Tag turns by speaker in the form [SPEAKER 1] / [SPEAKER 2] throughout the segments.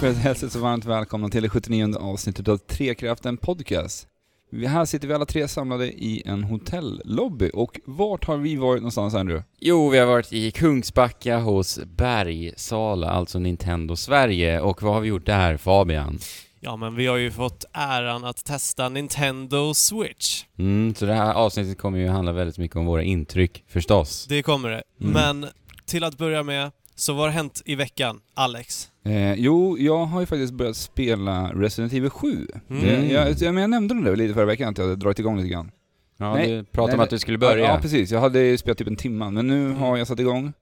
[SPEAKER 1] för att hälsa så varmt välkomna till det 79 avsnittet av Trekraften Podcast. Vi- Här sitter vi alla tre samlade i en hotellobby och vart har vi varit någonstans Andrew?
[SPEAKER 2] Jo, vi har varit i Kungsbacka hos Bergsala, alltså Nintendo Sverige. Och vad har vi gjort där, Fabian?
[SPEAKER 3] Ja, men vi har ju fått äran att testa Nintendo Switch.
[SPEAKER 2] Mm, så det här avsnittet kommer ju handla väldigt mycket om våra intryck, förstås.
[SPEAKER 3] Det kommer det.
[SPEAKER 1] Mm.
[SPEAKER 3] Men till att börja med, så vad har hänt i veckan, Alex?
[SPEAKER 1] Eh, jo, jag har ju faktiskt börjat spela Resident Evil 7.
[SPEAKER 3] Mm.
[SPEAKER 1] Det, jag, jag, men jag nämnde det lite förra veckan att jag hade dragit igång lite grann.
[SPEAKER 2] Ja,
[SPEAKER 1] Nej,
[SPEAKER 2] du pratade
[SPEAKER 1] nej,
[SPEAKER 2] om
[SPEAKER 1] nej.
[SPEAKER 2] att du skulle börja.
[SPEAKER 1] Ja, precis. Jag hade ju spelat typ en timme, men nu har jag satt igång.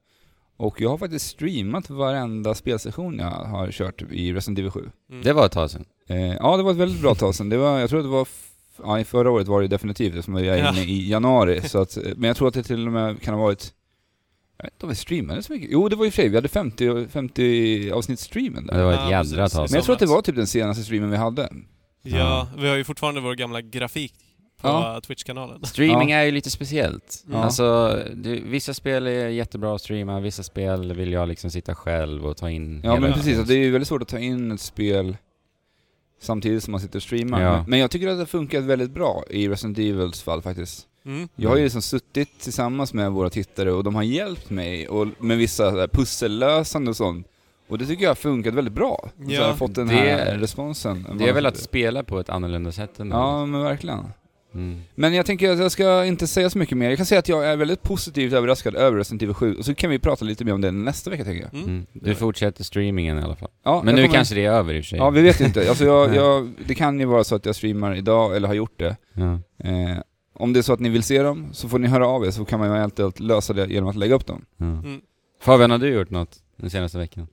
[SPEAKER 1] Och jag har faktiskt streamat varenda spelsession jag har kört i Resident Evil 7.
[SPEAKER 3] Mm.
[SPEAKER 2] det var ett tag sedan.
[SPEAKER 1] Eh, ja, det var ett väldigt bra tag sedan. Det var, jag tror att det var, f- ja, i förra året var det definitivt eftersom jag är
[SPEAKER 3] Ja.
[SPEAKER 1] inne i januari. Så att, eh, men jag tror att det till och med kan ha varit, jag vet inte om vi streamade så mycket. Jo, det var i och för sig, vi hade 50, 50 avsnitt streamen
[SPEAKER 2] Det
[SPEAKER 1] där.
[SPEAKER 2] var ett
[SPEAKER 3] Ja,
[SPEAKER 2] jädra
[SPEAKER 3] precis.
[SPEAKER 2] tag
[SPEAKER 1] Men
[SPEAKER 2] sedan.
[SPEAKER 1] jag tror att det var typ den senaste streamen vi hade.
[SPEAKER 3] Ja, vi har ju fortfarande vår gamla grafik på
[SPEAKER 1] Ja.
[SPEAKER 3] eh, Twitch-kanalen.
[SPEAKER 2] Streaming
[SPEAKER 1] Ja.
[SPEAKER 2] är ju lite speciellt.
[SPEAKER 1] Ja.
[SPEAKER 2] Alltså, du, vissa spel är jättebra att streama, vissa spel vill jag liksom sitta själv och ta in
[SPEAKER 1] Ja,
[SPEAKER 2] hela
[SPEAKER 1] men
[SPEAKER 3] Ja.
[SPEAKER 1] precis. Att det är ju väldigt svårt att ta in ett spel samtidigt som man sitter och streamar.
[SPEAKER 2] Ja.
[SPEAKER 1] Men jag tycker att det har funkat väldigt bra i Resident Evils fall faktiskt.
[SPEAKER 3] Mm.
[SPEAKER 1] Jag har ju liksom suttit tillsammans med våra tittare och de har hjälpt mig och med vissa så här pussellösande och sånt. Och det tycker jag har funkat väldigt bra. Och Så
[SPEAKER 3] Ja.
[SPEAKER 1] har jag fått den
[SPEAKER 2] Det-
[SPEAKER 1] här responsen.
[SPEAKER 2] Det är väl att spela på ett annorlunda sätt ändå.
[SPEAKER 1] Ja, men verkligen.
[SPEAKER 2] Mm.
[SPEAKER 1] Men jag tänker att jag ska inte säga så mycket mer. Jag kan säga att jag är väldigt positivt överraskad över Resident Evil 7. Och så kan vi prata lite mer om det nästa vecka tänker jag.
[SPEAKER 3] Mm.
[SPEAKER 2] Mm. Du fortsätter streamingen i alla fall.
[SPEAKER 1] Ja,
[SPEAKER 2] Men
[SPEAKER 1] jag
[SPEAKER 2] nu
[SPEAKER 1] kommer-
[SPEAKER 2] kanske det är över i och för sig.
[SPEAKER 1] Ja, vi vet inte. Alltså jag,
[SPEAKER 2] Nej.
[SPEAKER 1] jag, det kan ju vara så att jag streamar idag, eller har gjort det.
[SPEAKER 2] Ja.
[SPEAKER 1] Eh, om det är så att ni vill se dem, så får ni höra av er, så kan man ju eventuellt lösa det genom att lägga upp dem.
[SPEAKER 2] Ja.
[SPEAKER 3] Mm.
[SPEAKER 2] Fabian, har du gjort något den senaste veckan?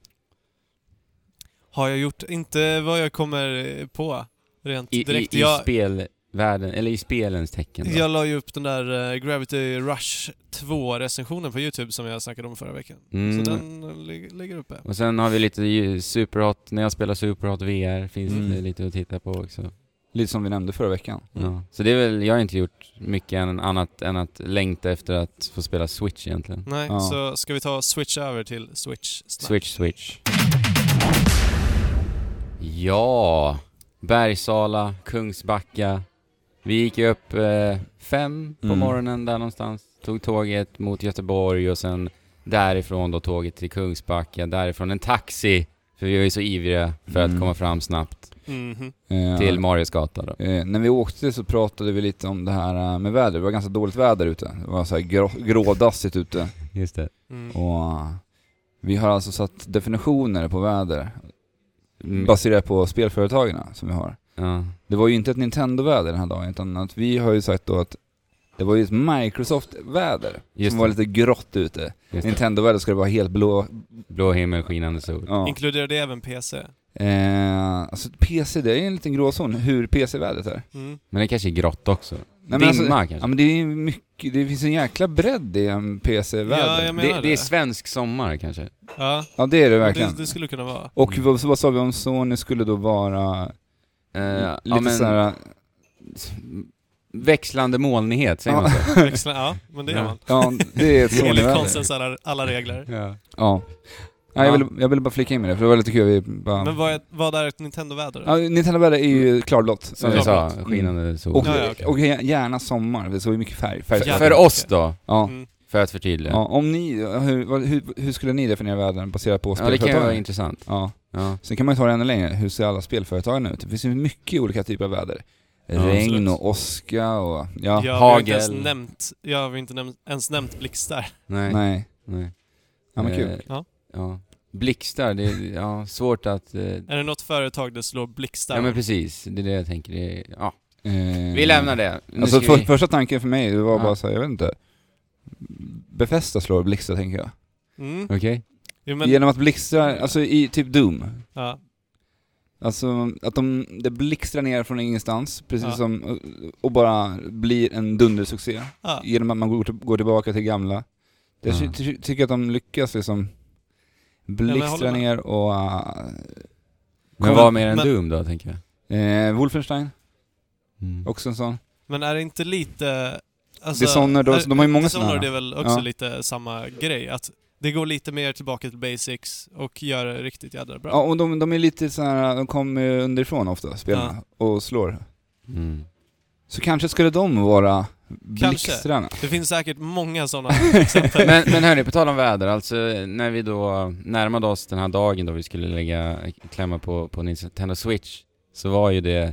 [SPEAKER 3] Har jag gjort, inte vad jag kommer eh, på rent
[SPEAKER 2] I, i,
[SPEAKER 3] direkt.
[SPEAKER 2] i
[SPEAKER 3] jag,
[SPEAKER 2] spelvärlden, eller i spelens tecken då?
[SPEAKER 3] jag la ju upp den där eh, Gravity Rush 2-recensionen på YouTube som jag snackade om förra veckan.
[SPEAKER 2] Mm.
[SPEAKER 3] Så den eh, lig- ligger uppe.
[SPEAKER 2] Och sen har vi lite ju- Superhot, när jag spelar Superhot VR finns
[SPEAKER 1] Mm.
[SPEAKER 2] det lite att titta på också.
[SPEAKER 1] Lite som vi nämnde förra veckan.
[SPEAKER 3] Mm.
[SPEAKER 2] Ja. Så det är väl, jag har inte gjort mycket än- annat än att längta efter att få spela Switch egentligen.
[SPEAKER 3] Nej,
[SPEAKER 1] Ja.
[SPEAKER 3] så ska vi ta och switch över till Switch snabbt.
[SPEAKER 2] Switch, Switch. Ja, Bergsala, Kungsbacka. Vi gick ju upp eh, fem på
[SPEAKER 1] Mm.
[SPEAKER 2] morgonen där någonstans. Tog tåget mot Göteborg och sen därifrån då tåget till Kungsbacka. Därifrån en taxi, för vi var ju så ivriga för
[SPEAKER 1] Mm.
[SPEAKER 2] att komma fram snabbt
[SPEAKER 3] Mhm.
[SPEAKER 1] Eh,
[SPEAKER 2] till Marius gata då.
[SPEAKER 1] eh, när vi åkte så pratade vi lite om det här eh, med väder. Det var ganska dåligt väder ute. Det var så här grå, grådassigt ute.
[SPEAKER 2] Just det.
[SPEAKER 3] Mm.
[SPEAKER 1] Och eh, vi har alltså satt definitioner på väder
[SPEAKER 2] Mm.
[SPEAKER 1] baserat på spelföretagen som vi har.
[SPEAKER 2] Ja.
[SPEAKER 1] Det var ju inte ett Nintendo-väder den här dagen, utan att vi har ju sagt då att det var ju ett Microsoft-väder
[SPEAKER 2] Just
[SPEAKER 1] som
[SPEAKER 2] det.
[SPEAKER 1] var lite grått ute.
[SPEAKER 2] Just det.
[SPEAKER 1] Nintendo-väder ska det vara helt blå.
[SPEAKER 2] Blå himmel, skinande sol.
[SPEAKER 1] Ja.
[SPEAKER 3] Inkluderar det även PC?
[SPEAKER 1] Eh, alltså PC, det är en liten gråzon hur PC-vädret är.
[SPEAKER 3] Mm.
[SPEAKER 2] Men det kanske är grått också.
[SPEAKER 1] Nej, men
[SPEAKER 2] Dimma
[SPEAKER 1] alltså-
[SPEAKER 2] kanske.
[SPEAKER 1] Ja men det är mycket, det finns en jäkla bredd i en
[SPEAKER 3] Ja,
[SPEAKER 1] PC-väder. Ja,
[SPEAKER 3] jag menar
[SPEAKER 2] det,
[SPEAKER 3] det.
[SPEAKER 2] det är svensk sommar kanske. Eh,
[SPEAKER 3] ja,
[SPEAKER 1] det är det verkligen.
[SPEAKER 3] det, det skulle kunna vara.
[SPEAKER 1] Och vad, vad sa vi om Sony skulle då vara
[SPEAKER 2] Eh,
[SPEAKER 1] Mm. lite
[SPEAKER 2] ja, men-
[SPEAKER 1] såhär,
[SPEAKER 2] Växlande molnighet, säger man så?
[SPEAKER 3] Växla, ja, men det gör
[SPEAKER 2] Ja.
[SPEAKER 3] man.
[SPEAKER 1] ja det är ett
[SPEAKER 3] Enligt
[SPEAKER 1] Sony-väder.
[SPEAKER 3] konstens alla, alla regler.
[SPEAKER 1] Ja. Nej, jag,
[SPEAKER 2] Ja.
[SPEAKER 1] ville, jag ville bara flika in med det, för det var lite kul. Vi bara...
[SPEAKER 3] Men vad är, vad är ett Nintendo-väder?
[SPEAKER 1] Ja, Nintendo-väder är ju klarblått.
[SPEAKER 2] Som vi
[SPEAKER 1] Ja.
[SPEAKER 2] sa,
[SPEAKER 3] Mm.
[SPEAKER 2] skinande sol.
[SPEAKER 1] Och,
[SPEAKER 3] Ja, ja, okej.
[SPEAKER 1] och gär- gärna sommar, det såg ju mycket färg. färg.
[SPEAKER 3] Ja.
[SPEAKER 2] För oss då,
[SPEAKER 1] Ja.
[SPEAKER 3] Mm.
[SPEAKER 2] för att förtydliga.
[SPEAKER 1] ja.
[SPEAKER 2] Ja,
[SPEAKER 1] Om ni, hur, vad- hur, hur skulle ni definiera världen baserat på
[SPEAKER 2] det kan ju vara
[SPEAKER 1] spelföretagen?
[SPEAKER 2] intressant.
[SPEAKER 1] Ja.
[SPEAKER 2] Ja.
[SPEAKER 1] Sen kan man ju ta det ännu längre, hur ser alla spelföretagen ut? Det finns ju mycket olika typer av väder.
[SPEAKER 2] Ja,
[SPEAKER 1] Regn
[SPEAKER 3] absolut.
[SPEAKER 1] och åska och,
[SPEAKER 3] Ja,
[SPEAKER 1] ja,
[SPEAKER 3] jag har inte ens
[SPEAKER 2] hagel.
[SPEAKER 3] nämnt, jag har inte nämnt, ens nämnt blixtar.
[SPEAKER 2] Nej. Nej.
[SPEAKER 1] nej. Ja men kul.
[SPEAKER 2] Eh,
[SPEAKER 3] Ja.
[SPEAKER 2] ja. Blixtar, det är ja, svårt att... Eh,
[SPEAKER 3] Är det något företag det slår blixtar?
[SPEAKER 2] ja men precis, det är det jag tänker. Det är, ja.
[SPEAKER 1] Eh,
[SPEAKER 2] Vi lämnar det. Nu
[SPEAKER 1] Alltså
[SPEAKER 2] ska
[SPEAKER 1] för,
[SPEAKER 2] vi...
[SPEAKER 1] första tanken för mig, det var
[SPEAKER 2] Ja.
[SPEAKER 1] bara såhär, jag vet inte. Befästa slår blixtar tänker jag.
[SPEAKER 3] mm.
[SPEAKER 2] Okej.
[SPEAKER 3] jo, men,
[SPEAKER 1] Genom att blixtrar, alltså i typ Doom,
[SPEAKER 3] ja.
[SPEAKER 1] Alltså att de, det blixtrar ner från ingenstans, precis
[SPEAKER 3] Ja.
[SPEAKER 1] som, och- och bara blir en dundersuccé.
[SPEAKER 3] Ja.
[SPEAKER 1] Genom att man går, till- går tillbaka till gamla. Jag ty,
[SPEAKER 2] Ja.
[SPEAKER 1] ty, tycker att de lyckas liksom
[SPEAKER 3] jag
[SPEAKER 1] blixtra
[SPEAKER 3] håller med.
[SPEAKER 1] ner och... äh,
[SPEAKER 2] Men vad mer än
[SPEAKER 3] Men-
[SPEAKER 2] Doom då, tänker jag.
[SPEAKER 1] eh, Wolfenstein,
[SPEAKER 2] Mm.
[SPEAKER 1] också en sån.
[SPEAKER 3] Men är det inte lite... Alltså,
[SPEAKER 1] Dishonored, de-
[SPEAKER 3] är-
[SPEAKER 1] de har ju många
[SPEAKER 3] Dishonored
[SPEAKER 1] sådana.
[SPEAKER 3] är väl också
[SPEAKER 1] Ja.
[SPEAKER 3] lite samma grej, att Det går lite mer tillbaka till basics och gör det riktigt jädra bra.
[SPEAKER 1] Ja, och de, de är lite så här, de kommer ju underifrån ofta, spelarna, och slår.
[SPEAKER 2] Mm.
[SPEAKER 1] Så kanske skulle de vara blixtrarna?
[SPEAKER 3] Det finns säkert många sådana exempel.
[SPEAKER 2] Men, men hörni, på tal om väder, alltså när vi då närmade oss den här dagen då vi skulle lägga klämma på, på Nintendo Switch, så var ju det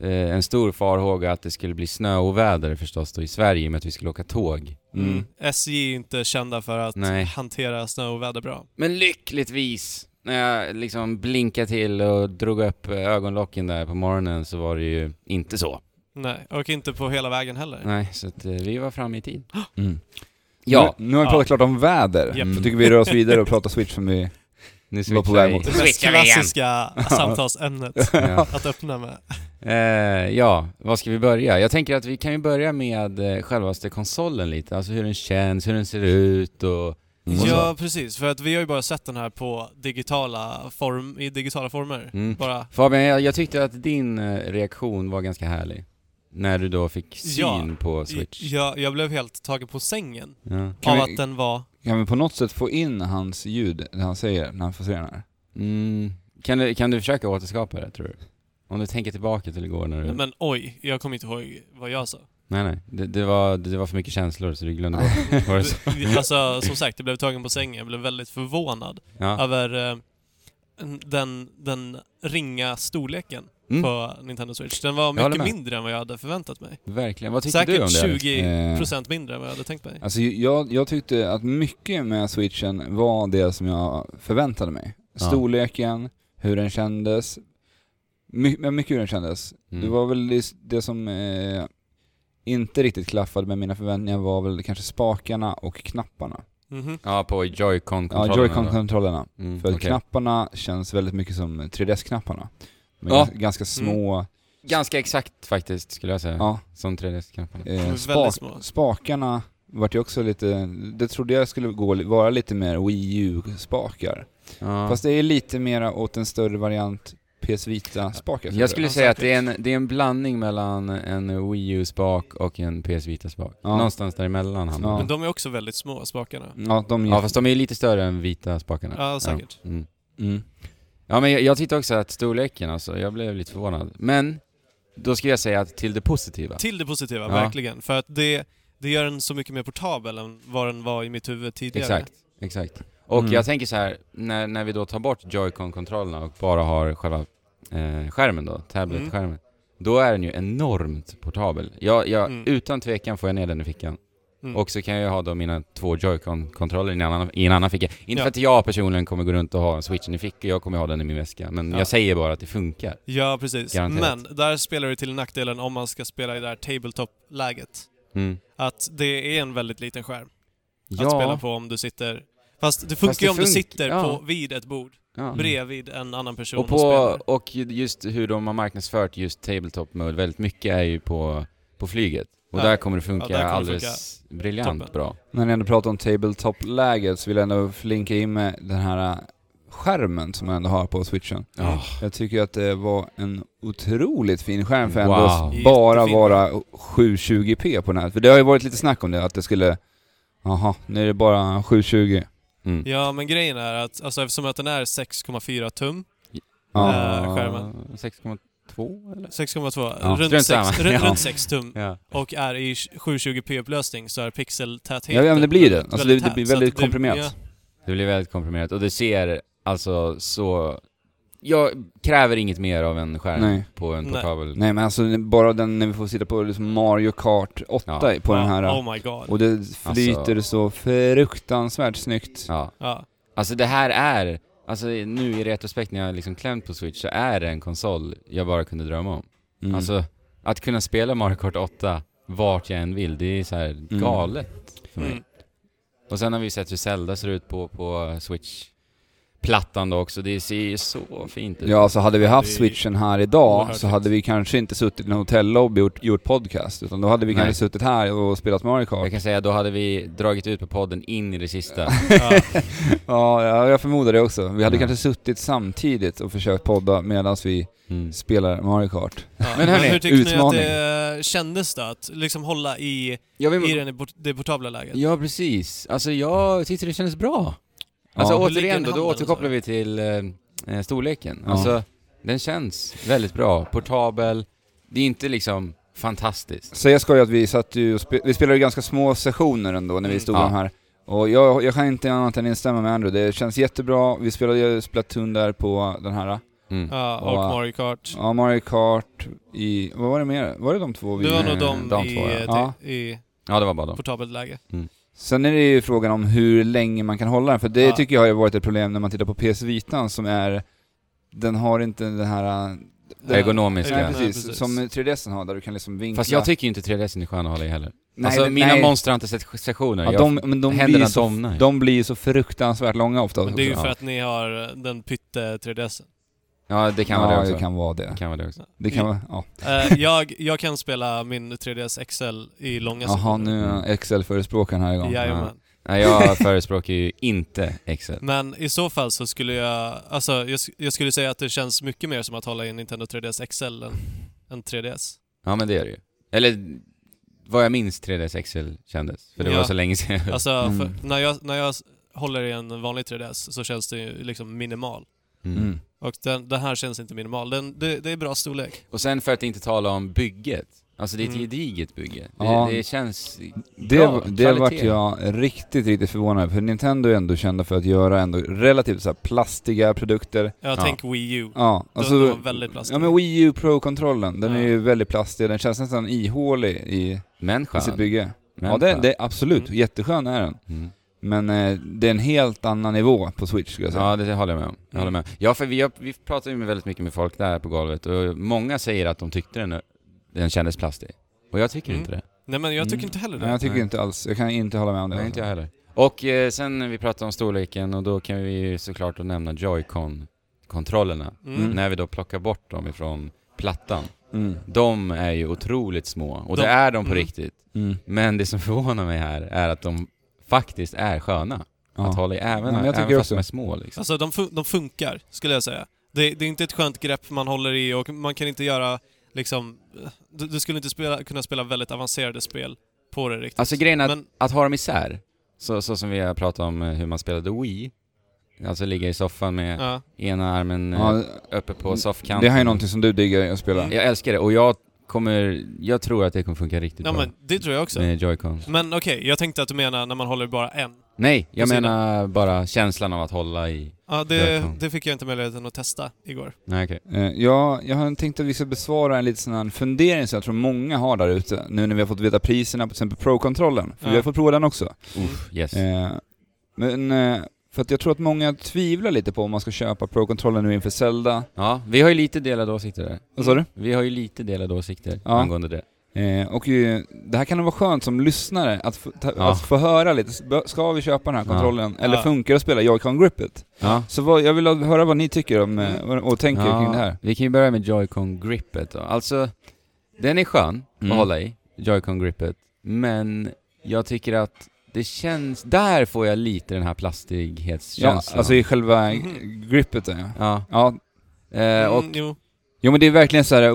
[SPEAKER 2] eh, en stor farhåga att det skulle bli snöoväder förstås då i Sverige i och med att vi skulle åka tåg.
[SPEAKER 1] Mm.
[SPEAKER 3] SJ är inte kända för att
[SPEAKER 2] Nej.
[SPEAKER 3] hantera snö och väder bra.
[SPEAKER 2] Men lyckligtvis, när jag liksom blinkade till och drog upp eh, ögonlocken där på morgonen så var det ju inte så.
[SPEAKER 3] Nej, och inte på hela vägen heller.
[SPEAKER 2] Nej, så att eh, vi var framme i tid.
[SPEAKER 1] Mm.
[SPEAKER 2] Ja,
[SPEAKER 1] Nu, nu har vi pratat klart om väder.
[SPEAKER 3] Japp.
[SPEAKER 1] Jag tycker vi rör oss vidare och pratar Switch som vi...
[SPEAKER 2] nu
[SPEAKER 1] var på väg
[SPEAKER 2] vi.
[SPEAKER 1] mot-
[SPEAKER 3] Det mest
[SPEAKER 2] Switchar vi igen.
[SPEAKER 3] klassiska samtalsämnet
[SPEAKER 2] Ja.
[SPEAKER 3] att öppna med.
[SPEAKER 2] Eh, ja, var ska vi börja? Jag tänker att vi kan ju börja med eh, självaste konsolen lite, alltså hur den känns, hur den ser ut och...
[SPEAKER 1] Mm.
[SPEAKER 2] och så.
[SPEAKER 3] Ja, precis. För att vi har ju bara sett den här på digitala form, i digitala former.
[SPEAKER 2] Mm.
[SPEAKER 3] Bara.
[SPEAKER 2] Fabian, jag, jag tyckte att din eh, reaktion var ganska härlig. När du då fick syn
[SPEAKER 3] Ja,
[SPEAKER 2] på Switch.
[SPEAKER 3] Jag, jag blev helt tagen på sängen
[SPEAKER 2] Ja.
[SPEAKER 1] Kan
[SPEAKER 3] av
[SPEAKER 1] vi-
[SPEAKER 3] att den var...
[SPEAKER 1] Kan vi på något sätt få in hans ljud, när han säger, när han får se den här?
[SPEAKER 2] Mm. Kan, du, kan du försöka återskapa det, tror du? Om du tänker tillbaka till igår när du...
[SPEAKER 3] Men oj, jag kommer inte ihåg vad jag sa.
[SPEAKER 2] Nej, nej. Det, det, var, det var för mycket känslor så du glömde bort vad du sa.
[SPEAKER 3] Alltså, som sagt, jag blev tagen på sängen. Jag blev väldigt förvånad
[SPEAKER 2] Ja.
[SPEAKER 3] över eh, den, den ringa storleken
[SPEAKER 2] Mm.
[SPEAKER 3] på Nintendo Switch. Den var
[SPEAKER 2] håller
[SPEAKER 3] mycket
[SPEAKER 2] med.
[SPEAKER 3] mindre än vad jag hade förväntat mig.
[SPEAKER 2] Verkligen. Vad tyckte du om
[SPEAKER 3] Säkert
[SPEAKER 2] det? Alex?
[SPEAKER 3] 20%
[SPEAKER 2] Mm.
[SPEAKER 1] Eh.
[SPEAKER 3] procent mindre än vad jag hade tänkt mig.
[SPEAKER 1] Alltså jag, jag tyckte att mycket med switchen var det som jag förväntade mig.
[SPEAKER 2] Ja.
[SPEAKER 1] Storleken, hur den kändes. My, men mycket hur den kändes.
[SPEAKER 2] Mm.
[SPEAKER 1] Det var väl det- det som eh, inte riktigt klaffade med mina förväntningar var väl kanske spakarna och knapparna.
[SPEAKER 3] Mhm.
[SPEAKER 2] Ja, på Joy-Con-kontrollerna.
[SPEAKER 1] Ja,
[SPEAKER 2] då.
[SPEAKER 1] Joy-Con-kontrollerna.
[SPEAKER 2] Mm,
[SPEAKER 1] För att
[SPEAKER 2] okej.
[SPEAKER 1] knapparna känns väldigt mycket som 3DS-knapparna. De är
[SPEAKER 2] Ja.
[SPEAKER 1] gans- ganska små.
[SPEAKER 2] Ganska exakt faktiskt skulle jag säga.
[SPEAKER 1] Ja,
[SPEAKER 2] Som 3DS-knapparna.
[SPEAKER 1] eh,
[SPEAKER 3] väldigt
[SPEAKER 1] spak,
[SPEAKER 3] små.
[SPEAKER 1] spakarna vart ju också lite, det trodde jag skulle gå, vara lite mer Wii U-spakar.
[SPEAKER 2] Ja.
[SPEAKER 1] Fast det är lite mera åt en större variant PS Vita-spaken.
[SPEAKER 2] jag skulle
[SPEAKER 3] Ja,
[SPEAKER 2] säga att
[SPEAKER 3] säkert.
[SPEAKER 2] det är, en, det är en blandning mellan en Wii U-spak och en PS Vita-spak.
[SPEAKER 1] Ja.
[SPEAKER 2] Någonstans däremellan hamnar
[SPEAKER 1] Ja.
[SPEAKER 2] ja.
[SPEAKER 3] Men de är också väldigt små, spakarna.
[SPEAKER 1] Ja, de
[SPEAKER 2] ja, fast de är ju lite större än vita spakarna.
[SPEAKER 3] Ja, säkert.
[SPEAKER 2] Ja, mm.
[SPEAKER 1] Mm.
[SPEAKER 2] ja men jag, jag tyckte också att storleken alltså, jag blev lite förvånad. Men, då skulle jag säga att till det positiva.
[SPEAKER 3] Till det positiva,
[SPEAKER 2] Ja.
[SPEAKER 3] verkligen. För att det, det gör den så mycket mer portabel än vad den var i mitt huvud tidigare.
[SPEAKER 2] Exakt, exakt. Och
[SPEAKER 1] Mm.
[SPEAKER 2] jag tänker så här, när, när vi då tar bort Joy-Con-kontrollerna och bara har själva eh, skärmen då, tablet-skärmen, då är den ju enormt portabel. Jag, jag,
[SPEAKER 3] Mm.
[SPEAKER 2] Utan tvekan får jag ner den i fickan.
[SPEAKER 3] Mm.
[SPEAKER 2] Och så kan jag ha då mina två Joy-Con-kontroller i en annan, i en annan ficka. Inte
[SPEAKER 3] Ja.
[SPEAKER 2] för att jag personligen kommer gå runt och ha switchen i fickan, jag kommer ha den i min väska. Men
[SPEAKER 3] Ja.
[SPEAKER 2] jag säger bara att det funkar.
[SPEAKER 3] Ja, precis.
[SPEAKER 2] Garanterat.
[SPEAKER 3] Men där spelar det till nackdelen om man ska spela i det här tabletop-läget.
[SPEAKER 2] Mm.
[SPEAKER 3] Att det är en väldigt liten skärm
[SPEAKER 2] Ja,
[SPEAKER 3] att spela på om du sitter... Fast det funkar
[SPEAKER 2] Fast det
[SPEAKER 3] ju om du
[SPEAKER 2] funk-
[SPEAKER 3] sitter
[SPEAKER 2] ja.
[SPEAKER 3] på, vid ett bord,
[SPEAKER 2] ja.
[SPEAKER 1] Mm.
[SPEAKER 3] bredvid en annan person
[SPEAKER 2] Och,
[SPEAKER 3] och,
[SPEAKER 2] på,
[SPEAKER 3] spelar.
[SPEAKER 2] och ju- just hur de har marknadsfört just tabletop mode väldigt mycket är ju på, på flyget. Och
[SPEAKER 3] Ja.
[SPEAKER 2] där kommer det funka
[SPEAKER 3] Ja, där kommer det
[SPEAKER 2] alldeles briljant
[SPEAKER 3] Toppen.
[SPEAKER 2] bra.
[SPEAKER 1] När ni ändå pratar om tabletop-läget så vill jag ändå flinka in med den här äh, skärmen som jag ändå har på switchen.
[SPEAKER 2] Ja.
[SPEAKER 1] Jag tycker att det var en otroligt fin skärm för ändå
[SPEAKER 2] Wow.
[SPEAKER 1] att bara
[SPEAKER 3] Jättefin.
[SPEAKER 1] vara 720p på den här. För det har ju varit lite snack om det, att det skulle, jaha, nu är det bara 720.
[SPEAKER 2] Mm.
[SPEAKER 3] Ja, men grejen är att alltså, eftersom att den är 6,4 tum,
[SPEAKER 1] Ja.
[SPEAKER 3] Eh, skärmen.
[SPEAKER 2] 6,2 eller?
[SPEAKER 3] 6,2,
[SPEAKER 2] Ja,
[SPEAKER 3] runt,
[SPEAKER 2] strunt
[SPEAKER 3] 6,
[SPEAKER 2] samma.
[SPEAKER 3] runt,
[SPEAKER 2] Ja.
[SPEAKER 3] runt 6 tum
[SPEAKER 2] Ja.
[SPEAKER 3] och är i 720p-upplösning så är pixeltätheten
[SPEAKER 1] Ja, men det blir ju det.
[SPEAKER 3] väldigt
[SPEAKER 1] Alltså, det- det
[SPEAKER 3] tät,
[SPEAKER 1] blir
[SPEAKER 3] så att
[SPEAKER 1] väldigt
[SPEAKER 3] det-
[SPEAKER 1] komprimerat.
[SPEAKER 3] ja.
[SPEAKER 2] Det blir väldigt komprimerat och det ser alltså så... Jag kräver inget mer av en skärm
[SPEAKER 1] Nej.
[SPEAKER 2] på en
[SPEAKER 3] Nej.
[SPEAKER 2] portabel...
[SPEAKER 1] Nej men alltså bara den när vi får sitta på liksom Mario Kart 8
[SPEAKER 2] Ja. Alltså-
[SPEAKER 1] på den
[SPEAKER 3] Ja,
[SPEAKER 1] här.
[SPEAKER 3] Oh my god.
[SPEAKER 1] Och det flyter så fruktansvärt snyggt.
[SPEAKER 2] Ja.
[SPEAKER 3] Ja.
[SPEAKER 2] Alltså det här är... Alltså nu i retrospekt när jag liksom klämt på Switch så är det en konsol jag bara kunde drömma om.
[SPEAKER 1] Mm.
[SPEAKER 2] Alltså, att kunna spela Mario Kart 8 vart jag än vill, det är så här galet för mig.
[SPEAKER 3] Mm.
[SPEAKER 2] Och sen har vi sett hur Zelda ser ut på, på Switch. plattan då också. Det ser ju så fint ut.
[SPEAKER 1] Ja, alltså hade vi haft
[SPEAKER 3] Det är
[SPEAKER 1] switchen här idag
[SPEAKER 3] oerhört
[SPEAKER 1] så hade
[SPEAKER 3] fint.
[SPEAKER 1] vi kanske inte suttit i en hotellobby och gjort, gjort podcast, utan då hade vi
[SPEAKER 2] Nej.
[SPEAKER 1] kanske suttit här och spelat Mario Kart.
[SPEAKER 2] Jag kan säga, då hade vi dragit ut på podden in i det sista.
[SPEAKER 3] Ja.
[SPEAKER 1] Ja, ja, jag förmodar det också. Vi hade
[SPEAKER 2] Ja.
[SPEAKER 1] kanske suttit samtidigt och försökt podda medan vi
[SPEAKER 2] Mm.
[SPEAKER 1] spelar Mario Kart.
[SPEAKER 3] Ja.
[SPEAKER 1] Men hörni,
[SPEAKER 3] hur tyckte
[SPEAKER 1] utmaning.
[SPEAKER 3] ni att det kändes då? Att liksom hålla i,
[SPEAKER 2] Ja,
[SPEAKER 3] i den i port- det portabla läget?
[SPEAKER 2] ja, precis. Alltså jag tyckte det kändes bra. Alltså
[SPEAKER 1] Ja.
[SPEAKER 3] Hur ligger
[SPEAKER 2] återigen då, då
[SPEAKER 3] handen,
[SPEAKER 2] återkopplar
[SPEAKER 3] så?
[SPEAKER 2] vi till eh, eh, storleken.
[SPEAKER 1] Ja.
[SPEAKER 2] Alltså, den känns väldigt bra. Portabel. Det är inte liksom fantastiskt.
[SPEAKER 1] Så jag skojar att vi satt ju och spe- vi spelade ju ganska små sessioner ändå när vi
[SPEAKER 3] Mm.
[SPEAKER 1] stod
[SPEAKER 2] Ja.
[SPEAKER 1] de här. Och jag, jag kan inte annat än instämma med Andrew, det känns jättebra. Vi spelade ju Splatoon där på den här,
[SPEAKER 2] Mm.
[SPEAKER 3] Ja, och
[SPEAKER 1] Ja.
[SPEAKER 3] Mario Kart.
[SPEAKER 1] ja, Mario Kart i, vad var det mer? Var det de två vi...
[SPEAKER 3] Det var
[SPEAKER 2] eh,
[SPEAKER 3] nog de,
[SPEAKER 2] de
[SPEAKER 3] i,
[SPEAKER 2] två, ja.
[SPEAKER 3] eh,
[SPEAKER 1] Ja.
[SPEAKER 3] te- i
[SPEAKER 2] Ja, det var bara dem.
[SPEAKER 3] portabelt läge.
[SPEAKER 1] Sen är det ju frågan om hur länge man kan hålla den, för det
[SPEAKER 3] Ja.
[SPEAKER 1] tycker jag har ju varit ett problem när man tittar på PS Vitan som är, den har inte den här... äh, Den,
[SPEAKER 2] Ergonomiska.
[SPEAKER 1] ja,
[SPEAKER 3] Nej,
[SPEAKER 1] precis,
[SPEAKER 3] precis.
[SPEAKER 1] som 3DSen har där du kan liksom vinkla.
[SPEAKER 2] Fast jag tycker ju inte 3DSen är skön att hålla i heller.
[SPEAKER 1] nej,
[SPEAKER 2] alltså
[SPEAKER 1] det-
[SPEAKER 2] mina
[SPEAKER 1] nej.
[SPEAKER 2] monster har inte sett sessioner.
[SPEAKER 1] Ja,
[SPEAKER 2] Jag-
[SPEAKER 1] de, men de blir,
[SPEAKER 2] händerna
[SPEAKER 1] ju så,
[SPEAKER 2] domnar ju.
[SPEAKER 1] de blir ju så fruktansvärt långa ofta.
[SPEAKER 3] Men Eh, det är ju
[SPEAKER 1] också.
[SPEAKER 3] för
[SPEAKER 2] Ja.
[SPEAKER 3] att ni har eh, den pytte 3DS.
[SPEAKER 2] Ja, det kan
[SPEAKER 1] ja,
[SPEAKER 2] vara det
[SPEAKER 1] det
[SPEAKER 2] också.
[SPEAKER 1] kan vara
[SPEAKER 2] Det
[SPEAKER 1] det.
[SPEAKER 2] kan vara det också.
[SPEAKER 1] Det kan vara, ja.
[SPEAKER 3] Eh, jag, jag kan spela min 3DS XL i långa
[SPEAKER 1] Jaha,
[SPEAKER 3] sessioner.
[SPEAKER 1] nu är XL-förespråkaren här igång.
[SPEAKER 3] Jajamän.
[SPEAKER 2] Nej, jag förespråkar ju inte Excel.
[SPEAKER 3] Men i så fall så skulle jag... Alltså, jag, sk- jag skulle säga att det känns mycket mer som att hålla i en Nintendo 3DS XL än, än 3DS.
[SPEAKER 2] Ja, men det är det ju. Eller vad jag minns 3DS Excel kändes. För det
[SPEAKER 3] Ja.
[SPEAKER 2] var så länge sedan. jag-
[SPEAKER 3] Alltså,
[SPEAKER 1] Mm.
[SPEAKER 3] för, när, jag, när jag s- håller i en vanlig 3DS så känns det ju liksom minimal.
[SPEAKER 2] Mm.
[SPEAKER 1] Mm.
[SPEAKER 3] Och den, den här känns inte minimal. Den, det, det är bra storlek.
[SPEAKER 2] Och sen för att inte tala om bygget. Alltså det är ett
[SPEAKER 3] Mm.
[SPEAKER 2] gediget bygge.
[SPEAKER 1] Ja.
[SPEAKER 2] Det, det känns...
[SPEAKER 1] Det,
[SPEAKER 2] Bra,
[SPEAKER 1] det vart
[SPEAKER 2] kvalitet.
[SPEAKER 1] jag riktigt, riktigt förvånad över, för Nintendo är ändå kända för att göra ändå relativt så här plastiga produkter.
[SPEAKER 3] Jag
[SPEAKER 2] Ja.
[SPEAKER 3] tänker Wii U.
[SPEAKER 1] Ja,
[SPEAKER 3] Den
[SPEAKER 1] alltså,
[SPEAKER 3] var väldigt plastig.
[SPEAKER 1] Ja men Wii U Pro-kontrollen, den
[SPEAKER 3] Ja.
[SPEAKER 1] är ju väldigt plastig, den känns nästan ihålig i,
[SPEAKER 2] Men
[SPEAKER 1] i sitt
[SPEAKER 2] skön.
[SPEAKER 1] bygge.
[SPEAKER 2] Men
[SPEAKER 1] Alltså, ja det,
[SPEAKER 2] skön.
[SPEAKER 1] det absolut,
[SPEAKER 3] Mm.
[SPEAKER 1] jätteskön är den.
[SPEAKER 2] Mm.
[SPEAKER 1] Men eh, det är en helt annan nivå på Switch skulle jag säga.
[SPEAKER 2] Ja, det håller jag med om. Jag håller med. om. Ja, för vi, har, vi pratar ju med väldigt mycket med folk där på golvet och många säger att de tyckte den, den kändes plastig. Och jag tycker
[SPEAKER 3] Mm.
[SPEAKER 2] inte det.
[SPEAKER 3] Nej men jag tycker
[SPEAKER 1] Mm.
[SPEAKER 3] inte heller det.
[SPEAKER 1] Nej, jag tycker
[SPEAKER 2] Nej.
[SPEAKER 1] inte alls, jag kan inte hålla med om det.
[SPEAKER 2] Nej,
[SPEAKER 1] alltså.
[SPEAKER 2] inte jag heller. Och eh, sen när vi pratar om storleken och då kan vi ju såklart att nämna Joy-Con-kontrollerna.
[SPEAKER 3] Mm.
[SPEAKER 2] När vi då plockar bort dem ifrån plattan.
[SPEAKER 1] Mm.
[SPEAKER 2] De är ju otroligt små och
[SPEAKER 3] De-
[SPEAKER 2] det är de på
[SPEAKER 3] Mm.
[SPEAKER 2] riktigt.
[SPEAKER 1] Mm.
[SPEAKER 2] Men det som förvånar mig här är att de faktiskt är sköna
[SPEAKER 1] Ja.
[SPEAKER 2] att hålla i,
[SPEAKER 1] men
[SPEAKER 2] även,
[SPEAKER 1] jag tycker
[SPEAKER 2] även fast
[SPEAKER 1] också.
[SPEAKER 2] de är små liksom.
[SPEAKER 3] Alltså de, fun- de funkar, skulle jag säga. Det, det är inte ett skönt grepp man håller i och man kan inte göra liksom... Du, du skulle inte spela, kunna spela väldigt avancerade spel på det riktigt.
[SPEAKER 2] Alltså grejen är att,
[SPEAKER 3] Men-
[SPEAKER 2] att ha dem isär, så, så som vi har pratat om eh, hur man spelade Wii, alltså ligga i soffan med
[SPEAKER 3] Ja.
[SPEAKER 2] ena armen eh,
[SPEAKER 1] Ja, Mm.
[SPEAKER 2] uppe på soffkanten.
[SPEAKER 1] det här är någonting som du diggar att spela.
[SPEAKER 3] Mm.
[SPEAKER 2] Jag älskar det och jag kommer, jag tror att det kommer funka riktigt
[SPEAKER 3] ja,
[SPEAKER 2] bra
[SPEAKER 3] men det tror jag också. Mm.
[SPEAKER 2] med Joy-Con.
[SPEAKER 3] Men okej, jag tänkte att du menar när man håller bara en.
[SPEAKER 2] Nej, jag
[SPEAKER 3] På sidan.
[SPEAKER 2] menar bara känslan av att hålla i...
[SPEAKER 3] Ja,
[SPEAKER 2] Jag
[SPEAKER 3] det,
[SPEAKER 2] kan.
[SPEAKER 3] det fick jag inte möjligheten att testa igår.
[SPEAKER 2] Nej okej.
[SPEAKER 1] Eh, Ja, jag har tänkt att vi ska besvara en liten sån här fundering som jag tror många har där ute, nu när vi har fått veta priserna på till exempel Pro-kontrollen, för vi
[SPEAKER 3] Ja.
[SPEAKER 1] har fått prova den också.
[SPEAKER 2] Uff, yes.
[SPEAKER 1] Eh, Men, eh, för att jag tror att många tvivlar lite på om man ska köpa Pro-kontrollen nu inför Zelda.
[SPEAKER 2] Ja, vi har ju lite delade åsikter där.
[SPEAKER 1] Vad sa du?
[SPEAKER 2] Vi har ju lite delade åsikter
[SPEAKER 1] Ja.
[SPEAKER 2] angående det.
[SPEAKER 1] Eh, Och eh, det här kan nog vara skönt som lyssnare att få, ta,
[SPEAKER 2] Ja.
[SPEAKER 1] att få höra lite, S- bör- ska vi köpa den här
[SPEAKER 2] Ja.
[SPEAKER 1] kontrollen, eller
[SPEAKER 3] Ja.
[SPEAKER 1] funkar det att spela Joy-Con Grippet?
[SPEAKER 2] Ja.
[SPEAKER 1] Så vad, jag vill höra vad ni tycker om, eh,
[SPEAKER 2] Mm.
[SPEAKER 1] och och tänker kring det här.
[SPEAKER 2] Vi kan ju börja med Joy-Con grippet då. Alltså, den är skön
[SPEAKER 1] Mm.
[SPEAKER 2] att hålla i, Joy-Con grippet. Men jag tycker att det känns... Där får jag lite den här
[SPEAKER 1] Ja,
[SPEAKER 2] plastighetskänslan.
[SPEAKER 1] alltså i själva
[SPEAKER 2] Mm-hmm.
[SPEAKER 3] Mhm.
[SPEAKER 1] grippet där, ja.
[SPEAKER 2] ja.
[SPEAKER 1] Ja,
[SPEAKER 2] Eh, och...
[SPEAKER 3] Mm, jo.
[SPEAKER 1] Jo men det är verkligen så här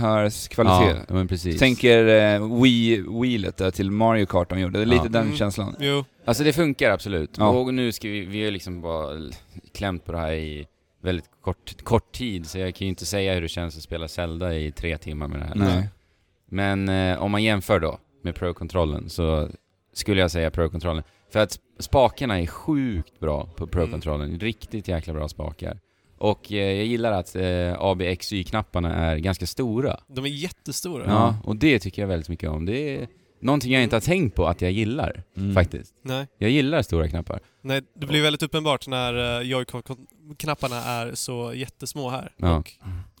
[SPEAKER 1] Wii-tillbehörskvalitet.
[SPEAKER 2] Ja, men precis.
[SPEAKER 1] Tänker eh, Wii-wheelet där till Mario Kart de gjorde, det är lite
[SPEAKER 2] Ja.
[SPEAKER 1] den
[SPEAKER 3] Mm.
[SPEAKER 1] känslan.
[SPEAKER 3] Jo.
[SPEAKER 2] Alltså det funkar absolut.
[SPEAKER 1] Ja.
[SPEAKER 2] Och nu ska vi, vi har ju liksom bara l- klämt på det här i väldigt kort, kort tid, så jag kan ju inte säga hur det känns att spela Zelda i tre timmar med det här.
[SPEAKER 1] Nej.
[SPEAKER 2] Men eh, om man jämför då med Pro-kontrollen så skulle jag säga Pro-kontrollen. För att spakarna är sjukt bra på Pro-kontrollen. Riktigt jäkla bra spakar. Och eh, jag gillar att eh, ABXY-knapparna är ganska stora.
[SPEAKER 3] De är jättestora.
[SPEAKER 2] Ja, och det tycker jag väldigt mycket om. Det är någonting jag inte har tänkt på att jag gillar,
[SPEAKER 1] Mm.
[SPEAKER 2] faktiskt.
[SPEAKER 3] Nej.
[SPEAKER 2] Jag gillar stora knappar.
[SPEAKER 3] Nej, det blir väldigt uppenbart när uh, Joy-Con-knapparna är så jättesmå här.
[SPEAKER 2] Ja.
[SPEAKER 3] Och,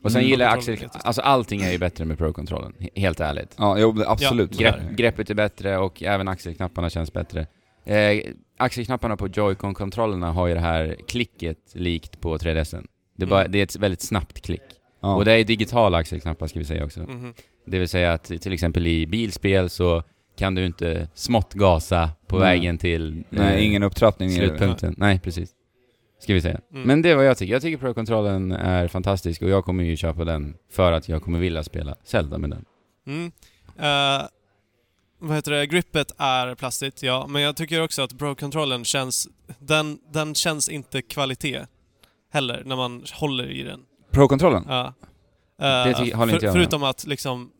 [SPEAKER 2] Och sen
[SPEAKER 1] Mm.
[SPEAKER 2] gillar jag axel...
[SPEAKER 3] Kontrollen är jättestor.
[SPEAKER 2] Alltså allting är ju bättre med Pro-kontrollen, he- helt ärligt.
[SPEAKER 1] Ja, jo, absolut.
[SPEAKER 3] Ja,
[SPEAKER 2] Grepp, greppet är bättre och även axelknapparna känns bättre. Eh, Eh, axelknapparna på Joy-Con-kontrollerna har ju det här klicket likt på 3DSen. Det, är bara,
[SPEAKER 3] Mm.
[SPEAKER 2] det är ett väldigt snabbt klick.
[SPEAKER 1] Ja.
[SPEAKER 2] Och det är digitala axelknappar ska vi säga också.
[SPEAKER 3] Mhm.
[SPEAKER 2] Det vill säga att till exempel i bilspel så kan du inte smått gasa på
[SPEAKER 1] Nej.
[SPEAKER 2] vägen till
[SPEAKER 1] Nej,
[SPEAKER 2] eh,
[SPEAKER 1] ingen upptrappning.
[SPEAKER 2] slutpunkten. Nej, precis. Ska vi säga.
[SPEAKER 3] Mm.
[SPEAKER 2] Men det är vad jag tycker. Jag tycker Pro-kontrollen är fantastisk och jag kommer ju köpa den för att jag kommer vilja spela Zelda med den.
[SPEAKER 3] Mm. Eh, vad heter det? Grippet är plastigt, ja. Men jag tycker också att Pro-kontrollen känns... Den, den känns inte kvalitet heller, när man håller i den.
[SPEAKER 1] Pro-kontrollen?
[SPEAKER 3] Ja.
[SPEAKER 2] Det tycker-
[SPEAKER 3] Eh,
[SPEAKER 2] håller inte jag med.
[SPEAKER 3] Förutom att liksom...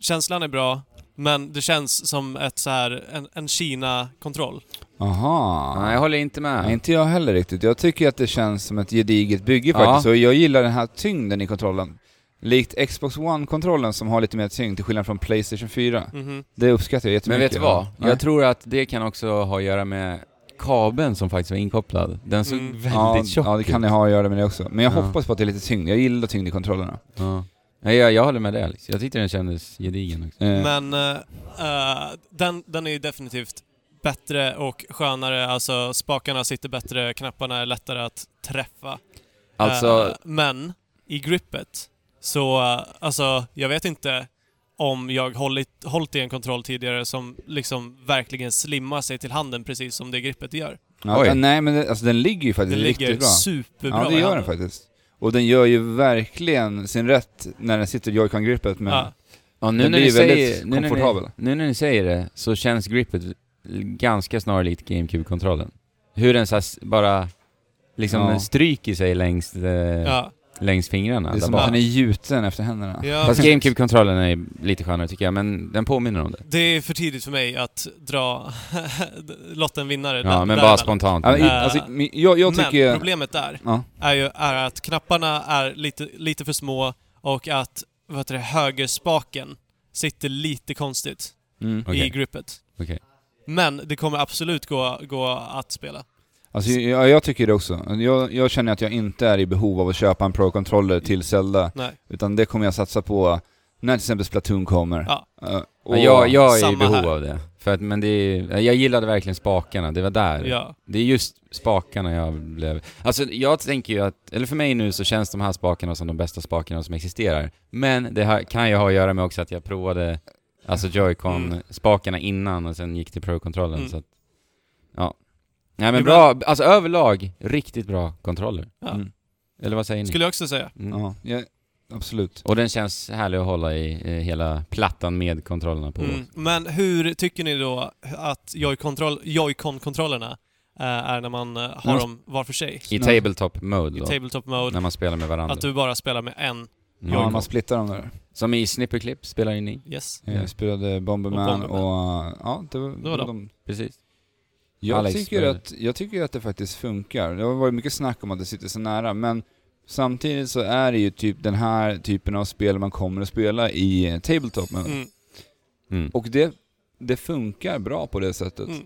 [SPEAKER 3] Känslan är bra, men det känns som ett så här, en, en Kina-kontroll.
[SPEAKER 1] Aha.
[SPEAKER 2] Nej, jag håller inte med.
[SPEAKER 1] Nej, inte jag heller riktigt. Jag tycker att det känns som ett gediget bygge
[SPEAKER 2] Ja.
[SPEAKER 1] faktiskt. Och jag gillar den här tyngden i kontrollen. Likt Xbox One-kontrollen som har lite mer tyngd till skillnad från Playstation 4.
[SPEAKER 3] Mhm.
[SPEAKER 1] Det uppskattar jag
[SPEAKER 2] Mm. Men
[SPEAKER 1] jättemycket.
[SPEAKER 2] vet du vad?
[SPEAKER 1] Nej.
[SPEAKER 2] Jag tror att det kan också ha att göra med kabeln som faktiskt var inkopplad. Den såg
[SPEAKER 3] Mm.
[SPEAKER 2] väldigt
[SPEAKER 1] ja,
[SPEAKER 2] tjock
[SPEAKER 1] ja, det kan det ha att göra med det också. Men jag
[SPEAKER 2] Ja.
[SPEAKER 1] hoppas på att det är lite tyngd. Jag gillar tyngd i kontrollerna.
[SPEAKER 2] ut. Ja. Nej, jag, jag håller med dig Alex. Jag tyckte den kändes gedigen också.
[SPEAKER 1] Eh,
[SPEAKER 3] Men eh, eh, den, den är ju definitivt bättre och skönare. Alltså spakarna sitter bättre, knapparna är lättare att träffa.
[SPEAKER 2] Alltså,
[SPEAKER 3] Eh, men i gripet så, eh, alltså jag vet inte om jag hållit, hållit i en kontroll tidigare som liksom verkligen slimmar sig till handen precis som det gripet gör.
[SPEAKER 1] ja,
[SPEAKER 2] oj.
[SPEAKER 1] nej men det, alltså, den ligger ju
[SPEAKER 3] Det
[SPEAKER 1] faktiskt
[SPEAKER 3] ligger
[SPEAKER 1] riktigt bra.
[SPEAKER 3] superbra
[SPEAKER 1] ja, det
[SPEAKER 3] i
[SPEAKER 1] gör den
[SPEAKER 3] handen.
[SPEAKER 1] faktiskt. Och den gör ju verkligen sin rätt när den sitter i Joy-Con-gripet med...
[SPEAKER 3] Ja.
[SPEAKER 2] ja, nu,
[SPEAKER 1] den
[SPEAKER 2] när
[SPEAKER 1] blir
[SPEAKER 2] ni
[SPEAKER 1] väldigt
[SPEAKER 2] säger, nu, när ni,
[SPEAKER 1] komfortabel.
[SPEAKER 2] nu när ni säger det så känns gripet ganska snarlikt GameCube-kontrollen. Hur den så här, s- bara liksom
[SPEAKER 1] Ja.
[SPEAKER 2] stryker sig längs, eh,
[SPEAKER 3] Ja.
[SPEAKER 2] längs fingrarna.
[SPEAKER 1] Det är
[SPEAKER 2] där
[SPEAKER 1] som
[SPEAKER 2] bak.
[SPEAKER 1] att den är gjuten efter händerna.
[SPEAKER 3] Ja,
[SPEAKER 2] Fast
[SPEAKER 3] precis.
[SPEAKER 2] GameCube-kontrollen är lite skönare tycker jag, men den påminner om det.
[SPEAKER 3] Det är för tidigt för mig att dra lotten vinnare.
[SPEAKER 2] Ja,
[SPEAKER 3] där-
[SPEAKER 2] men bara
[SPEAKER 3] däremellan.
[SPEAKER 2] spontant.
[SPEAKER 1] Ja, men, i-
[SPEAKER 3] Eh,
[SPEAKER 1] alltså, men jag, jag tycker...
[SPEAKER 3] Men problemet där
[SPEAKER 1] Ja.
[SPEAKER 3] är ju är att knapparna är lite, lite för små och att vad heter det, högerspaken sitter lite konstigt
[SPEAKER 1] Mm.
[SPEAKER 2] Okej.
[SPEAKER 3] i gripet.
[SPEAKER 2] Okej.
[SPEAKER 3] Men det kommer absolut gå, gå att spela.
[SPEAKER 1] Alltså, jag, jag tycker det också. Jag, jag känner att jag inte är i behov av att köpa en Pro-controller till Zelda,
[SPEAKER 3] Nej.
[SPEAKER 1] utan det kommer jag satsa på när till exempel Splatoon kommer.
[SPEAKER 3] Ja.
[SPEAKER 1] Eh, och-
[SPEAKER 2] Men jag, jag är i
[SPEAKER 3] Samma
[SPEAKER 2] behov
[SPEAKER 3] här.
[SPEAKER 2] av det. För att, men det är, jag gillade verkligen spakarna, det var där.
[SPEAKER 3] Ja.
[SPEAKER 2] Det är just spakarna jag blev... Alltså jag tänker ju att, eller för mig nu så känns de här spakarna som de bästa spakarna som existerar. Men det här kan ju ha att göra med också att jag provade alltså
[SPEAKER 3] Mm.
[SPEAKER 2] Joy-Con-spakarna innan och sen gick till Pro-kontrollen
[SPEAKER 3] Mm.
[SPEAKER 2] så att... Ja. Nej men
[SPEAKER 3] Jo,
[SPEAKER 2] bra, alltså överlag riktigt bra kontroller.
[SPEAKER 3] Ja.
[SPEAKER 1] Mm.
[SPEAKER 2] Eller vad säger ni?
[SPEAKER 3] Skulle jag också säga.
[SPEAKER 2] Mm.
[SPEAKER 1] Ja, ja, absolut.
[SPEAKER 2] Och den känns härlig att hålla i eh, hela plattan med kontrollerna på.
[SPEAKER 3] Mm. Men hur tycker ni då att Joy-kontroll- Joy-Con-kontrollerna eh, är när man eh, har
[SPEAKER 1] Mm.
[SPEAKER 3] dem var för sig?
[SPEAKER 2] I
[SPEAKER 1] Ja.
[SPEAKER 2] tabletop mode
[SPEAKER 3] I
[SPEAKER 2] då,
[SPEAKER 3] tabletop mode.
[SPEAKER 2] när man spelar med varandra.
[SPEAKER 3] Att du bara spelar med en.
[SPEAKER 2] Mm.
[SPEAKER 1] Ja, man splittar dem där.
[SPEAKER 2] Som i Snipperclip spelar in i.
[SPEAKER 3] Yes.
[SPEAKER 1] Eh,
[SPEAKER 2] Ja.
[SPEAKER 1] Jag spelade Bomberman och,
[SPEAKER 3] Och Bomberman.
[SPEAKER 1] eh, ja, det var,
[SPEAKER 3] var de.
[SPEAKER 1] de.
[SPEAKER 2] Precis.
[SPEAKER 1] Jag,
[SPEAKER 2] Alex
[SPEAKER 1] tycker
[SPEAKER 2] spelade.
[SPEAKER 1] att, jag tycker att det faktiskt funkar. Det har varit mycket snack om att det sitter så nära, men samtidigt så är det ju typ den här typen av spel man kommer att spela i eh, Tabletop. Mode.
[SPEAKER 3] Mm.
[SPEAKER 2] Mm.
[SPEAKER 1] Och det, det funkar bra på det sättet.
[SPEAKER 3] Mm.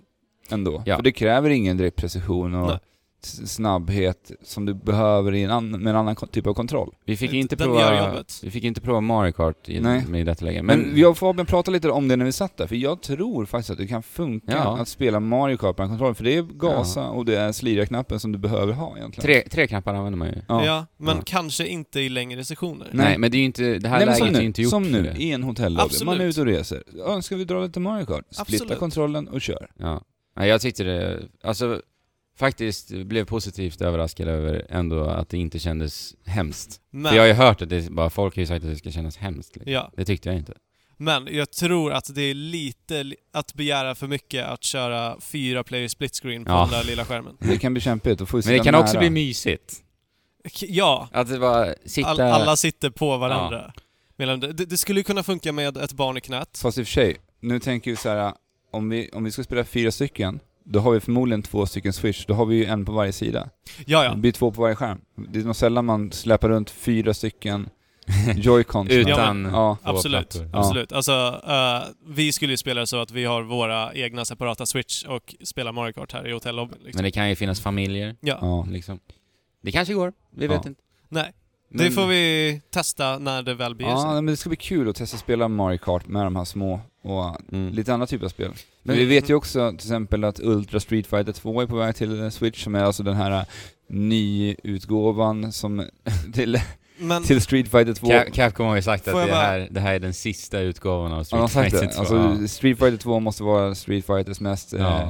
[SPEAKER 1] ändå.
[SPEAKER 2] Ja.
[SPEAKER 1] För det kräver ingen direkt precision och
[SPEAKER 3] Nej.
[SPEAKER 1] s- snabbhet som du behöver i en annan, med en annan ko- typ av kontroll.
[SPEAKER 2] Vi fick ju inte
[SPEAKER 3] Den gör
[SPEAKER 2] prova,
[SPEAKER 3] jobbet.
[SPEAKER 2] vi fick inte prova Mario Kart i,
[SPEAKER 1] Nej.
[SPEAKER 2] med i detta läge. Men,
[SPEAKER 1] Men, jag och Fabian pratade lite om det när vi satt där, för jag tror faktiskt att det kan funka
[SPEAKER 2] Ja.
[SPEAKER 1] att spela Mario Kart på en kontroll, för det är gasa och det är slira-knappen som du behöver ha egentligen.
[SPEAKER 2] tre, tre knappar använder man ju.
[SPEAKER 1] Ja.
[SPEAKER 3] Ja. men
[SPEAKER 2] Ja.
[SPEAKER 3] kanske inte i längre sessioner.
[SPEAKER 1] Nej.
[SPEAKER 2] Nej. men det är ju inte, det här
[SPEAKER 1] Nej, men
[SPEAKER 2] läget
[SPEAKER 1] som
[SPEAKER 2] är ju
[SPEAKER 1] nu,
[SPEAKER 2] inte gjort
[SPEAKER 1] som
[SPEAKER 2] för
[SPEAKER 1] nu
[SPEAKER 2] det.
[SPEAKER 1] i en hotellobby.
[SPEAKER 3] Absolut.
[SPEAKER 1] Man är ute och reser. Ja, ska vi dra lite Mario Kart? Splitta
[SPEAKER 3] Absolut.
[SPEAKER 1] kontrollen och kör.
[SPEAKER 2] Ja. Nej, jag tyckte det, alltså faktiskt blev positivt överraskad över ändå att det inte kändes hemskt.
[SPEAKER 3] Men,
[SPEAKER 2] För jag har ju hört att det, bara, folk har ju sagt att det ska kännas hemskt. Liksom.
[SPEAKER 3] ja.
[SPEAKER 2] Det tyckte jag inte.
[SPEAKER 3] Men jag tror att det är lite li- att begära för mycket att köra fyra player split screen på
[SPEAKER 2] Ja.
[SPEAKER 3] den där lilla skärmen.
[SPEAKER 1] Det kan bli kämpigt och få
[SPEAKER 2] Men det kan också bli mysigt.
[SPEAKER 3] K- Ja,
[SPEAKER 2] Att det bara sitta...
[SPEAKER 3] all, alla sitter på varandra. Medan det- Det, det skulle ju kunna funka med ett barn i knät.
[SPEAKER 1] Fast i och för sig, nu tänker vi så här, om vi, om vi ska spela fyra stycken, då har vi förmodligen två stycken switch, då har vi ju en på varje sida.
[SPEAKER 3] Ja,
[SPEAKER 1] Det
[SPEAKER 3] ja.
[SPEAKER 1] blir två på varje skärm. Det är nog sällan man släpar runt fyra stycken joycons.
[SPEAKER 3] Ja,
[SPEAKER 2] Utan...
[SPEAKER 1] Ja,
[SPEAKER 2] Två
[SPEAKER 3] Absolut.
[SPEAKER 2] plattor.
[SPEAKER 1] Ja.
[SPEAKER 3] Absolut. Alltså, eh, vi skulle ju spela så att vi har våra egna separata switch och spelar Mario Kart här i hotellobbyn. Liksom.
[SPEAKER 2] Men det kan ju finnas familjer,
[SPEAKER 1] ja.
[SPEAKER 2] liksom. Det kanske går, vi vet
[SPEAKER 1] Ja.
[SPEAKER 2] inte.
[SPEAKER 3] Nej. Det får vi testa när det väl beger
[SPEAKER 1] Ja,
[SPEAKER 3] sig.
[SPEAKER 1] men det ska bli kul att testa att spela Mario Kart med de här små och
[SPEAKER 2] Mm.
[SPEAKER 1] lite andra typer av spel. Men
[SPEAKER 2] Men-
[SPEAKER 1] vi vet ju också till exempel att Ultra Street Fighter 2 är på väg till eh, Switch som är alltså den här eh, nyutgåvan som till,
[SPEAKER 3] Men
[SPEAKER 1] till Street Fighter 2.
[SPEAKER 2] Cap- Capcom har ju sagt att
[SPEAKER 3] Får jag
[SPEAKER 2] det
[SPEAKER 3] bara-
[SPEAKER 2] här, det här är den sista utgåvan av
[SPEAKER 1] Ja, de har
[SPEAKER 2] Street
[SPEAKER 1] sagt
[SPEAKER 2] Fighter
[SPEAKER 1] det.
[SPEAKER 2] 2.
[SPEAKER 1] Alltså, Street Fighter 2 måste vara Street Fighters mest
[SPEAKER 2] Ja.
[SPEAKER 1] eh,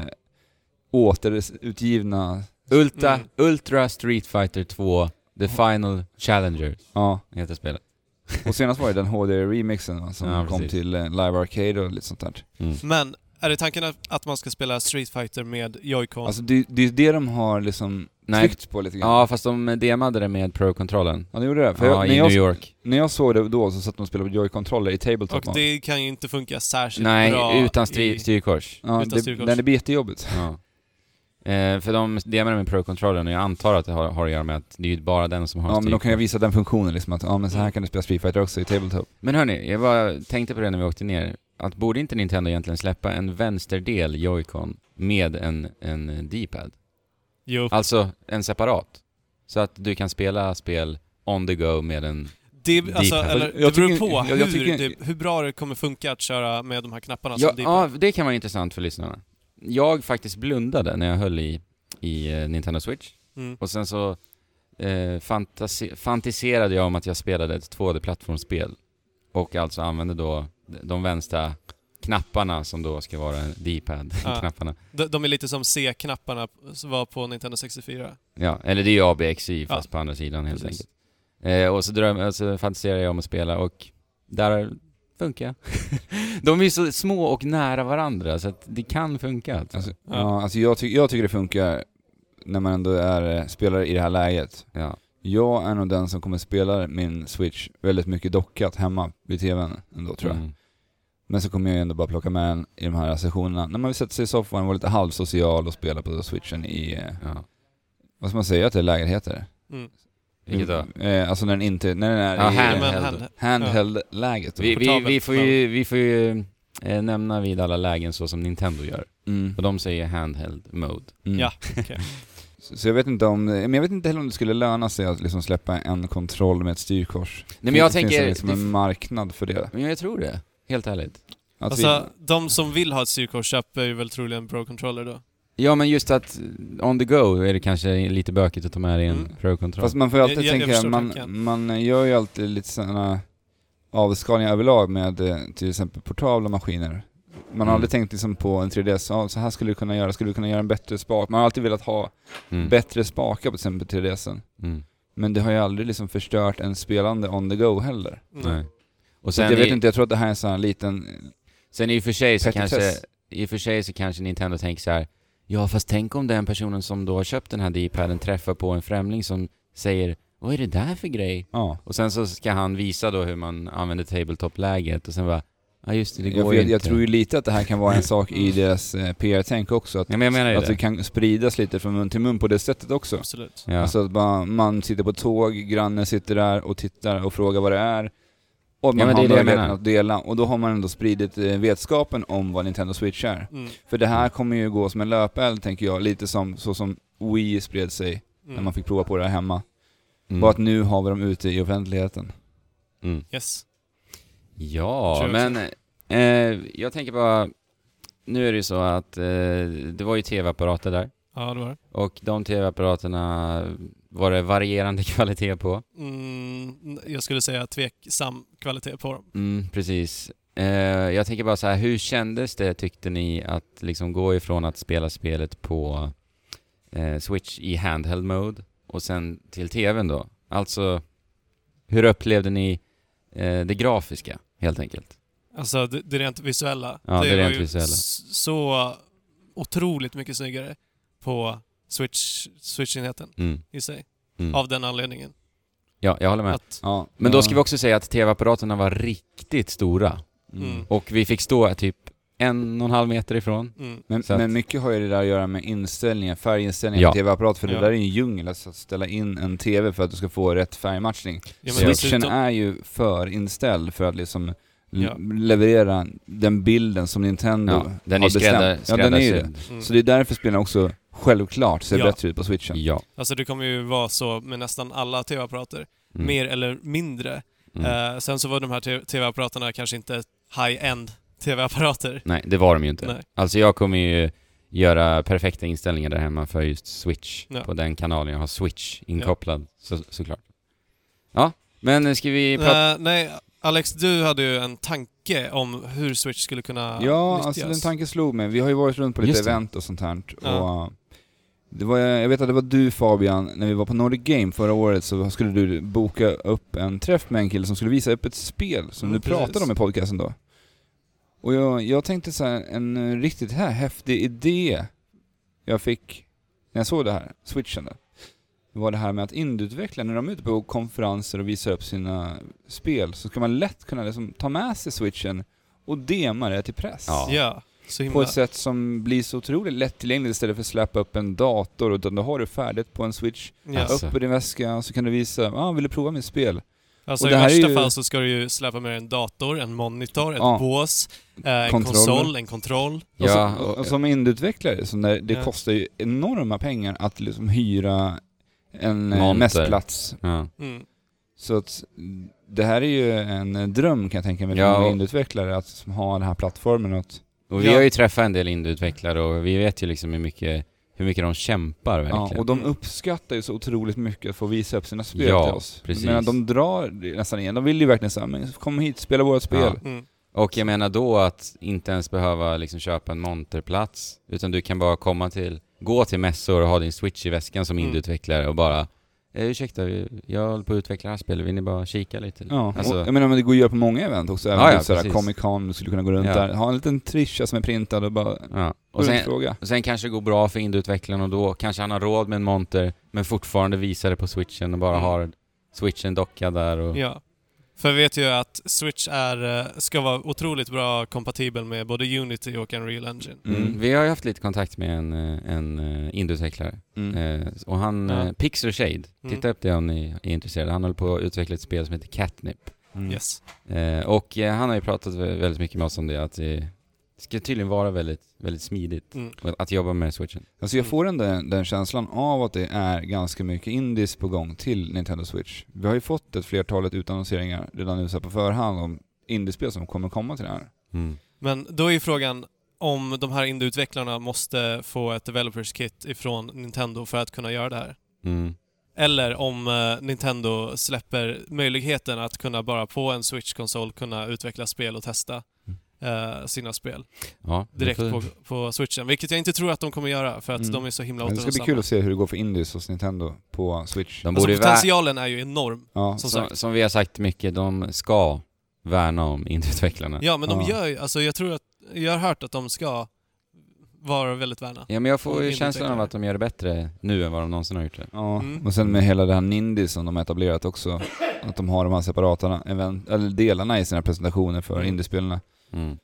[SPEAKER 1] återutgivna,
[SPEAKER 2] ja. Ultra,
[SPEAKER 3] Mm.
[SPEAKER 2] Ultra Street Fighter 2, The Final Challenger,
[SPEAKER 1] ja.
[SPEAKER 2] heter spelet.
[SPEAKER 1] Och senast var det den HD-remixen va, som
[SPEAKER 2] Ja,
[SPEAKER 1] kom
[SPEAKER 2] precis.
[SPEAKER 1] till eh, Live Arcade och lite sånt där.
[SPEAKER 2] Mm.
[SPEAKER 3] Men är det tanken att- att man ska spela Street Fighter med Joy-Con?
[SPEAKER 1] Alltså det, det är det de har liksom
[SPEAKER 2] Nej.
[SPEAKER 1] tryckt på lite grann. Ja,
[SPEAKER 2] Ja, fast de demade det med Pro-kontrollen.
[SPEAKER 1] de gjorde det. För
[SPEAKER 2] Ja,
[SPEAKER 1] jag, när,
[SPEAKER 2] i New
[SPEAKER 1] jag,
[SPEAKER 2] York.
[SPEAKER 1] när jag såg det då så satt de och spelade på Joy-controller i Tabletop.
[SPEAKER 3] och det kan ju inte funka särskilt bra
[SPEAKER 2] Nej, utan
[SPEAKER 3] i-
[SPEAKER 2] stry- styrkors.
[SPEAKER 1] ja,
[SPEAKER 3] utan
[SPEAKER 1] det,
[SPEAKER 3] styrkors.
[SPEAKER 1] nej, det blir jättejobbigt.
[SPEAKER 2] Ja. Eh, för de demade med Pro-kontrollen och jag antar att det har, har att göra med att det är ju bara den som har
[SPEAKER 1] Ja, men
[SPEAKER 2] styrkors.
[SPEAKER 1] då kan jag visa den funktionen liksom att ja, men så
[SPEAKER 3] Mm.
[SPEAKER 1] här kan du spela Street Fighter också i Tabletop.
[SPEAKER 2] Men hörni, jag bara tänkte på det när vi åkte ner. Att borde inte Nintendo egentligen släppa en vänsterdel Joy-Con med en, en D-pad?
[SPEAKER 3] Jo.
[SPEAKER 2] Alltså en separat. Så att du kan spela spel on the go med en...
[SPEAKER 3] Det, alltså,
[SPEAKER 2] Deep.
[SPEAKER 3] eller,
[SPEAKER 1] Jag
[SPEAKER 3] det beror
[SPEAKER 1] tycker-
[SPEAKER 3] på
[SPEAKER 1] jag-
[SPEAKER 3] hur,
[SPEAKER 1] jag tycker-
[SPEAKER 3] det, hur bra det kommer funka att köra med de här knapparna
[SPEAKER 2] ja,
[SPEAKER 3] som Deep
[SPEAKER 2] ja, det kan vara intressant för lyssnarna. Jag faktiskt blundade när jag höll i, i eh, Nintendo Switch.
[SPEAKER 3] mm.
[SPEAKER 2] Och sen så eh, fantasi- fantiserade jag om att jag spelade ett 2D-plattformsspel. Och alltså använde då de vänstra knapparna som då ska vara
[SPEAKER 3] Ja.
[SPEAKER 2] D-pad-knapparna.
[SPEAKER 3] de, de är lite som C-knapparna som var på Nintendo 64.
[SPEAKER 2] Ja, eller det är ju ABXY fast
[SPEAKER 3] Ja.
[SPEAKER 2] på andra sidan helt
[SPEAKER 3] Precis.
[SPEAKER 2] enkelt. Eh, och så, dröm, och så fantiserar jag om att spela och där funkar jag. De är ju så små och nära varandra så att det kan funka. Alltså.
[SPEAKER 1] Alltså, ja.
[SPEAKER 3] Ja.
[SPEAKER 1] alltså jag, ty- jag tycker det funkar när man ändå är eh, spelare i det här läget.
[SPEAKER 2] Ja.
[SPEAKER 1] Jag är nog den som kommer spela min Switch väldigt mycket dockat hemma vid TVn ändå tror jag.
[SPEAKER 2] Mm.
[SPEAKER 1] Men så kommer jag ju ändå bara plocka med en i de här sessionerna. När man vill sätta sig i soffan och vara lite halvsocial och spela på switchen i, eh,
[SPEAKER 2] Ja.
[SPEAKER 1] vad ska man säga att det är lägenheter?
[SPEAKER 3] Mm.
[SPEAKER 2] Vilket då?
[SPEAKER 1] Eh, alltså när den inte, när den är
[SPEAKER 2] Ja,
[SPEAKER 1] i
[SPEAKER 2] hand-
[SPEAKER 1] eh,
[SPEAKER 3] Men
[SPEAKER 2] handheld.
[SPEAKER 3] hand-
[SPEAKER 1] handheld-läget. då.
[SPEAKER 2] Vi, vi, vi
[SPEAKER 3] Portabelt,
[SPEAKER 2] får ju, vi får ju eh, nämna vid alla lägen så som Nintendo gör.
[SPEAKER 1] Mm,
[SPEAKER 2] Och de säger handheld mode.
[SPEAKER 1] mm.
[SPEAKER 3] Ja, okej.
[SPEAKER 1] Så, så jag vet inte om, men jag vet inte heller om det skulle löna sig att liksom släppa en kontroll med ett styrkors.
[SPEAKER 2] Nej men jag
[SPEAKER 1] Finns- Finns det
[SPEAKER 2] tänker...
[SPEAKER 1] liksom
[SPEAKER 2] det-
[SPEAKER 1] en marknad för det?
[SPEAKER 2] Men jag tror det. Helt ärligt.
[SPEAKER 1] Att
[SPEAKER 3] Alltså, de som vill ha ett styrkors köper ju väl troligen Pro Controller då.
[SPEAKER 2] Ja men just att on the go är det kanske lite bökigt att ta med dig en
[SPEAKER 3] Mm.
[SPEAKER 1] vi,
[SPEAKER 2] pro-kontroll.
[SPEAKER 1] fast man får ju alltid
[SPEAKER 3] Jag- jag- jag
[SPEAKER 1] tänka,
[SPEAKER 3] förstår
[SPEAKER 1] man,
[SPEAKER 3] tanken.
[SPEAKER 1] man gör ju alltid lite sådana avskalningar överlag med eh, till exempel portabla maskiner. Man har
[SPEAKER 2] Mm.
[SPEAKER 1] aldrig tänkt liksom på en 3DS, ja, så här skulle du kunna göra, skulle du kunna göra en bättre spak? Man har alltid velat ha
[SPEAKER 2] Mm.
[SPEAKER 1] bättre spakar på till exempel 3DSen.
[SPEAKER 2] Mm.
[SPEAKER 1] Men det har ju aldrig liksom förstört en spelande on the go heller.
[SPEAKER 3] Mm.
[SPEAKER 2] Nej. Och
[SPEAKER 1] Så
[SPEAKER 2] sen
[SPEAKER 1] att jag vet
[SPEAKER 2] i-
[SPEAKER 1] inte, jag tror att det här är en sån här liten...
[SPEAKER 2] Sen i och för sig så
[SPEAKER 1] Petitess.
[SPEAKER 2] kanske, i och för sig så kanske Nintendo tänker så här. Ja fast tänk om den personen som då har köpt den här D-paden träffar på en främling som säger Vad är det där för grej?
[SPEAKER 1] Ja.
[SPEAKER 2] Och sen så ska han visa då hur man använder tabletop-läget och sen bara Ja just det, det
[SPEAKER 1] Jag,
[SPEAKER 2] går
[SPEAKER 1] jag,
[SPEAKER 2] ju
[SPEAKER 1] jag
[SPEAKER 2] inte.
[SPEAKER 1] tror ju lite att det här kan vara en sak i deras eh, PR-tänk också. Att,
[SPEAKER 2] Ja, men jag menar ju
[SPEAKER 1] att
[SPEAKER 2] det.
[SPEAKER 1] det kan spridas lite från mun till mun på det sättet också.
[SPEAKER 3] Absolut.
[SPEAKER 2] Ja.
[SPEAKER 1] Alltså att man, man sitter på ett tåg, grannen sitter där och tittar och frågar vad det är. Och
[SPEAKER 2] Ja,
[SPEAKER 1] man
[SPEAKER 2] men det
[SPEAKER 1] har
[SPEAKER 2] är det jag
[SPEAKER 1] möjligheten
[SPEAKER 2] menar.
[SPEAKER 1] att dela. Och då har man ändå spridit eh, vetskapen om vad Nintendo Switch är.
[SPEAKER 3] Mm.
[SPEAKER 1] För det här kommer ju gå som en löpeld tänker jag, lite som så som Wii spred sig när
[SPEAKER 3] Mm.
[SPEAKER 1] man fick prova på det här hemma.
[SPEAKER 2] Mm.
[SPEAKER 1] Bara att nu har vi dem ute i offentligheten.
[SPEAKER 2] Mm.
[SPEAKER 3] Yes.
[SPEAKER 2] Ja,
[SPEAKER 3] Tror jag
[SPEAKER 2] men eh, jag tänker bara Nu är det ju så att eh, det var ju tv-apparater där
[SPEAKER 3] Ja, det var det.
[SPEAKER 2] och de tv-apparaterna var det varierande kvalitet på.
[SPEAKER 3] Mm, jag skulle säga tveksam kvalitet på dem.
[SPEAKER 2] Mm, precis. Eh, jag tänker bara så här, hur kändes det tyckte ni att liksom gå ifrån att spela spelet på eh, Switch i handheld mode och sen till TVn då? Alltså, hur upplevde ni eh, det grafiska helt enkelt?
[SPEAKER 3] Alltså det, det rent visuella.
[SPEAKER 2] Ja, det
[SPEAKER 3] var
[SPEAKER 2] rent
[SPEAKER 3] ju
[SPEAKER 2] visuella.
[SPEAKER 3] s- Så otroligt mycket snyggare på Switch, Switch-enheten
[SPEAKER 2] Mm.
[SPEAKER 3] i sig.
[SPEAKER 2] Mm.
[SPEAKER 3] Av den anledningen.
[SPEAKER 2] Ja, jag håller med.
[SPEAKER 3] Att,
[SPEAKER 1] Ja,
[SPEAKER 2] Men
[SPEAKER 1] ja.
[SPEAKER 2] då ska vi också säga att tv-apparaterna var riktigt stora
[SPEAKER 1] Mm.
[SPEAKER 3] Mm.
[SPEAKER 2] och vi fick stå typ en och en halv meter ifrån.
[SPEAKER 3] mm,
[SPEAKER 1] Men,
[SPEAKER 2] Så att-
[SPEAKER 1] men mycket har ju det där att göra med inställningar, färginställningar
[SPEAKER 2] Ja.
[SPEAKER 1] på tv-apparat, för det
[SPEAKER 3] Ja.
[SPEAKER 1] där är ju en djungel, alltså att ställa in en tv för att du ska få rätt färgmatchning.
[SPEAKER 3] ja, men alltså
[SPEAKER 1] Switchen
[SPEAKER 3] dessutom-
[SPEAKER 1] är ju förinställd för att liksom l-
[SPEAKER 3] Ja.
[SPEAKER 1] leverera den bilden som Nintendo
[SPEAKER 2] Ja, den är
[SPEAKER 1] har
[SPEAKER 2] skräddar,
[SPEAKER 1] bestämt. Ja, den är ju det.
[SPEAKER 2] skräddarsydd.
[SPEAKER 3] mm.
[SPEAKER 1] Så det är därför spelarna också självklart ser
[SPEAKER 3] Ja.
[SPEAKER 1] bättre ut på switchen.
[SPEAKER 2] Ja.
[SPEAKER 3] Alltså det kommer ju vara så med nästan alla TV-apparater.
[SPEAKER 2] Mm.
[SPEAKER 3] mer eller mindre.
[SPEAKER 2] Mm.
[SPEAKER 3] Eh, sen så var de här te- tv-apparaterna kanske inte high-end tv-apparater.
[SPEAKER 2] Nej, det var de ju inte.
[SPEAKER 3] Nej.
[SPEAKER 2] Alltså jag kommer ju göra perfekta inställningar där hemma för just Switch.
[SPEAKER 3] Ja.
[SPEAKER 2] På den kanalen jag har Switch inkopplad, så, såklart. Ja, men ska vi prata...
[SPEAKER 3] Eh, nej, Alex, du hade ju en tanke om hur Switch skulle kunna
[SPEAKER 1] Ja,
[SPEAKER 3] nyttjas.
[SPEAKER 1] alltså den tanken slog mig. Vi har ju varit runt på lite
[SPEAKER 2] Just det.
[SPEAKER 1] event och sånt här. Och
[SPEAKER 3] Ja.
[SPEAKER 1] eh, det var, jag vet att det var du Fabian, när vi var på Nordic Game förra året så skulle du boka upp en träff med en kille som skulle visa upp ett spel som
[SPEAKER 3] Mm,
[SPEAKER 1] du pratade
[SPEAKER 3] precis.
[SPEAKER 1] om i podcasten då. Och jag, jag tänkte så här, en eh, riktigt här häftig idé jag fick när jag såg det här, switchen där. Det var det här med att indieutvecklare, när de är ute på konferenser och visar upp sina spel så ska man lätt kunna liksom ta med sig switchen och dema det till press
[SPEAKER 2] Ja.
[SPEAKER 3] Ja, så
[SPEAKER 1] på
[SPEAKER 3] himla...
[SPEAKER 1] ett sätt som blir så otroligt lättillgängligt istället för att släppa upp en dator utan då har du färdigt på en switch,
[SPEAKER 3] Ja.
[SPEAKER 2] Alltså.
[SPEAKER 1] upp i din väska och så kan du visa, ja ah, vill du prova mitt spel?
[SPEAKER 3] Alltså
[SPEAKER 1] Och
[SPEAKER 3] i
[SPEAKER 1] det här är
[SPEAKER 3] värsta
[SPEAKER 1] ju-
[SPEAKER 3] fall så ska du ju släppa med en dator, en monitor, ett
[SPEAKER 1] Ja.
[SPEAKER 3] bås, eh, en
[SPEAKER 1] Kontroller.
[SPEAKER 3] konsol, en kontroll.
[SPEAKER 2] ja,
[SPEAKER 1] och, så, och,
[SPEAKER 2] och-
[SPEAKER 1] och som indieutvecklare, så när, det
[SPEAKER 3] Ja.
[SPEAKER 1] kostar ju enorma pengar att liksom hyra en eh,
[SPEAKER 2] Monter.
[SPEAKER 1] mässplats.
[SPEAKER 2] ja.
[SPEAKER 3] Mm.
[SPEAKER 1] Så att mm, det här är ju en eh, dröm kan jag tänka mig för
[SPEAKER 2] Ja,
[SPEAKER 1] många
[SPEAKER 2] och-
[SPEAKER 1] indieutvecklare att som har den här plattformen och att,
[SPEAKER 2] Och vi
[SPEAKER 3] Ja.
[SPEAKER 2] har ju träffat en del indieutvecklare och vi vet ju liksom hur mycket, hur mycket de kämpar
[SPEAKER 1] ja,
[SPEAKER 2] verkligen.
[SPEAKER 1] och de
[SPEAKER 3] Mm.
[SPEAKER 1] uppskattar ju så otroligt mycket att få visa upp sina spel
[SPEAKER 2] Ja,
[SPEAKER 1] till oss.
[SPEAKER 2] precis.
[SPEAKER 1] Men de drar nästan igen, de vill ju verkligen säga men kom hit, spela vårt spel.
[SPEAKER 2] Ja.
[SPEAKER 3] Mm.
[SPEAKER 2] Och jag menar då att inte ens behöva liksom köpa en monterplats, utan du kan bara komma till, gå till mässor och ha din switch i väskan som
[SPEAKER 3] Mm.
[SPEAKER 2] indieutvecklare och bara eh, ursäkta, vi- jag håller på att utveckla det här spelet, vill ni bara kika lite?
[SPEAKER 1] Ja,
[SPEAKER 2] Alltså-
[SPEAKER 1] och, jag menar men det går ju att göra på många event också, även
[SPEAKER 2] Ja,
[SPEAKER 1] ja,
[SPEAKER 2] ja,
[SPEAKER 1] sådär
[SPEAKER 2] precis.
[SPEAKER 1] Comic Con, du skulle kunna gå runt
[SPEAKER 2] Ja.
[SPEAKER 1] där, ha en liten trisha som är printad och bara
[SPEAKER 2] Ja.
[SPEAKER 1] gå
[SPEAKER 2] Och
[SPEAKER 1] runt
[SPEAKER 2] sen,
[SPEAKER 1] och fråga.
[SPEAKER 2] och sen kanske det går bra för indieutvecklaren och då kanske han har råd med en monter, men fortfarande visar det på switchen och bara
[SPEAKER 3] Mm.
[SPEAKER 2] har switchen dockad där och...
[SPEAKER 3] Ja. För vi vet ju att Switch är, eh, ska vara otroligt bra kompatibel med både Unity och Unreal Engine.
[SPEAKER 2] Mm. Vi har ju haft lite kontakt med en, eh, en eh, indieutvecklare
[SPEAKER 1] Mm.
[SPEAKER 2] Eh, och han,
[SPEAKER 3] Ja.
[SPEAKER 2] eh, Pixar Shade,
[SPEAKER 3] Mm.
[SPEAKER 2] titta upp det om ni är intresserade. Han håller på att utveckla ett spel som heter Catnip.
[SPEAKER 1] Mm.
[SPEAKER 3] Yes.
[SPEAKER 2] Eh, och eh, han har ju pratat vä- väldigt mycket med oss om det, att det ska tydligen vara väldigt, väldigt smidigt
[SPEAKER 3] Mm.
[SPEAKER 2] och att jobba med switchen.
[SPEAKER 1] Alltså jag får ändå den, den känslan av att det är ganska mycket indies på gång till Nintendo Switch. Vi har ju fått ett flertalet utannonseringar redan nu så här på förhand om indiespel som kommer komma till det här.
[SPEAKER 3] Mm. Men då är ju frågan om de här indieutvecklarna måste få ett developers kit ifrån Nintendo för att kunna göra det här.
[SPEAKER 2] Mm.
[SPEAKER 3] Eller om eh, Nintendo släpper möjligheten att kunna bara på en Switch-konsol kunna utveckla spel och testa
[SPEAKER 1] Mm.
[SPEAKER 3] eh, sina spel
[SPEAKER 2] Ja, vi
[SPEAKER 3] direkt
[SPEAKER 2] får-
[SPEAKER 3] på, på Switchen. Vilket jag inte tror att de kommer göra för att
[SPEAKER 1] Mm.
[SPEAKER 3] de är så himla
[SPEAKER 1] Men det ska bli
[SPEAKER 3] återhållsamma.
[SPEAKER 1] kul att se hur det går för indies hos Nintendo på Switch.
[SPEAKER 2] De
[SPEAKER 3] Alltså
[SPEAKER 2] borde ju vä-
[SPEAKER 3] potentialen är ju enorm.
[SPEAKER 1] Ja,
[SPEAKER 3] som
[SPEAKER 2] som, som vi har sagt mycket, de ska värna om indieutvecklarna.
[SPEAKER 3] Ja, men de
[SPEAKER 1] Ja.
[SPEAKER 3] gör ju... Alltså jag tror att... Jag har hört att de ska vara väldigt värna.
[SPEAKER 2] Ja, men jag
[SPEAKER 3] Och
[SPEAKER 2] får ju känslan av
[SPEAKER 3] indieutvecklare.
[SPEAKER 2] att de gör det bättre nu än vad de någonsin har gjort det.
[SPEAKER 1] ja.
[SPEAKER 3] Mm.
[SPEAKER 1] och sen med hela det här Nindy som de har etablerat också, att de har de här separata event, eller delarna i sina presentationer för
[SPEAKER 3] Mm.
[SPEAKER 1] indiespelarna.
[SPEAKER 2] Mm.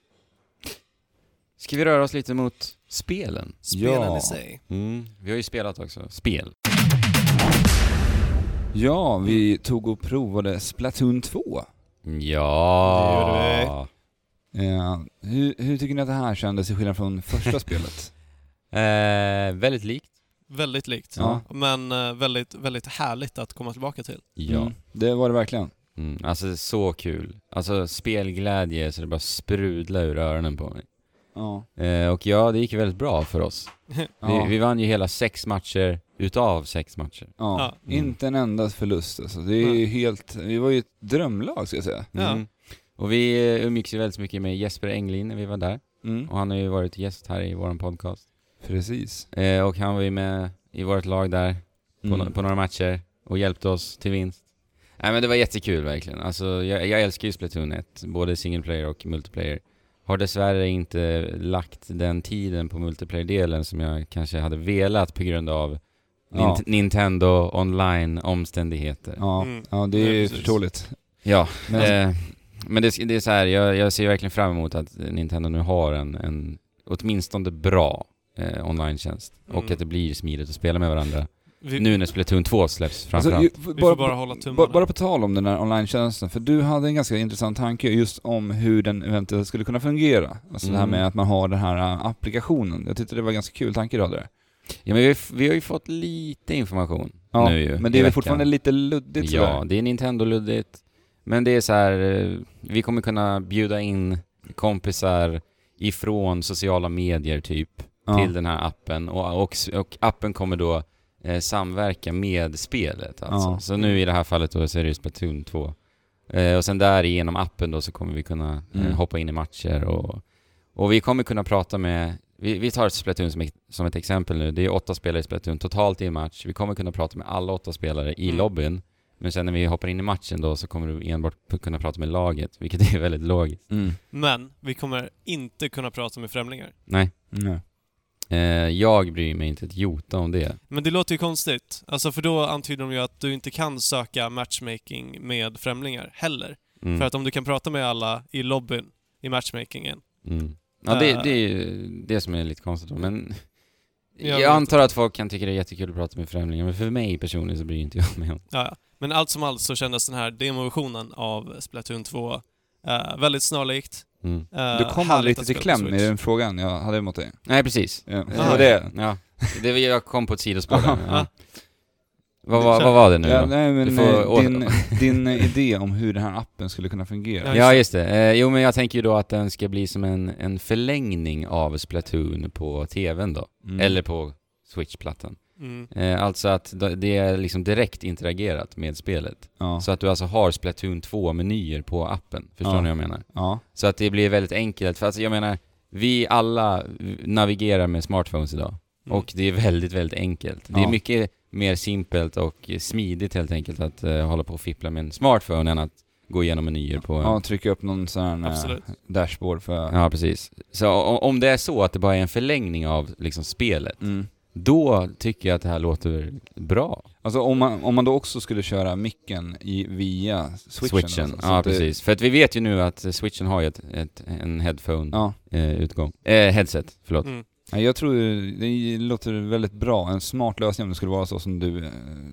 [SPEAKER 2] Ska vi röra oss lite mot spelen?
[SPEAKER 3] Spelen
[SPEAKER 1] Ja.
[SPEAKER 3] i sig.
[SPEAKER 2] Mm. Vi har ju spelat också. Spel.
[SPEAKER 1] Ja, vi tog och provade Splatoon 2.
[SPEAKER 2] Ja.
[SPEAKER 3] Det
[SPEAKER 1] Eh, hur, hur tycker ni att det här kändes till skillnad från första spelet?
[SPEAKER 2] Eh, väldigt likt.
[SPEAKER 3] Väldigt likt.
[SPEAKER 1] Ja.
[SPEAKER 3] Men eh, väldigt, väldigt härligt att komma tillbaka till.
[SPEAKER 2] Ja.
[SPEAKER 1] Mm, det var det verkligen.
[SPEAKER 2] Mm. Alltså det är så kul. Alltså spelglädje så det bara sprudlar ur öronen på mig.
[SPEAKER 1] Ja.
[SPEAKER 2] Eh, och ja, det gick väldigt bra för oss.
[SPEAKER 1] Ja.
[SPEAKER 2] Vi, vi vann ju hela sex matcher utav sex matcher.
[SPEAKER 1] ja.
[SPEAKER 3] Ja.
[SPEAKER 2] Mm.
[SPEAKER 1] Inte en enda förlust alltså. Det är ju
[SPEAKER 3] Nej.
[SPEAKER 1] helt, vi var ju ett drömlag ska jag säga.
[SPEAKER 3] Ja.
[SPEAKER 2] Mm. Och vi eh, umgicks ju väldigt mycket med Jesper Englin när vi var där.
[SPEAKER 1] Mm.
[SPEAKER 2] Och han har ju varit gäst här i våran podcast.
[SPEAKER 1] Precis.
[SPEAKER 2] Eh, och han var ju med i vårt lag där på, no-
[SPEAKER 1] Mm.
[SPEAKER 2] på några matcher och hjälpte oss till vinst. Nej men det var jättekul verkligen. Alltså jag, jag älskar ju Splatoon 1, både single player och multiplayer. Har dessvärre inte lagt den tiden på multiplayer-delen som jag kanske hade velat på grund av
[SPEAKER 1] Ja.
[SPEAKER 2] Nint- Nintendo online-omständigheter. Ja,
[SPEAKER 1] Ja.
[SPEAKER 3] Mm.
[SPEAKER 1] ja, det
[SPEAKER 3] Ja,
[SPEAKER 1] är ju
[SPEAKER 3] precis.
[SPEAKER 1] förståeligt. Men,
[SPEAKER 2] men, eh, men det, det är så här, jag, jag ser verkligen fram emot att Nintendo nu har en, en åtminstone bra eh, online-tjänst och
[SPEAKER 3] Mm.
[SPEAKER 2] att det blir smidigt att spela med varandra.
[SPEAKER 3] Vi,
[SPEAKER 2] Nu när Splatoon 2 släpps
[SPEAKER 1] alltså,
[SPEAKER 2] framförallt.
[SPEAKER 1] ju-
[SPEAKER 3] vi
[SPEAKER 1] bara,
[SPEAKER 3] får bara
[SPEAKER 1] bara,
[SPEAKER 3] hålla tummarna.
[SPEAKER 1] bara, på tal om den här online-tjänsten, för du hade en ganska intressant tanke just om hur den eventuellt skulle kunna fungera. Alltså det här eh,
[SPEAKER 2] Mm.
[SPEAKER 1] med att man har den här äh, applikationen. Jag tyckte det var en ganska kul tanke du hade där.
[SPEAKER 2] Ja, men vi, har ju f- vi har ju fått lite information
[SPEAKER 1] Ja,
[SPEAKER 2] nu ju,
[SPEAKER 1] men det
[SPEAKER 2] i
[SPEAKER 1] är väl
[SPEAKER 2] veckan.
[SPEAKER 1] fortfarande lite luddigt
[SPEAKER 2] Ja,
[SPEAKER 1] sådär.
[SPEAKER 2] det är Nintendo-luddigt. Men det är så här, eh, vi kommer kunna bjuda in kompisar ifrån sociala medier typ
[SPEAKER 1] Ja.
[SPEAKER 2] till den här appen och, och, och appen kommer då eh, samverka med spelet alltså.
[SPEAKER 1] Ja.
[SPEAKER 2] Så nu i det här fallet då så är det ju Splatoon 2. Eh, och sen där genom appen då så kommer vi kunna eh,
[SPEAKER 1] Mm.
[SPEAKER 2] hoppa in i matcher och, och vi kommer kunna prata med, vi, vi tar Splatoon som, ett- som ett exempel nu, det är åtta spelare i Splatoon totalt i en match. Vi kommer kunna prata med alla åtta spelare i
[SPEAKER 3] Mm.
[SPEAKER 2] lobbyn, men sen när vi hoppar in i matchen då så kommer du enbart p- kunna prata med laget, vilket är väldigt logiskt.
[SPEAKER 1] Mm.
[SPEAKER 3] Men vi kommer inte kunna prata med främlingar.
[SPEAKER 2] Nej,
[SPEAKER 1] Nej.
[SPEAKER 2] eh, jag bryr mig inte ett jota om det.
[SPEAKER 3] Men det låter ju konstigt. Alltså för då antyder de ju att du inte kan söka matchmaking med främlingar heller.
[SPEAKER 2] Mm.
[SPEAKER 3] För att om du kan prata med alla i lobbyn i matchmakingen.
[SPEAKER 2] Mm. Ja, det,
[SPEAKER 3] Eh.
[SPEAKER 2] det är ju det som är lite konstigt då, men
[SPEAKER 3] Jag
[SPEAKER 2] jag,
[SPEAKER 3] vet
[SPEAKER 2] antar att folk kan tycka det är jättekul att prata med främlingar, men för mig personligen så bryr inte jag mig om
[SPEAKER 3] Ja, ja. Men allt som allt så kändes den här demoversionen av Splatoon 2 eh, väldigt snarlikt.
[SPEAKER 2] mm.
[SPEAKER 3] eh,
[SPEAKER 1] Du kom
[SPEAKER 3] härligt
[SPEAKER 1] aldrig
[SPEAKER 3] att
[SPEAKER 1] riktigt i
[SPEAKER 3] spela på
[SPEAKER 1] kläm i
[SPEAKER 3] Switch.
[SPEAKER 1] den frågan jag hade mot dig.
[SPEAKER 2] Nej, precis.
[SPEAKER 1] Ja. Det
[SPEAKER 3] Ah,
[SPEAKER 1] var det.
[SPEAKER 2] Ja. det var, jag kom på ett sidospår där.
[SPEAKER 3] Ja.
[SPEAKER 2] Ja. Vad, var- vad var det nu
[SPEAKER 1] Ja,
[SPEAKER 2] då?
[SPEAKER 1] nej,
[SPEAKER 2] Du
[SPEAKER 1] men
[SPEAKER 2] får
[SPEAKER 1] eh,
[SPEAKER 2] å-
[SPEAKER 1] din, din eh, idé om hur den här appen skulle kunna fungera.
[SPEAKER 3] Ja,
[SPEAKER 2] Ja, just det. Eh, jo, men jag tänker ju då att den ska bli som en, en förlängning av Splatoon på TVn då,
[SPEAKER 1] Mm.
[SPEAKER 2] eller på Switch-plattan.
[SPEAKER 3] Mm.
[SPEAKER 2] Eh, alltså att d- det är liksom direkt interagerat med spelet.
[SPEAKER 1] Ja.
[SPEAKER 2] Så att du alltså har Splatoon 2-menyer på appen. Förstår
[SPEAKER 1] Ja.
[SPEAKER 2] ni vad jag menar?
[SPEAKER 1] Ja.
[SPEAKER 2] Så att det blir väldigt enkelt. För alltså, jag menar, vi alla navigerar med smartphones idag.
[SPEAKER 3] Mm.
[SPEAKER 2] Och det är väldigt, väldigt enkelt. Det är
[SPEAKER 1] Ja.
[SPEAKER 2] mycket mer simpelt och smidigt helt enkelt att eh, hålla på och fippla med en smartphone än att gå igenom menyer på en...
[SPEAKER 1] ja, trycka upp någon sån här eh,
[SPEAKER 3] Absolut.
[SPEAKER 1] dashboard för...
[SPEAKER 2] Ja, precis. Så o- om det är så att det bara är en förlängning av liksom spelet,
[SPEAKER 1] Mm.
[SPEAKER 2] då tycker jag att det här låter bra.
[SPEAKER 1] Alltså om man, om man då också skulle köra micken i, via switchen. alltså, så
[SPEAKER 2] ja
[SPEAKER 1] att det-
[SPEAKER 2] precis. För att vi vet ju nu att eh, switchen har ju ett, ett, en headphone-utgång.
[SPEAKER 1] Ja.
[SPEAKER 2] Eh, utgång. eh, headset, förlåt.
[SPEAKER 3] Mm.
[SPEAKER 1] Nej, Jag tror det låter väldigt bra, en smart lösning om det skulle vara så som du eh,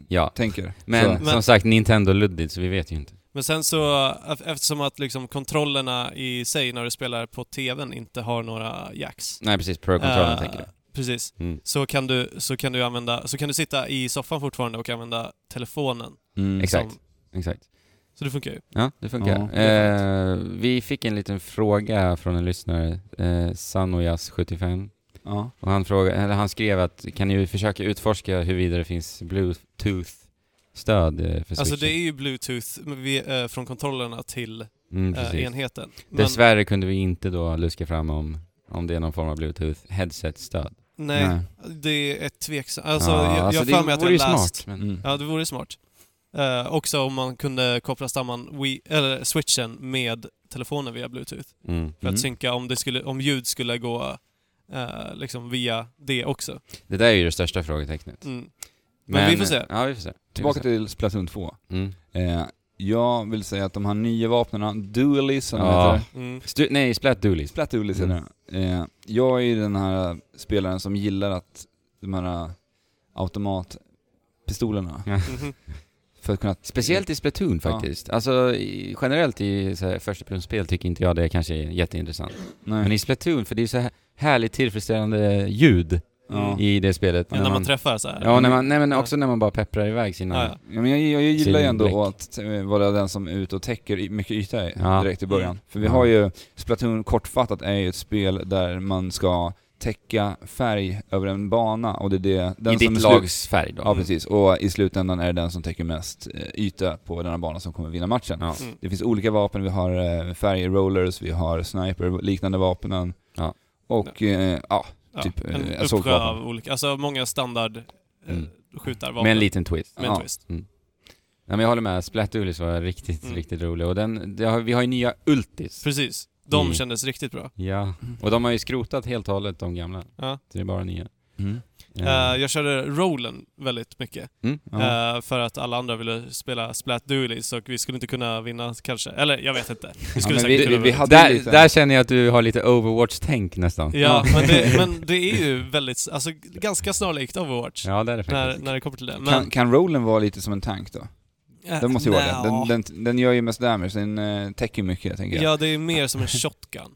[SPEAKER 2] Ja.
[SPEAKER 1] tänker.
[SPEAKER 2] Men,
[SPEAKER 1] Så-
[SPEAKER 3] Men-
[SPEAKER 2] som sagt, Nintendo-luddigt, så vi vet ju inte.
[SPEAKER 3] Men sen så, ef- eftersom att liksom kontrollerna i sig när du spelar på TVn inte har några jacks.
[SPEAKER 2] Nej precis, Pro-kontrollen
[SPEAKER 3] eh,
[SPEAKER 2] tänker du.
[SPEAKER 3] Precis.
[SPEAKER 2] Mm.
[SPEAKER 3] Så kan, du, så, kan du använda, så kan du sitta i soffan fortfarande och använda telefonen.
[SPEAKER 1] mm.
[SPEAKER 2] Exakt,
[SPEAKER 3] Som,
[SPEAKER 2] exakt.
[SPEAKER 3] så det funkar ju.
[SPEAKER 2] Ja, det funkar.
[SPEAKER 1] Ja, det är
[SPEAKER 2] eh, vi fick en liten fråga från en lyssnare, eh, Sanojas75.
[SPEAKER 1] Ja.
[SPEAKER 2] Och han, fråga, eller han skrev att kan ni försöka utforska huruvida det finns bluetooth-stöd eh, för
[SPEAKER 3] Alltså det
[SPEAKER 2] switchen?
[SPEAKER 3] är ju bluetooth men vi, eh, från kontrollerna till
[SPEAKER 2] mm,
[SPEAKER 3] eh,
[SPEAKER 2] precis.
[SPEAKER 3] enheten. Men,
[SPEAKER 2] Dessvärre kunde vi inte då luska fram om, om det är någon form av bluetooth-headset-stöd.
[SPEAKER 3] nej,
[SPEAKER 1] Nej.
[SPEAKER 3] det är tveksamt. Alltså,
[SPEAKER 2] Ja,
[SPEAKER 3] jag, jag
[SPEAKER 2] alltså,
[SPEAKER 3] har för mig att jag
[SPEAKER 2] vore ju
[SPEAKER 3] läst...
[SPEAKER 2] smart, men
[SPEAKER 1] Mm.
[SPEAKER 3] Ja, det vore smart. Eh, också om man kunde koppla samman Wii, eller switchen med telefonen via bluetooth.
[SPEAKER 2] mm.
[SPEAKER 3] För
[SPEAKER 1] Mm.
[SPEAKER 3] att synka om, det skulle, om ljud skulle gå eh, liksom via det också.
[SPEAKER 2] det där är ju det största frågetecknet.
[SPEAKER 3] Mm. Men vi får se.
[SPEAKER 2] Ja, vi får se.
[SPEAKER 1] Tillbaka
[SPEAKER 2] vi får se.
[SPEAKER 1] till Splatoon 2.
[SPEAKER 2] Mm.
[SPEAKER 1] Eh, jag vill säga att de här nya vapnen, Duelies som de
[SPEAKER 2] Ja.
[SPEAKER 1] heter,
[SPEAKER 3] Mm.
[SPEAKER 2] Stu- nej, Splat Doolies.
[SPEAKER 1] Splatoolis heter det. eh, Jag är ju den här spelaren som gillar att de här eh, automatpistolerna,
[SPEAKER 3] Mhm.
[SPEAKER 1] för att kunna...
[SPEAKER 2] Speciellt i Splatoon
[SPEAKER 1] Ja.
[SPEAKER 2] faktiskt. Alltså i, generellt i så här, förstapersonsspel tycker inte jag det kanske är jätteintressant. Men
[SPEAKER 1] Nej.
[SPEAKER 2] i Splatoon, för det är så här härligt tillfredsställande ljud
[SPEAKER 1] Ja.
[SPEAKER 2] i det spelet.
[SPEAKER 3] Men när man träffar så här.
[SPEAKER 2] Ja, när man, nej men också när man bara pepprar iväg sina...
[SPEAKER 3] Ja, ja.
[SPEAKER 1] Ja, men jag, jag, jag gillar ju ändå
[SPEAKER 2] Synblick.
[SPEAKER 1] att eh, vara den som är ute och täcker i- mycket yta i-
[SPEAKER 2] Ja.
[SPEAKER 1] direkt i början.
[SPEAKER 3] Mm.
[SPEAKER 1] För vi
[SPEAKER 2] Ja.
[SPEAKER 1] har ju, Splatoon kortfattat är ju ett spel där man ska täcka färg över en bana och det är det... Den
[SPEAKER 2] I ditt
[SPEAKER 1] är slut-
[SPEAKER 2] lags färg då.
[SPEAKER 1] Ja precis, och i slutändan är det den som täcker mest eh, yta på denna bana som kommer vinna matchen.
[SPEAKER 2] Ja.
[SPEAKER 3] Mm.
[SPEAKER 1] Det finns olika vapen, vi har eh, färgrollers, vi har sniper, liknande vapnen.
[SPEAKER 2] Ja.
[SPEAKER 1] Och eh, ja,
[SPEAKER 3] Ja,
[SPEAKER 1] typ, eh,
[SPEAKER 3] en uppsjö
[SPEAKER 1] assaultvapen.
[SPEAKER 3] av olika, alltså många standard eh,
[SPEAKER 2] Mm.
[SPEAKER 3] skjutarvapen.
[SPEAKER 2] Med en liten twist.
[SPEAKER 3] med en
[SPEAKER 1] ja.
[SPEAKER 3] twist.
[SPEAKER 2] Ja, men jag håller med, Splat Doolies var riktigt,
[SPEAKER 3] Mm.
[SPEAKER 2] riktigt rolig. Och den, det har, vi har ju nya Ultis.
[SPEAKER 3] Precis. De
[SPEAKER 2] Mm.
[SPEAKER 3] kändes riktigt bra.
[SPEAKER 2] Ja, och de har ju skrotat helt och hållet de gamla.
[SPEAKER 3] Ja.
[SPEAKER 2] Så det är bara nya.
[SPEAKER 1] Mm.
[SPEAKER 3] Eh, jag körde rollen väldigt mycket.
[SPEAKER 2] Mm.
[SPEAKER 1] Ja.
[SPEAKER 3] Eh, för att alla andra ville spela Splat Duelies och vi skulle inte kunna vinna kanske. Eller jag vet inte. Vi skulle
[SPEAKER 1] men
[SPEAKER 3] säkert
[SPEAKER 1] vi-
[SPEAKER 3] kunna
[SPEAKER 1] vi
[SPEAKER 3] vinna.
[SPEAKER 1] hade- ju
[SPEAKER 2] Där,
[SPEAKER 1] lite-
[SPEAKER 2] där känner jag att du har lite Overwatch-tänk nästan.
[SPEAKER 3] Ja, men det, men det är ju väldigt, alltså ganska snarlikt Overwatch.
[SPEAKER 2] Ja, det är det
[SPEAKER 3] När,
[SPEAKER 2] faktiskt.
[SPEAKER 3] när det kommer till det.
[SPEAKER 1] Kan,
[SPEAKER 3] Men,
[SPEAKER 1] kan rollen vara lite som en tank då?
[SPEAKER 3] eh,
[SPEAKER 1] Den måste ju vara
[SPEAKER 3] nja.
[SPEAKER 1] det. Den, den, den gör ju mest damage, den eh, täcker ju mycket tänker jag.
[SPEAKER 3] Ja, det är mer som en shotgun.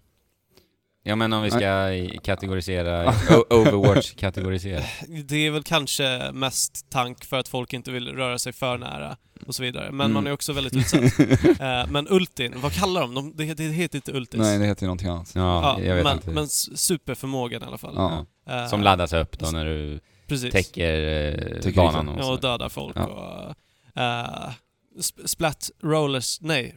[SPEAKER 2] Ja men om vi ska i- kategorisera, o- Overwatch-kategorisera.
[SPEAKER 3] Det är väl kanske mest tank för att folk inte vill röra sig för nära och så vidare. Men
[SPEAKER 1] Mm.
[SPEAKER 3] man är också väldigt utsatt. Eh, men ultin, vad kallar de? de det, det heter inte ultis.
[SPEAKER 1] Nej, det heter ju någonting annat.
[SPEAKER 2] Ja,
[SPEAKER 3] Ja,
[SPEAKER 2] jag vet
[SPEAKER 3] men,
[SPEAKER 2] inte.
[SPEAKER 3] men s- superförmågan i alla fall.
[SPEAKER 1] Ja.
[SPEAKER 3] Eh,
[SPEAKER 2] Som laddas upp då när du
[SPEAKER 3] precis. liksom-
[SPEAKER 2] täcker eh,
[SPEAKER 1] Täcker
[SPEAKER 2] banan
[SPEAKER 1] ytan.
[SPEAKER 2] och
[SPEAKER 3] Ja, och
[SPEAKER 2] så.
[SPEAKER 3] döda folk
[SPEAKER 2] Ja.
[SPEAKER 3] och... eh, sp- splat rollers... Nej,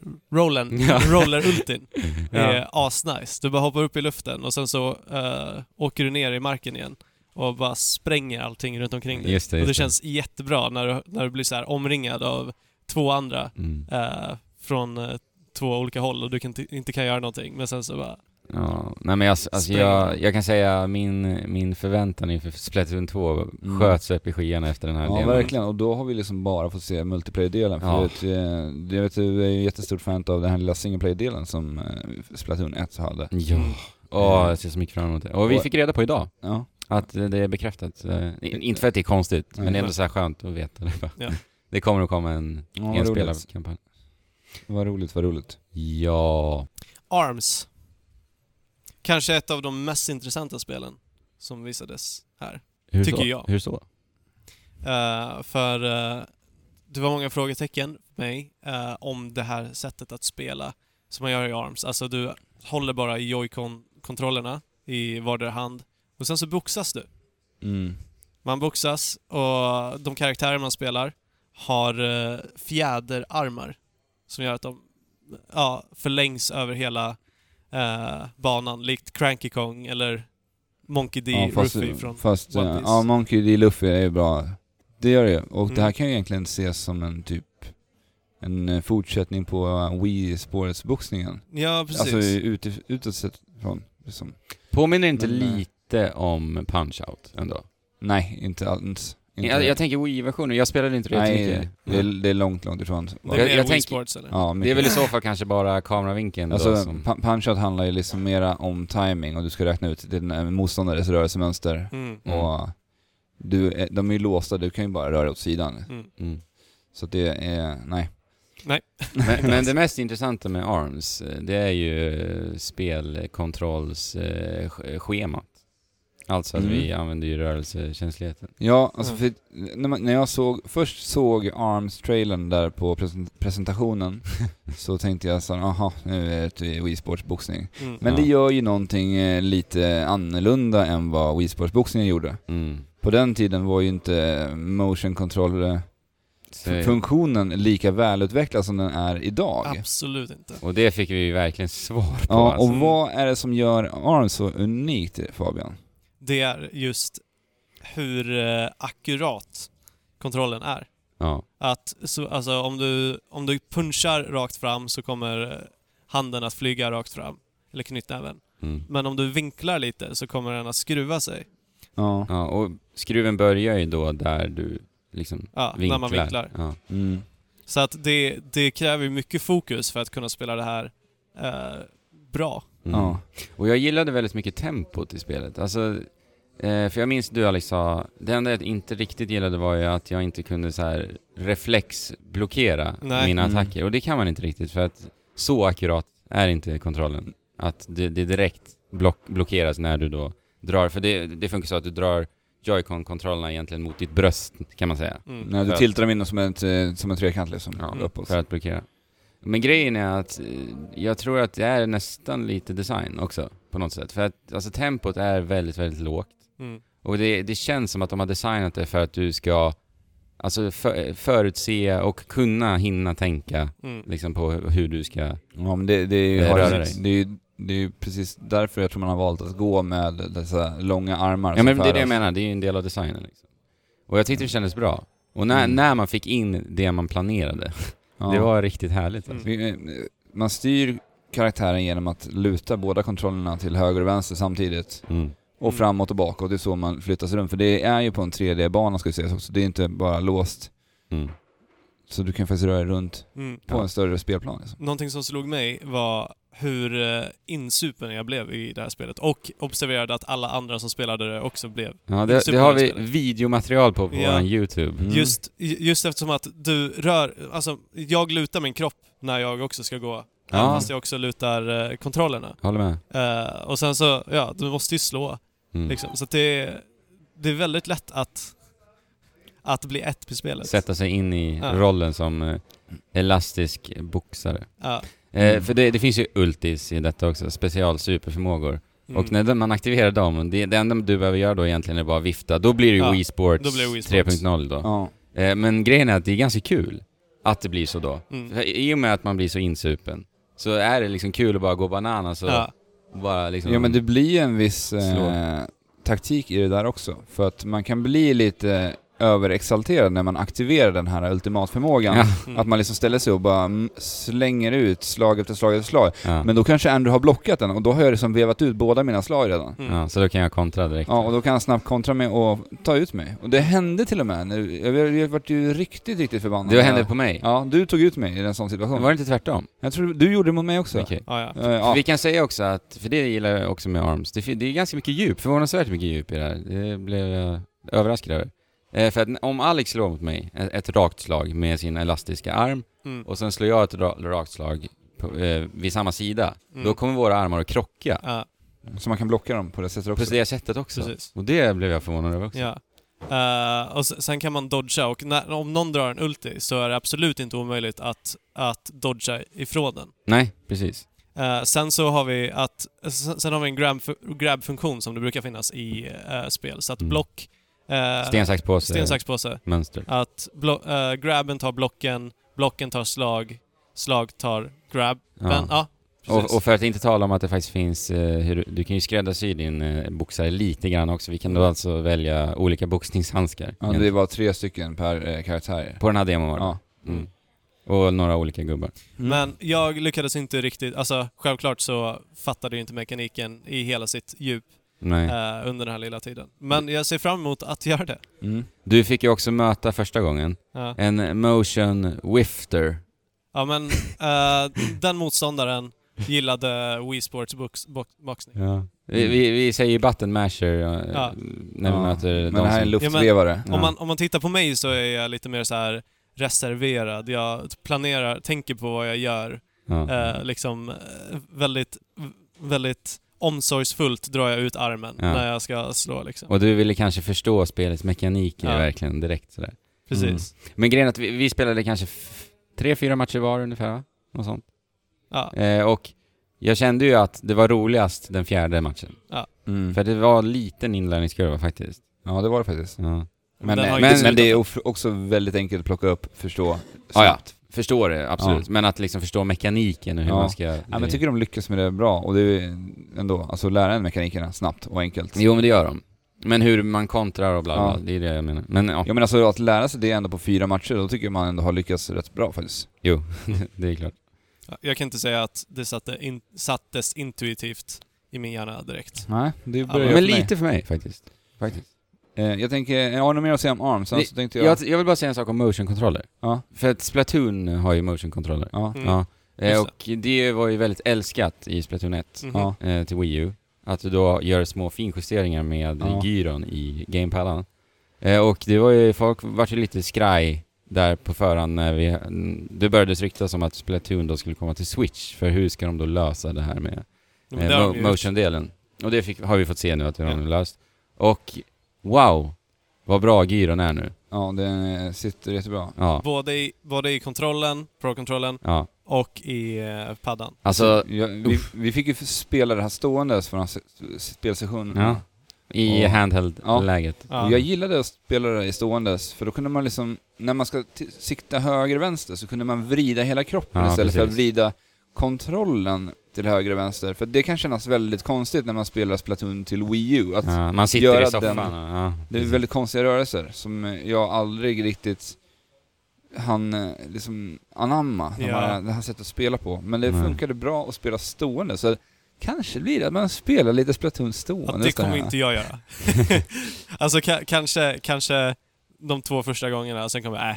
[SPEAKER 3] rollen.
[SPEAKER 2] Ja.
[SPEAKER 3] Roller-ultin
[SPEAKER 2] Ja.
[SPEAKER 3] är asnice. Du bara hoppar upp i luften och sen så eh, åker du ner i marken igen och bara spränger allting runt omkring dig.
[SPEAKER 2] Just det,
[SPEAKER 3] och
[SPEAKER 2] just
[SPEAKER 3] det känns jättebra när du, när du blir så här omringad av två andra
[SPEAKER 2] Mm.
[SPEAKER 3] eh, från eh, två olika håll och du kan t- inte kan göra någonting men sen så bara...
[SPEAKER 2] Ja, nej men jag, alltså
[SPEAKER 3] Spräng.
[SPEAKER 2] jag, jag kan säga min, min förväntan inför Splatoon 2
[SPEAKER 1] Mm.
[SPEAKER 2] sköts upp i skyarna efter den här
[SPEAKER 1] Ja,
[SPEAKER 2] delen.
[SPEAKER 1] verkligen. Och då har vi liksom bara fått se multiplayer-delen. För
[SPEAKER 2] Ja.
[SPEAKER 1] jag, vet, eh, jag vet, du är ju jättestort fan av den här lilla singleplayer-delen som eh, Splatoon 1 hade.
[SPEAKER 2] Ja, Åh, jag ser så mycket fram emot det. Och vi
[SPEAKER 1] Mm. Och- Mm.
[SPEAKER 2] fick reda på idag
[SPEAKER 1] Ja.
[SPEAKER 2] att eh, det är bekräftat. Eh, in- Inte för att det är konstigt, men det är ändå så här skönt att veta det.
[SPEAKER 3] Ja.
[SPEAKER 2] Det kommer att komma en
[SPEAKER 1] Ja, vad roligt.
[SPEAKER 2] enspelarkampanj.
[SPEAKER 1] Vad roligt, vad roligt.
[SPEAKER 2] Ja.
[SPEAKER 3] Arms. Kanske ett av de mest intressanta spelen som visades här.
[SPEAKER 2] Hur
[SPEAKER 3] Tycker
[SPEAKER 2] så?
[SPEAKER 3] jag.
[SPEAKER 2] Hur så?
[SPEAKER 3] Eh, för eh, det var många frågetecken för mig eh, om det här sättet att spela som man gör i ARMS. Alltså du håller bara i joy-con-kontrollerna i vardera hand och sen så boxas du.
[SPEAKER 1] Mm.
[SPEAKER 3] Man boxas och de karaktärer man spelar har eh, fjäderarmar som gör att de ja, förlängs över hela eh, banan likt Cranky Kong eller Monkey D.
[SPEAKER 1] Ja, fast,
[SPEAKER 3] Ruffy från...
[SPEAKER 1] fast
[SPEAKER 3] One
[SPEAKER 1] eh,
[SPEAKER 3] Piece.
[SPEAKER 1] ja, Monkey D. Luffy är ju bra. Det gör det ju. Och det här
[SPEAKER 3] Mm.
[SPEAKER 1] kan ju egentligen ses som en typ en eh, fortsättning på eh, Wii-spårets boxningen.
[SPEAKER 3] Ja, precis.
[SPEAKER 1] Alltså utif- utåt sett från. Liksom.
[SPEAKER 2] Påminner inte
[SPEAKER 1] Men, eh,
[SPEAKER 2] lite om Punch-Out ändå?
[SPEAKER 1] Nej, inte alls. Inte.
[SPEAKER 2] Jag, jag tänker Wii-versionen, jag spelade inte det
[SPEAKER 1] Nej,
[SPEAKER 2] jättemycket.
[SPEAKER 1] det är, det är långt, långt ifrån.
[SPEAKER 3] det är
[SPEAKER 2] jag-
[SPEAKER 3] mer
[SPEAKER 2] jag
[SPEAKER 3] Wii
[SPEAKER 2] tänker-
[SPEAKER 3] Sports eller?
[SPEAKER 1] Ja, mycket.
[SPEAKER 2] Det är väl i så fall kanske bara kameravinkeln då
[SPEAKER 1] Alltså,
[SPEAKER 2] som...
[SPEAKER 1] pu- punch-out handlar ju liksom mera om timing och du ska räkna ut din eh, motståndares rörelsemönster.
[SPEAKER 3] Mm.
[SPEAKER 2] Mm.
[SPEAKER 1] Och du, är- de är ju låsta, du kan ju bara röra åt sidan.
[SPEAKER 3] Mm.
[SPEAKER 2] Mm.
[SPEAKER 1] Så att det är, nej.
[SPEAKER 2] Men, men det mest intressanta med ARMS, eh, det är ju eh, spelkontrollschemat. eh, Alltså att
[SPEAKER 1] Mm.
[SPEAKER 2] vi använder ju rörelsekänsligheten.
[SPEAKER 1] Ja, alltså
[SPEAKER 3] Mm.
[SPEAKER 1] för, när, man, när jag såg, först såg ARMS-trailern där på presen- presentationen så tänkte jag så här, aha, nu är det ett Wii Sports boxning.
[SPEAKER 3] Mm.
[SPEAKER 1] Men
[SPEAKER 2] Ja.
[SPEAKER 1] det gör ju någonting eh, lite annorlunda än vad Wii Sports boxningen gjorde.
[SPEAKER 2] Mm.
[SPEAKER 1] På den tiden var ju inte motion control
[SPEAKER 2] Så-
[SPEAKER 1] funktionen lika välutvecklad som den är idag.
[SPEAKER 3] Absolut inte.
[SPEAKER 2] och det fick vi ju verkligen svar på.
[SPEAKER 1] Ja,
[SPEAKER 2] alltså.
[SPEAKER 1] och vad är det som gör ARMS så unikt Fabian?
[SPEAKER 3] Det är just hur eh, akkurat kontrollen är.
[SPEAKER 2] ja.
[SPEAKER 3] Att så, alltså, om, du, om du punchar rakt fram så kommer eh, handen att flyga rakt fram. Eller knytnäven.
[SPEAKER 2] Mm.
[SPEAKER 3] Men om du vinklar lite så kommer den att skruva sig.
[SPEAKER 1] Ja.
[SPEAKER 2] ja, och skruven börjar ju då där du liksom
[SPEAKER 3] Ja,
[SPEAKER 2] vinklar.
[SPEAKER 3] när man vinklar.
[SPEAKER 2] Ja.
[SPEAKER 1] Mm.
[SPEAKER 3] Så att det, det kräver ju mycket fokus för att kunna spela det här eh, bra.
[SPEAKER 2] Mm.
[SPEAKER 1] Ja.
[SPEAKER 2] Och jag gillade väldigt mycket tempot i spelet. Alltså, eh, för jag minns du Alex sa, det enda jag inte riktigt gillade var ju att jag inte kunde så här reflexblockera
[SPEAKER 3] Nej.
[SPEAKER 2] mina
[SPEAKER 1] Mm.
[SPEAKER 2] attacker. Och det kan man inte riktigt för att så akkurat är inte kontrollen. Att det, det direkt block, blockeras när du då drar, för det, det funkar så att du drar Joy-Con-kontrollerna egentligen mot ditt bröst kan man säga.
[SPEAKER 3] Mm.
[SPEAKER 1] Nej, du
[SPEAKER 2] För-
[SPEAKER 1] tiltar dem in som, ett, eh, som en trekant liksom.
[SPEAKER 2] Ja,
[SPEAKER 1] uppåt.
[SPEAKER 2] för att blockera. Men grejen är att eh, jag tror att det är nästan lite design också på något sätt. För att alltså, tempot är väldigt, väldigt lågt.
[SPEAKER 3] Mm.
[SPEAKER 2] Och det, det känns som att de har designat det för att du ska alltså, för, förutse och kunna hinna tänka
[SPEAKER 3] Mm.
[SPEAKER 2] liksom, på hur du ska...
[SPEAKER 1] Ja, men det, det, är ju,
[SPEAKER 2] Det
[SPEAKER 1] har
[SPEAKER 2] rör
[SPEAKER 1] ju-
[SPEAKER 2] dig.
[SPEAKER 1] det, är ju, det är ju precis därför jag tror man har valt att gå med dessa långa armar.
[SPEAKER 2] Ja
[SPEAKER 1] som
[SPEAKER 2] men det är
[SPEAKER 1] färdas.
[SPEAKER 2] det jag menar, det är ju en del av designen. Liksom. Och jag tyckte det kändes bra. Och när,
[SPEAKER 1] Mm.
[SPEAKER 2] när man fick in det man planerade,
[SPEAKER 1] Ja.
[SPEAKER 2] det var riktigt härligt.
[SPEAKER 3] Mm.
[SPEAKER 2] Alltså.
[SPEAKER 1] Vi, eh, Man styr karaktären genom att luta båda kontrollerna till höger och vänster samtidigt.
[SPEAKER 2] Mm.
[SPEAKER 1] Och
[SPEAKER 3] Mm.
[SPEAKER 1] framåt och bakåt, det är så man flyttas runt. För det är ju på en 3D-bana ska vi säga också, det är inte bara låst.
[SPEAKER 2] Mm.
[SPEAKER 1] Så du kan faktiskt röra dig runt
[SPEAKER 3] Mm.
[SPEAKER 1] på
[SPEAKER 2] Ja.
[SPEAKER 1] en större spelplan liksom.
[SPEAKER 3] Någonting som slog mig var hur eh, insupen jag blev i det här spelet och observerade att alla andra som spelade det också blev.
[SPEAKER 2] Ja, det, det
[SPEAKER 3] Super
[SPEAKER 2] har vi
[SPEAKER 3] spelare.
[SPEAKER 2] videomaterial på på
[SPEAKER 3] Ja.
[SPEAKER 2] vår YouTube.
[SPEAKER 1] Mm.
[SPEAKER 3] Just, ju- just eftersom att du rör, alltså jag lutar min kropp när jag också ska gå även
[SPEAKER 2] Ja.
[SPEAKER 3] fast jag också lutar eh, kontrollerna.
[SPEAKER 2] Håller med.
[SPEAKER 3] Eh, och sen så, ja, du måste ju slå.
[SPEAKER 2] Mm.
[SPEAKER 3] Liksom. Så att det, det är väldigt lätt att, att bli ett i spelet.
[SPEAKER 2] Sätta sig in i
[SPEAKER 3] Ja.
[SPEAKER 2] rollen som eh, elastisk boxare.
[SPEAKER 3] Ja. Mm.
[SPEAKER 2] Eh, för det, det finns ju ultis i detta också, specialsuperförmågor.
[SPEAKER 3] Mm.
[SPEAKER 2] Och när de- man aktiverar dem, det, det enda du behöver göra då egentligen är bara vifta. Då blir det ju
[SPEAKER 3] Ja,
[SPEAKER 2] Wii Sports
[SPEAKER 3] då blir det Wii Sports.
[SPEAKER 2] 3.0 då.
[SPEAKER 1] Ja.
[SPEAKER 2] Eh, men grejen är att det är ganska kul att det blir så då.
[SPEAKER 3] Mm.
[SPEAKER 2] För I och med att man blir så insupen så är det liksom kul att bara gå bananas och
[SPEAKER 3] Ja.
[SPEAKER 2] bara liksom...
[SPEAKER 1] ja, men det blir en viss
[SPEAKER 2] Slå.
[SPEAKER 1] eh, taktik i det där också. För att man kan bli lite överexalterad när man aktiverar den här ultimatförmågan.
[SPEAKER 2] Ja.
[SPEAKER 3] Mm.
[SPEAKER 1] Att man liksom ställer sig och bara mm, slänger ut slag efter slag efter slag.
[SPEAKER 2] Ja.
[SPEAKER 1] Men då kanske Andrew har blockat den och då har jag liksom vevat ut båda mina slag redan.
[SPEAKER 3] Mm.
[SPEAKER 2] ja, så då kan jag kontra direkt.
[SPEAKER 1] Ja, och då kan han snabbt kontra mig och ta ut mig. Och det hände till och med. när- Jag, jag, jag vart ju riktigt, riktigt förbannad.
[SPEAKER 2] Det hände på mig.
[SPEAKER 1] Ja, du tog ut mig i en sån situation.
[SPEAKER 2] Var det inte tvärtom?
[SPEAKER 1] Jag tror du gjorde det mot mig också.
[SPEAKER 2] Okej.
[SPEAKER 3] Ja, ja.
[SPEAKER 1] Eh, ja.
[SPEAKER 2] För Vi kan säga också att, för det gillar jag också med ARMS, det, fin- det är ganska mycket djup, förvånansvärt mycket djup i det här. Det blev jag överraskad över. Eh, för att n- om Alex slår mot mig ett, ett rakt slag med sin elastiska arm
[SPEAKER 3] Mm.
[SPEAKER 2] och sen slår jag ett ra, rakt slag på, eh, vid samma sida,
[SPEAKER 3] Mm.
[SPEAKER 2] då kommer våra armar att krocka.
[SPEAKER 3] Ja,
[SPEAKER 1] Så man kan blocka dem på det sättet
[SPEAKER 2] På
[SPEAKER 1] också.
[SPEAKER 2] det sättet också.
[SPEAKER 3] precis.
[SPEAKER 2] Och det blev jag förvånad över också.
[SPEAKER 3] Ja. Eh, och s- sen kan man dodga och när, om någon drar en ulti så är det absolut inte omöjligt att, att dodga ifrån den.
[SPEAKER 2] Nej, precis.
[SPEAKER 3] Eh, sen så har vi att, sen, sen har vi en grab- grab-funktion som det brukar finnas i eh, spel. Så att
[SPEAKER 2] Mm.
[SPEAKER 3] block... Uh,
[SPEAKER 2] Sten, sax, påse,
[SPEAKER 3] sten, sax, påse.
[SPEAKER 2] mönster.
[SPEAKER 3] Att blo- eh, grabben tar blocken, blocken tar slag, slag tar grab.
[SPEAKER 2] Ja.
[SPEAKER 3] Men, ja, precis.
[SPEAKER 2] och, och för att inte tala om att det faktiskt finns, eh, hur, du kan ju skräddarsy din eh, boxare lite grann också. Vi kan då alltså välja olika boxningshandskar.
[SPEAKER 1] Mm. Ja, det var tre stycken per eh, karaktär.
[SPEAKER 2] På den här demon var det.
[SPEAKER 1] Ja.
[SPEAKER 2] Mm. Och några olika gubbar.
[SPEAKER 1] Mm.
[SPEAKER 3] Men jag lyckades inte riktigt, alltså självklart så fattade jag inte mekaniken i hela sitt djup
[SPEAKER 2] Nej.
[SPEAKER 1] Äh.
[SPEAKER 3] eh, under den här lilla tiden. Men jag ser fram emot att göra det.
[SPEAKER 1] Mm.
[SPEAKER 2] Du fick ju också möta första gången
[SPEAKER 3] Ja,
[SPEAKER 2] en motion wifter.
[SPEAKER 3] ja men eh, den motståndaren gillade Wii Sports box, box, boxning.
[SPEAKER 2] Vi, vi, vi säger ju button masher eh,
[SPEAKER 3] Ja.
[SPEAKER 2] när vi
[SPEAKER 1] Ja.
[SPEAKER 2] möter
[SPEAKER 1] Men
[SPEAKER 2] de
[SPEAKER 1] det här är en
[SPEAKER 2] som...
[SPEAKER 1] luftvevare.
[SPEAKER 2] Ja.
[SPEAKER 3] Om, man, om man tittar på mig så är jag lite mer så här reserverad. Jag planerar, tänker på vad jag gör.
[SPEAKER 2] Ja.
[SPEAKER 1] äh,
[SPEAKER 3] Eh, liksom eh, väldigt, väldigt omsorgsfullt drar jag ut armen
[SPEAKER 2] Ja.
[SPEAKER 3] när jag ska slå liksom.
[SPEAKER 2] Och du ville kanske förstå spelets mekaniker
[SPEAKER 3] Ja.
[SPEAKER 2] verkligen direkt sådär.
[SPEAKER 3] Precis.
[SPEAKER 1] Mm.
[SPEAKER 2] Men grejen är att vi, vi spelade kanske f- tre, fyra matcher var ungefär va? Något sånt.
[SPEAKER 3] Ja,
[SPEAKER 2] Eh, och jag kände ju att det var roligast den fjärde matchen.
[SPEAKER 1] Mm.
[SPEAKER 2] För det var en liten inlärningskurva faktiskt.
[SPEAKER 1] Ja, det var det faktiskt.
[SPEAKER 2] Ja.
[SPEAKER 1] Men, eh,
[SPEAKER 3] Den har
[SPEAKER 1] men,
[SPEAKER 3] ju inte
[SPEAKER 1] men det är
[SPEAKER 3] slutat.
[SPEAKER 1] of- också väldigt enkelt att plocka upp, förstå,
[SPEAKER 2] Ja, ja.
[SPEAKER 1] snabbt.
[SPEAKER 2] Förstår det, absolut. Men att liksom förstå mekaniken och hur
[SPEAKER 1] Ja.
[SPEAKER 2] man ska...
[SPEAKER 1] Ja, men jag tycker de lyckas med det bra och det är ändå, alltså lära en mekanikerna snabbt och enkelt.
[SPEAKER 2] Jo men det gör de. Men hur man kontrar och bla bla,
[SPEAKER 1] Ja.
[SPEAKER 2] det är det jag menar. Men ja,
[SPEAKER 1] Ja men alltså att lära sig det ändå på fyra matcher, då tycker jag man ändå har lyckats rätt bra faktiskt.
[SPEAKER 2] det är klart.
[SPEAKER 3] Ja, jag kan inte säga att det satte in, sattes intuitivt i min hjärna direkt.
[SPEAKER 1] Nej, det
[SPEAKER 3] börjar
[SPEAKER 1] ja,
[SPEAKER 2] men
[SPEAKER 1] men
[SPEAKER 2] lite för mig faktiskt. faktiskt.
[SPEAKER 1] Eh, jag tänker, jag har nog mer att säga om ARM, sen
[SPEAKER 2] Vi-
[SPEAKER 1] så tänkte jag...
[SPEAKER 2] Jag, jag vill bara säga en sak om motion-controller.
[SPEAKER 1] Ja.
[SPEAKER 2] För att Splatoon har ju motion-controller.
[SPEAKER 1] ja,
[SPEAKER 3] Mm.
[SPEAKER 2] Ja. Eh,
[SPEAKER 3] Just
[SPEAKER 2] Och det var ju väldigt älskat i Splatoon 1
[SPEAKER 3] Mhm.
[SPEAKER 1] ja.
[SPEAKER 2] eh, till Wii U. Att du då gör små finjusteringar med
[SPEAKER 1] Ja.
[SPEAKER 2] gyron i gamepadan. Eh, och det var ju, folk vart ju lite skraj där på förhand när vi, mm, det började ryktas om att Splatoon då skulle komma till Switch, för hur ska de då lösa det här med
[SPEAKER 3] Men det
[SPEAKER 2] eh,
[SPEAKER 3] har
[SPEAKER 2] mo-
[SPEAKER 3] de ju-
[SPEAKER 2] motion-delen? Och det fick, har vi fått se nu att vi har
[SPEAKER 3] Ja.
[SPEAKER 2] löst. Och wow, vad bra gyron är nu.
[SPEAKER 1] ja, den sitter jättebra.
[SPEAKER 2] Ja,
[SPEAKER 3] Både i, både i kontrollen, pro-kontrollen
[SPEAKER 2] ja.
[SPEAKER 3] och i eh, paddan.
[SPEAKER 2] Alltså,
[SPEAKER 1] jag, vi, vi fick ju spela det här ståendes för den här se- spelsessionen.
[SPEAKER 2] ja. I
[SPEAKER 1] Och-
[SPEAKER 2] handheld-läget.
[SPEAKER 3] Ja.
[SPEAKER 1] Jag gillade att spela det i ståendes, för då kunde man liksom, när man ska t- sikta höger och vänster så kunde man vrida hela kroppen
[SPEAKER 2] Ja,
[SPEAKER 1] istället för att
[SPEAKER 2] precis.
[SPEAKER 1] vrida kontrollen till höger och vänster. För det kan kännas väldigt konstigt när man spelar Splatoon till Wii U, att
[SPEAKER 2] Ja. man sitter
[SPEAKER 1] göra
[SPEAKER 2] i soffan.
[SPEAKER 1] den-
[SPEAKER 2] och- Ja,
[SPEAKER 1] det är
[SPEAKER 2] precis.
[SPEAKER 1] väldigt konstiga rörelser som eh, jag aldrig riktigt han liksom anamma
[SPEAKER 3] Ja.
[SPEAKER 1] de här, det här sättet att spela på. Men det
[SPEAKER 2] Nej.
[SPEAKER 1] funkade bra att spela stående, så kanske blir det att man spelar lite Splatoon
[SPEAKER 3] Ja,
[SPEAKER 1] stående.
[SPEAKER 3] det
[SPEAKER 1] så här.
[SPEAKER 3] kommer inte jag göra. alltså ka- kanske, kanske de två första gångerna, sen kommer jag, äh,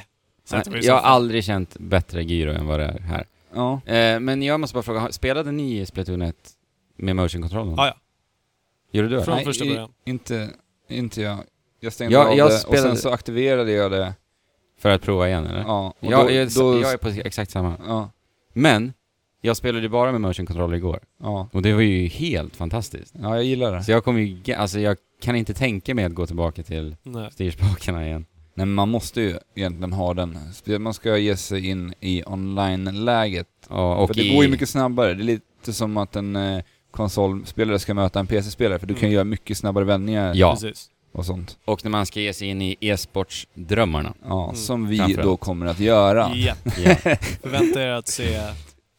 [SPEAKER 3] sätter mig i
[SPEAKER 2] Jag har
[SPEAKER 3] soffan.
[SPEAKER 2] aldrig känt bättre gyro än vad det är här.
[SPEAKER 1] Ja.
[SPEAKER 2] Eh, men jag måste bara fråga, har- spelade ni i Splatoon 1 med motion-kontrollen?
[SPEAKER 3] Ja, ja.
[SPEAKER 2] Gjorde du det?
[SPEAKER 3] Från
[SPEAKER 1] Nej,
[SPEAKER 3] första
[SPEAKER 1] i-
[SPEAKER 3] början.
[SPEAKER 1] Inte, inte jag. Jag stängde
[SPEAKER 2] Jag-
[SPEAKER 1] av
[SPEAKER 2] jag
[SPEAKER 1] det och
[SPEAKER 2] spelade-
[SPEAKER 1] sen så aktiverade jag det.
[SPEAKER 2] För att prova igen eller?
[SPEAKER 1] Ja, och
[SPEAKER 2] jag,
[SPEAKER 1] då,
[SPEAKER 2] jag,
[SPEAKER 1] då,
[SPEAKER 2] jag är på exakt samma.
[SPEAKER 1] ja.
[SPEAKER 2] Men, Jag spelade ju bara med motion controller igår.
[SPEAKER 1] Ja.
[SPEAKER 2] Och det var ju helt fantastiskt.
[SPEAKER 1] ja, jag gillar det.
[SPEAKER 2] Så jag kommer ju, ge- alltså jag kan inte tänka mig att gå tillbaka till
[SPEAKER 3] Nej.
[SPEAKER 2] styrspakarna igen.
[SPEAKER 1] Nej, men man måste ju egentligen ha den. Speciellt Man ska ge sig in i online-läget.
[SPEAKER 2] Ja,
[SPEAKER 1] För
[SPEAKER 2] och
[SPEAKER 1] det
[SPEAKER 2] i,
[SPEAKER 1] går ju mycket snabbare. Det är lite som att en eh, konsolspelare ska möta en PC-spelare, för du kan
[SPEAKER 3] Mm.
[SPEAKER 1] göra mycket snabbare vändningar
[SPEAKER 2] Ja,
[SPEAKER 3] Precis.
[SPEAKER 1] och sånt.
[SPEAKER 2] och när man ska ge sig in i e-sportsdrömmarna.
[SPEAKER 1] Ja,
[SPEAKER 3] Mm.
[SPEAKER 1] som vi
[SPEAKER 2] Framförallt.
[SPEAKER 1] då kommer att göra.
[SPEAKER 3] Ja.
[SPEAKER 2] Ja.
[SPEAKER 3] Förvänta er att se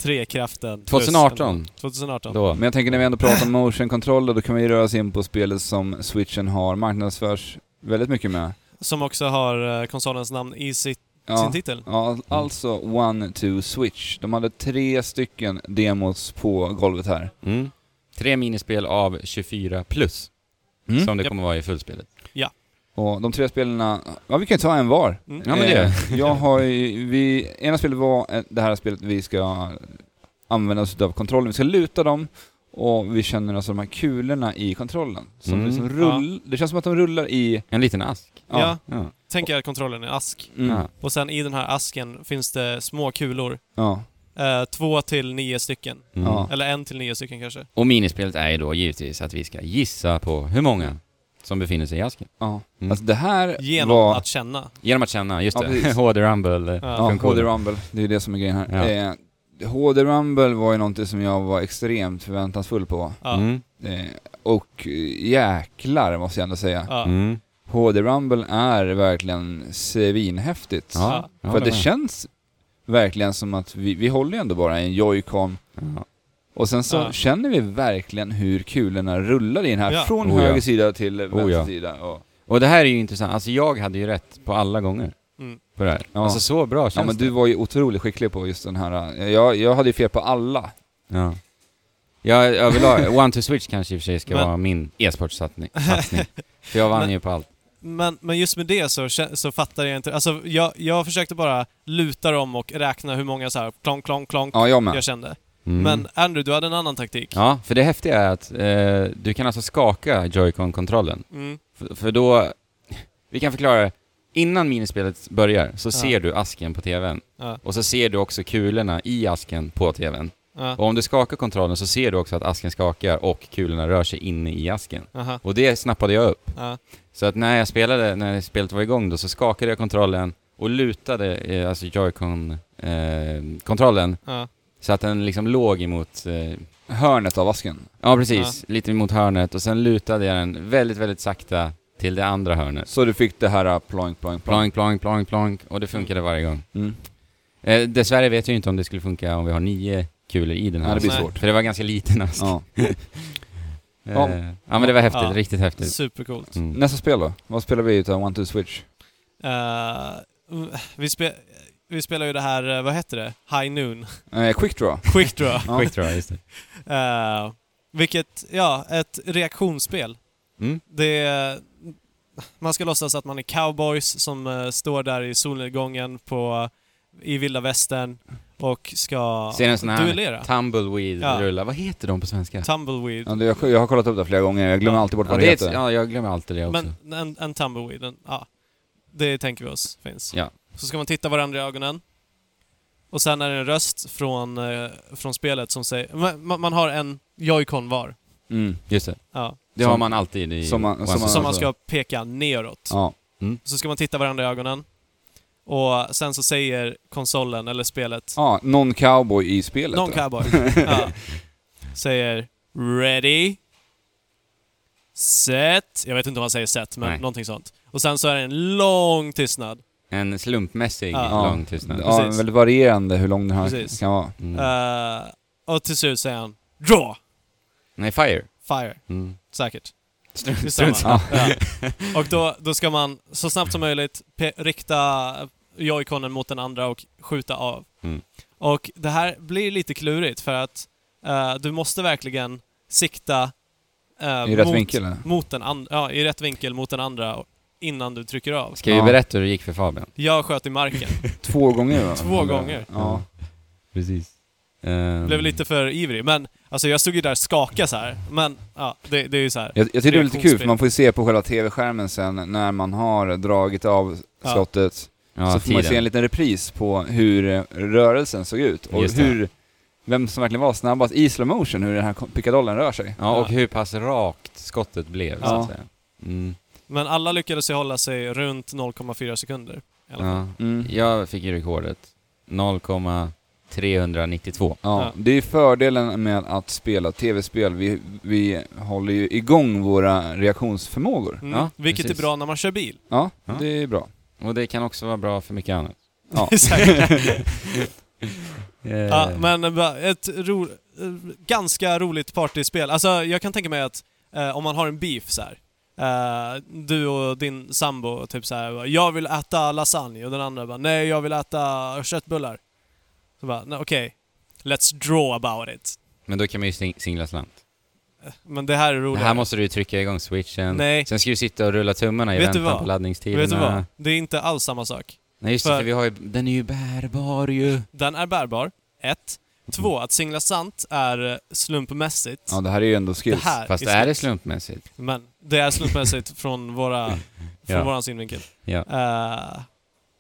[SPEAKER 3] Trekraften. plus-
[SPEAKER 2] 2018,
[SPEAKER 3] 2018.
[SPEAKER 2] då.
[SPEAKER 1] Men jag tänker när vi ändå pratar om motion controller, då kan vi ju röra oss in på spelet som switchen har marknadsförs väldigt mycket med.
[SPEAKER 3] Som också har eh, konsolens namn i sitt, sin
[SPEAKER 1] Ja,
[SPEAKER 3] titel.
[SPEAKER 2] Mm.
[SPEAKER 1] ja alltså One, Two, Switch. De hade tre stycken demos på golvet här.
[SPEAKER 2] Mm. Tre minispel av 24 plus,
[SPEAKER 1] Mm.
[SPEAKER 2] som det
[SPEAKER 3] Japp.
[SPEAKER 2] kommer vara i fullspelet.
[SPEAKER 1] Och de tre spelarna, ja vi kan ju ta en var.
[SPEAKER 3] Mm.
[SPEAKER 2] Ja, men det gör
[SPEAKER 1] Eh, Jag har ju, vi, ena spelet var eh, det här spelet vi ska använda oss av kontrollen. Vi ska luta dem och vi känner alltså de här kulorna i kontrollen. Som
[SPEAKER 2] Mm.
[SPEAKER 1] liksom rull, Det känns som att de rullar i...
[SPEAKER 2] En liten ask.
[SPEAKER 3] Ja,
[SPEAKER 2] Ja.
[SPEAKER 3] tänk er kontrollen i ask.
[SPEAKER 1] Mm.
[SPEAKER 2] Ja.
[SPEAKER 3] Och sen i den här asken finns det små kulor.
[SPEAKER 1] ja.
[SPEAKER 3] Eh, två till nio stycken.
[SPEAKER 2] Mm.
[SPEAKER 1] Ja.
[SPEAKER 3] Eller en till nio stycken kanske.
[SPEAKER 2] Och minispelet är ju då givetvis att vi ska gissa på hur många som befinner sig i asken.
[SPEAKER 1] ja.
[SPEAKER 2] Mm.
[SPEAKER 1] Alltså det här
[SPEAKER 3] Genom
[SPEAKER 1] var...
[SPEAKER 3] att känna.
[SPEAKER 2] Genom att känna, just
[SPEAKER 1] Ja,
[SPEAKER 2] det,
[SPEAKER 1] precis.
[SPEAKER 2] HD Rumble.
[SPEAKER 3] Ja.
[SPEAKER 1] Ja,
[SPEAKER 2] funktionen.
[SPEAKER 1] HD Rumble, det är ju det som är grejen här.
[SPEAKER 2] Ja.
[SPEAKER 1] Eh, HD Rumble var ju någonting som jag var extremt förväntansfull på.
[SPEAKER 3] Ja.
[SPEAKER 2] Mm.
[SPEAKER 1] Eh, och eh, jäklar måste jag ändå säga.
[SPEAKER 3] Ja.
[SPEAKER 2] Mm.
[SPEAKER 1] HD Rumble är verkligen svinhäftigt.
[SPEAKER 2] Ja. jag
[SPEAKER 1] För
[SPEAKER 2] håller
[SPEAKER 1] det
[SPEAKER 2] med.
[SPEAKER 1] känns verkligen som att vi, vi håller ju ändå bara i en Joy-Con
[SPEAKER 2] Ja.
[SPEAKER 1] och sen så
[SPEAKER 3] Ja.
[SPEAKER 1] känner vi verkligen hur kulorna rullar i den här
[SPEAKER 3] Ja.
[SPEAKER 1] från
[SPEAKER 2] Oh ja.
[SPEAKER 1] höger sida till vänster
[SPEAKER 2] ja.
[SPEAKER 1] sida. Och,
[SPEAKER 2] Och det här är ju intressant, alltså jag hade ju rätt på alla gånger
[SPEAKER 3] Mm.
[SPEAKER 2] på det här.
[SPEAKER 1] Ja.
[SPEAKER 2] Alltså så bra
[SPEAKER 1] ja
[SPEAKER 2] känns
[SPEAKER 1] men du var ju otroligt skicklig på just den här, eh, jag, jag hade ju fel på alla.
[SPEAKER 2] det. Ja. Ja, överlag, One to Switch kanske i och för sig ska
[SPEAKER 3] Men-
[SPEAKER 2] vara min e-sportsatsning. satsning. För jag vann
[SPEAKER 3] Men-
[SPEAKER 2] ju på allt.
[SPEAKER 3] Men, men just med det så, kä- så fattar jag inte. Alltså, jag, jag försökte bara luta dem och räkna hur många så här klonk, klonk, klonk
[SPEAKER 1] Ja, jag med.
[SPEAKER 3] jag kände.
[SPEAKER 2] Mm.
[SPEAKER 3] Men Andrew, du hade en annan taktik.
[SPEAKER 2] Ja, för det häftiga är att eh, du kan alltså skaka Joy-Con-kontrollen.
[SPEAKER 3] Mm.
[SPEAKER 2] För, för då... Vi kan förklara det. Innan minispelet börjar så
[SPEAKER 3] Ja.
[SPEAKER 2] ser du asken på TVn.
[SPEAKER 3] Ja.
[SPEAKER 2] Och så ser du också kulorna i asken på TVn.
[SPEAKER 3] Ja.
[SPEAKER 2] Och om du skakar kontrollen så ser du också att asken skakar och kulorna rör sig inne i asken.
[SPEAKER 3] Aha.
[SPEAKER 2] Och det snappade jag upp.
[SPEAKER 3] Ja.
[SPEAKER 2] Så att när jag spelade, när spelet var igång då, så skakade jag kontrollen och lutade eh, alltså Joy-Con-kontrollen
[SPEAKER 3] Ja.
[SPEAKER 2] så att den liksom låg emot eh,
[SPEAKER 1] Hörnet av asken.
[SPEAKER 2] Ja, precis. Lite mot hörnet och sen lutade jag den väldigt, väldigt sakta till det andra hörnet.
[SPEAKER 1] Så du fick det här eh, ploink, ploink, ploink.
[SPEAKER 2] Plank, plank, plank, plank och det funkade varje gång.
[SPEAKER 1] Mm.
[SPEAKER 2] Eh, dessvärre vet jag inte om det skulle funka om vi har nio kulor i den här.
[SPEAKER 1] Ja, det blir
[SPEAKER 3] Nej.
[SPEAKER 1] svårt.
[SPEAKER 2] För det var ganska liten ask. Ja.
[SPEAKER 1] Ja.
[SPEAKER 2] Eh,
[SPEAKER 1] Ja.
[SPEAKER 2] ja. men det var häftigt.
[SPEAKER 3] Ja.
[SPEAKER 2] Riktigt häftigt.
[SPEAKER 3] Supercoolt.
[SPEAKER 2] Mm.
[SPEAKER 1] Nästa spel då? Vad spelar vi utav One, Two, Switch?
[SPEAKER 3] Eh, vi, spe, vi spelar ju det här, eh, vad heter det? High Noon.
[SPEAKER 1] Eh, quick Draw.
[SPEAKER 3] Quick Draw.
[SPEAKER 1] Ja.
[SPEAKER 2] Quick draw, just det.
[SPEAKER 3] Eh, vilket, ja, ett reaktionsspel.
[SPEAKER 2] Mm.
[SPEAKER 3] Det är, man ska låtsas att man är cowboys som eh, står där i solnedgången på, i vilda västern och ska
[SPEAKER 2] Ser en sån här
[SPEAKER 3] duellera.
[SPEAKER 2] tumbleweed
[SPEAKER 3] Ja.
[SPEAKER 2] rulla. Vad heter de på svenska?
[SPEAKER 1] Ja,
[SPEAKER 3] Tumbleweed.
[SPEAKER 1] det- jag, jag har kollat upp det flera gånger, jag glömmer
[SPEAKER 3] Ja.
[SPEAKER 1] alltid bort
[SPEAKER 2] Ja,
[SPEAKER 1] vad
[SPEAKER 2] det
[SPEAKER 1] det
[SPEAKER 2] är ett,
[SPEAKER 1] heter.
[SPEAKER 2] ja, jag glömmer alltid det också.
[SPEAKER 3] Men en, en tumbleweed, en, ja. Det tänker vi oss finns.
[SPEAKER 2] Ja.
[SPEAKER 3] Så ska man titta varandra i ögonen. Och sen är det en röst från, eh, från spelet som säger... Man, man- man har en joy-con var.
[SPEAKER 1] Mm.
[SPEAKER 2] Just det.
[SPEAKER 3] Ja.
[SPEAKER 2] Det
[SPEAKER 1] Som-
[SPEAKER 2] har man alltid i
[SPEAKER 1] som man- som
[SPEAKER 2] One
[SPEAKER 1] man-
[SPEAKER 2] Piece.
[SPEAKER 3] Som man
[SPEAKER 1] alltså-
[SPEAKER 3] ska peka neråt.
[SPEAKER 1] Ja.
[SPEAKER 3] Så ska man titta varandra i ögonen. Och sen så säger konsolen, eller spelet,
[SPEAKER 1] ja, någon cowboy i spelet
[SPEAKER 3] någon
[SPEAKER 1] då.
[SPEAKER 3] cowboy. ja. Säger “Ready”. Set. Jag vet inte om han säger set, men
[SPEAKER 2] Nej.
[SPEAKER 3] någonting sånt. Och sen så är det en lång tystnad.
[SPEAKER 2] En slumpmässig
[SPEAKER 3] Ja.
[SPEAKER 2] lång tystnad.
[SPEAKER 1] Ja,
[SPEAKER 3] Precis.
[SPEAKER 1] väldigt varierande hur lång den här
[SPEAKER 3] Precis.
[SPEAKER 1] kan vara.
[SPEAKER 2] Mm.
[SPEAKER 3] Eh, och till slut säger han “Draw!
[SPEAKER 2] Nej, fire.
[SPEAKER 3] Fire!”
[SPEAKER 2] Mm.
[SPEAKER 3] Säkert.
[SPEAKER 2] Strunt,
[SPEAKER 3] Visst
[SPEAKER 2] strunt.
[SPEAKER 3] samma. Ja. Och då, då ska man så snabbt som möjligt pe- rikta joyconen mot den andra och skjuta av.
[SPEAKER 2] Mm.
[SPEAKER 3] Och det här blir lite klurigt för att eh, du måste verkligen sikta eh,
[SPEAKER 1] I rätt
[SPEAKER 3] mot,
[SPEAKER 1] vinkel eller?
[SPEAKER 3] mot den andra, ja, i rätt vinkel mot den andra innan du trycker av.
[SPEAKER 2] Ska vi
[SPEAKER 1] Ja.
[SPEAKER 2] berätta hur det gick för Fabian?
[SPEAKER 3] Jag sköt i marken.
[SPEAKER 1] Två gånger va?
[SPEAKER 3] Två gånger.
[SPEAKER 1] Ja.
[SPEAKER 2] Precis. Ehm,
[SPEAKER 3] Blev lite för ivrig. Men alltså jag stod ju där och skakade så här. Men ja, det, det är ju så här.
[SPEAKER 1] Jag, jag tycker det är lite kul för
[SPEAKER 3] Reaktionsspel.
[SPEAKER 1] man får ju se på själva tv-skärmen sen när man har dragit av
[SPEAKER 3] Ja.
[SPEAKER 1] slottet.
[SPEAKER 2] ja,
[SPEAKER 1] så får man ju se en liten repris på hur eh, rörelsen såg ut och
[SPEAKER 2] Just det.
[SPEAKER 1] hur vem som verkligen var snabbast i slow motion hur den här pickadollen rör sig.
[SPEAKER 2] Ja, och hur pass rakt skottet blev så
[SPEAKER 1] Ja.
[SPEAKER 2] att säga. Mm.
[SPEAKER 3] Men alla lyckades ju hålla sig runt 0,4 sekunder. i alla fall.
[SPEAKER 2] Ja.
[SPEAKER 1] Mm.
[SPEAKER 2] Jag fick ju rekordet. 0,392.
[SPEAKER 1] Ja,
[SPEAKER 3] Ja.
[SPEAKER 1] det är fördelen med att spela tv-spel. Vi, vi håller ju igång våra reaktionsförmågor.
[SPEAKER 3] Mm.
[SPEAKER 2] Ja,
[SPEAKER 3] Vilket
[SPEAKER 2] precis.
[SPEAKER 3] är bra när man kör bil.
[SPEAKER 1] Ja,
[SPEAKER 2] Ja.
[SPEAKER 1] det är bra.
[SPEAKER 2] Och det kan också vara bra för mycket annat.
[SPEAKER 1] Ja.
[SPEAKER 3] Säkert. ja,
[SPEAKER 2] Eh,
[SPEAKER 3] men va, ett ro, eh, ganska roligt partyspel. Alltså jag kan tänka mig att eh, om man har en beef så här. eh, du och din sambo typ så här. jag vill äta lasagne och den andra bara, nej jag vill äta köttbullar. Så bara, "Nej, okej, let's draw about it. Eh,
[SPEAKER 2] Men då kan man ju sing- singla slant.
[SPEAKER 3] Men det här
[SPEAKER 2] Det
[SPEAKER 3] är roligare.
[SPEAKER 2] här måste du ju trycka igång switchen.
[SPEAKER 3] Nej.
[SPEAKER 2] Sen ska du sitta och rulla tummarna i
[SPEAKER 3] Vet du
[SPEAKER 2] väntan
[SPEAKER 3] vad?
[SPEAKER 2] på laddningstiderna.
[SPEAKER 3] Vet du vad? Det är inte alls samma sak.
[SPEAKER 2] Nej just det, för
[SPEAKER 3] För-
[SPEAKER 2] vi har ju, den är ju bärbar ju.
[SPEAKER 3] Den är bärbar, ett. Två, att singla sant är eh, slumpmässigt.
[SPEAKER 1] Ja, det här är ju ändå skills.
[SPEAKER 3] det här
[SPEAKER 2] Fast
[SPEAKER 3] är,
[SPEAKER 2] är det
[SPEAKER 3] slump-
[SPEAKER 2] slumpmässigt?
[SPEAKER 3] Men det är slumpmässigt från, våra, från
[SPEAKER 2] Ja.
[SPEAKER 3] våran synvinkel.
[SPEAKER 2] Ja.
[SPEAKER 3] Eh,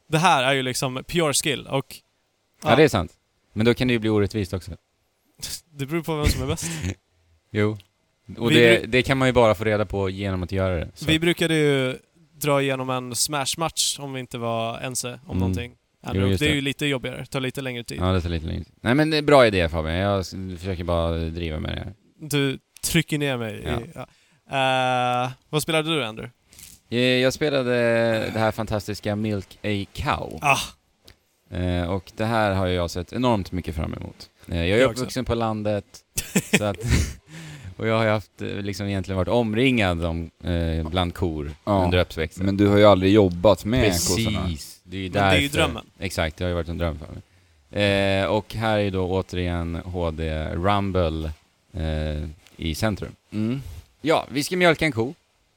[SPEAKER 3] det här är ju liksom pure skill och
[SPEAKER 2] Ja.
[SPEAKER 3] Ja.
[SPEAKER 2] det är sant. Men då kan det ju bli orättvist också.
[SPEAKER 3] det beror på vem som är bäst.
[SPEAKER 2] Jo. Och
[SPEAKER 3] Vi
[SPEAKER 2] det,
[SPEAKER 3] bru-
[SPEAKER 2] det kan man ju bara få reda på genom att göra det. Så.
[SPEAKER 3] Vi brukade ju dra igenom en smash-match om vi inte var ense om
[SPEAKER 2] Mm.
[SPEAKER 3] någonting.
[SPEAKER 2] Jo,
[SPEAKER 3] det.
[SPEAKER 2] just
[SPEAKER 3] är
[SPEAKER 2] det.
[SPEAKER 3] ju lite jobbigare, tar lite längre tid.
[SPEAKER 2] Ja, det tar lite längre tid. Nej men det är bra idé Fabian, jag s- försöker bara driva med det här.
[SPEAKER 3] Du trycker ner mig.
[SPEAKER 2] Ja.
[SPEAKER 3] I, ja. Eh, vad spelade du Andrew?
[SPEAKER 2] Eh, Jag spelade det här fantastiska Milk A Cow.
[SPEAKER 3] Ah.
[SPEAKER 2] Eh, Och det här har ju jag sett enormt mycket fram emot. Eh, Jag är
[SPEAKER 3] Jag också.
[SPEAKER 2] uppvuxen på landet, så att, och jag har ju haft, eh, liksom egentligen varit omringad om, eh, bland kor
[SPEAKER 1] Ja.
[SPEAKER 2] under uppväxten.
[SPEAKER 1] Men du har ju aldrig jobbat med kossorna.
[SPEAKER 2] Precis, det är ju
[SPEAKER 3] Men det är ju
[SPEAKER 2] därför.
[SPEAKER 3] drömmen.
[SPEAKER 2] Exakt, det har ju varit en dröm för mig. Eh, och här är ju då återigen HD Rumble eh, i centrum.
[SPEAKER 1] Mm.
[SPEAKER 2] Ja, vi ska mjölka en ko.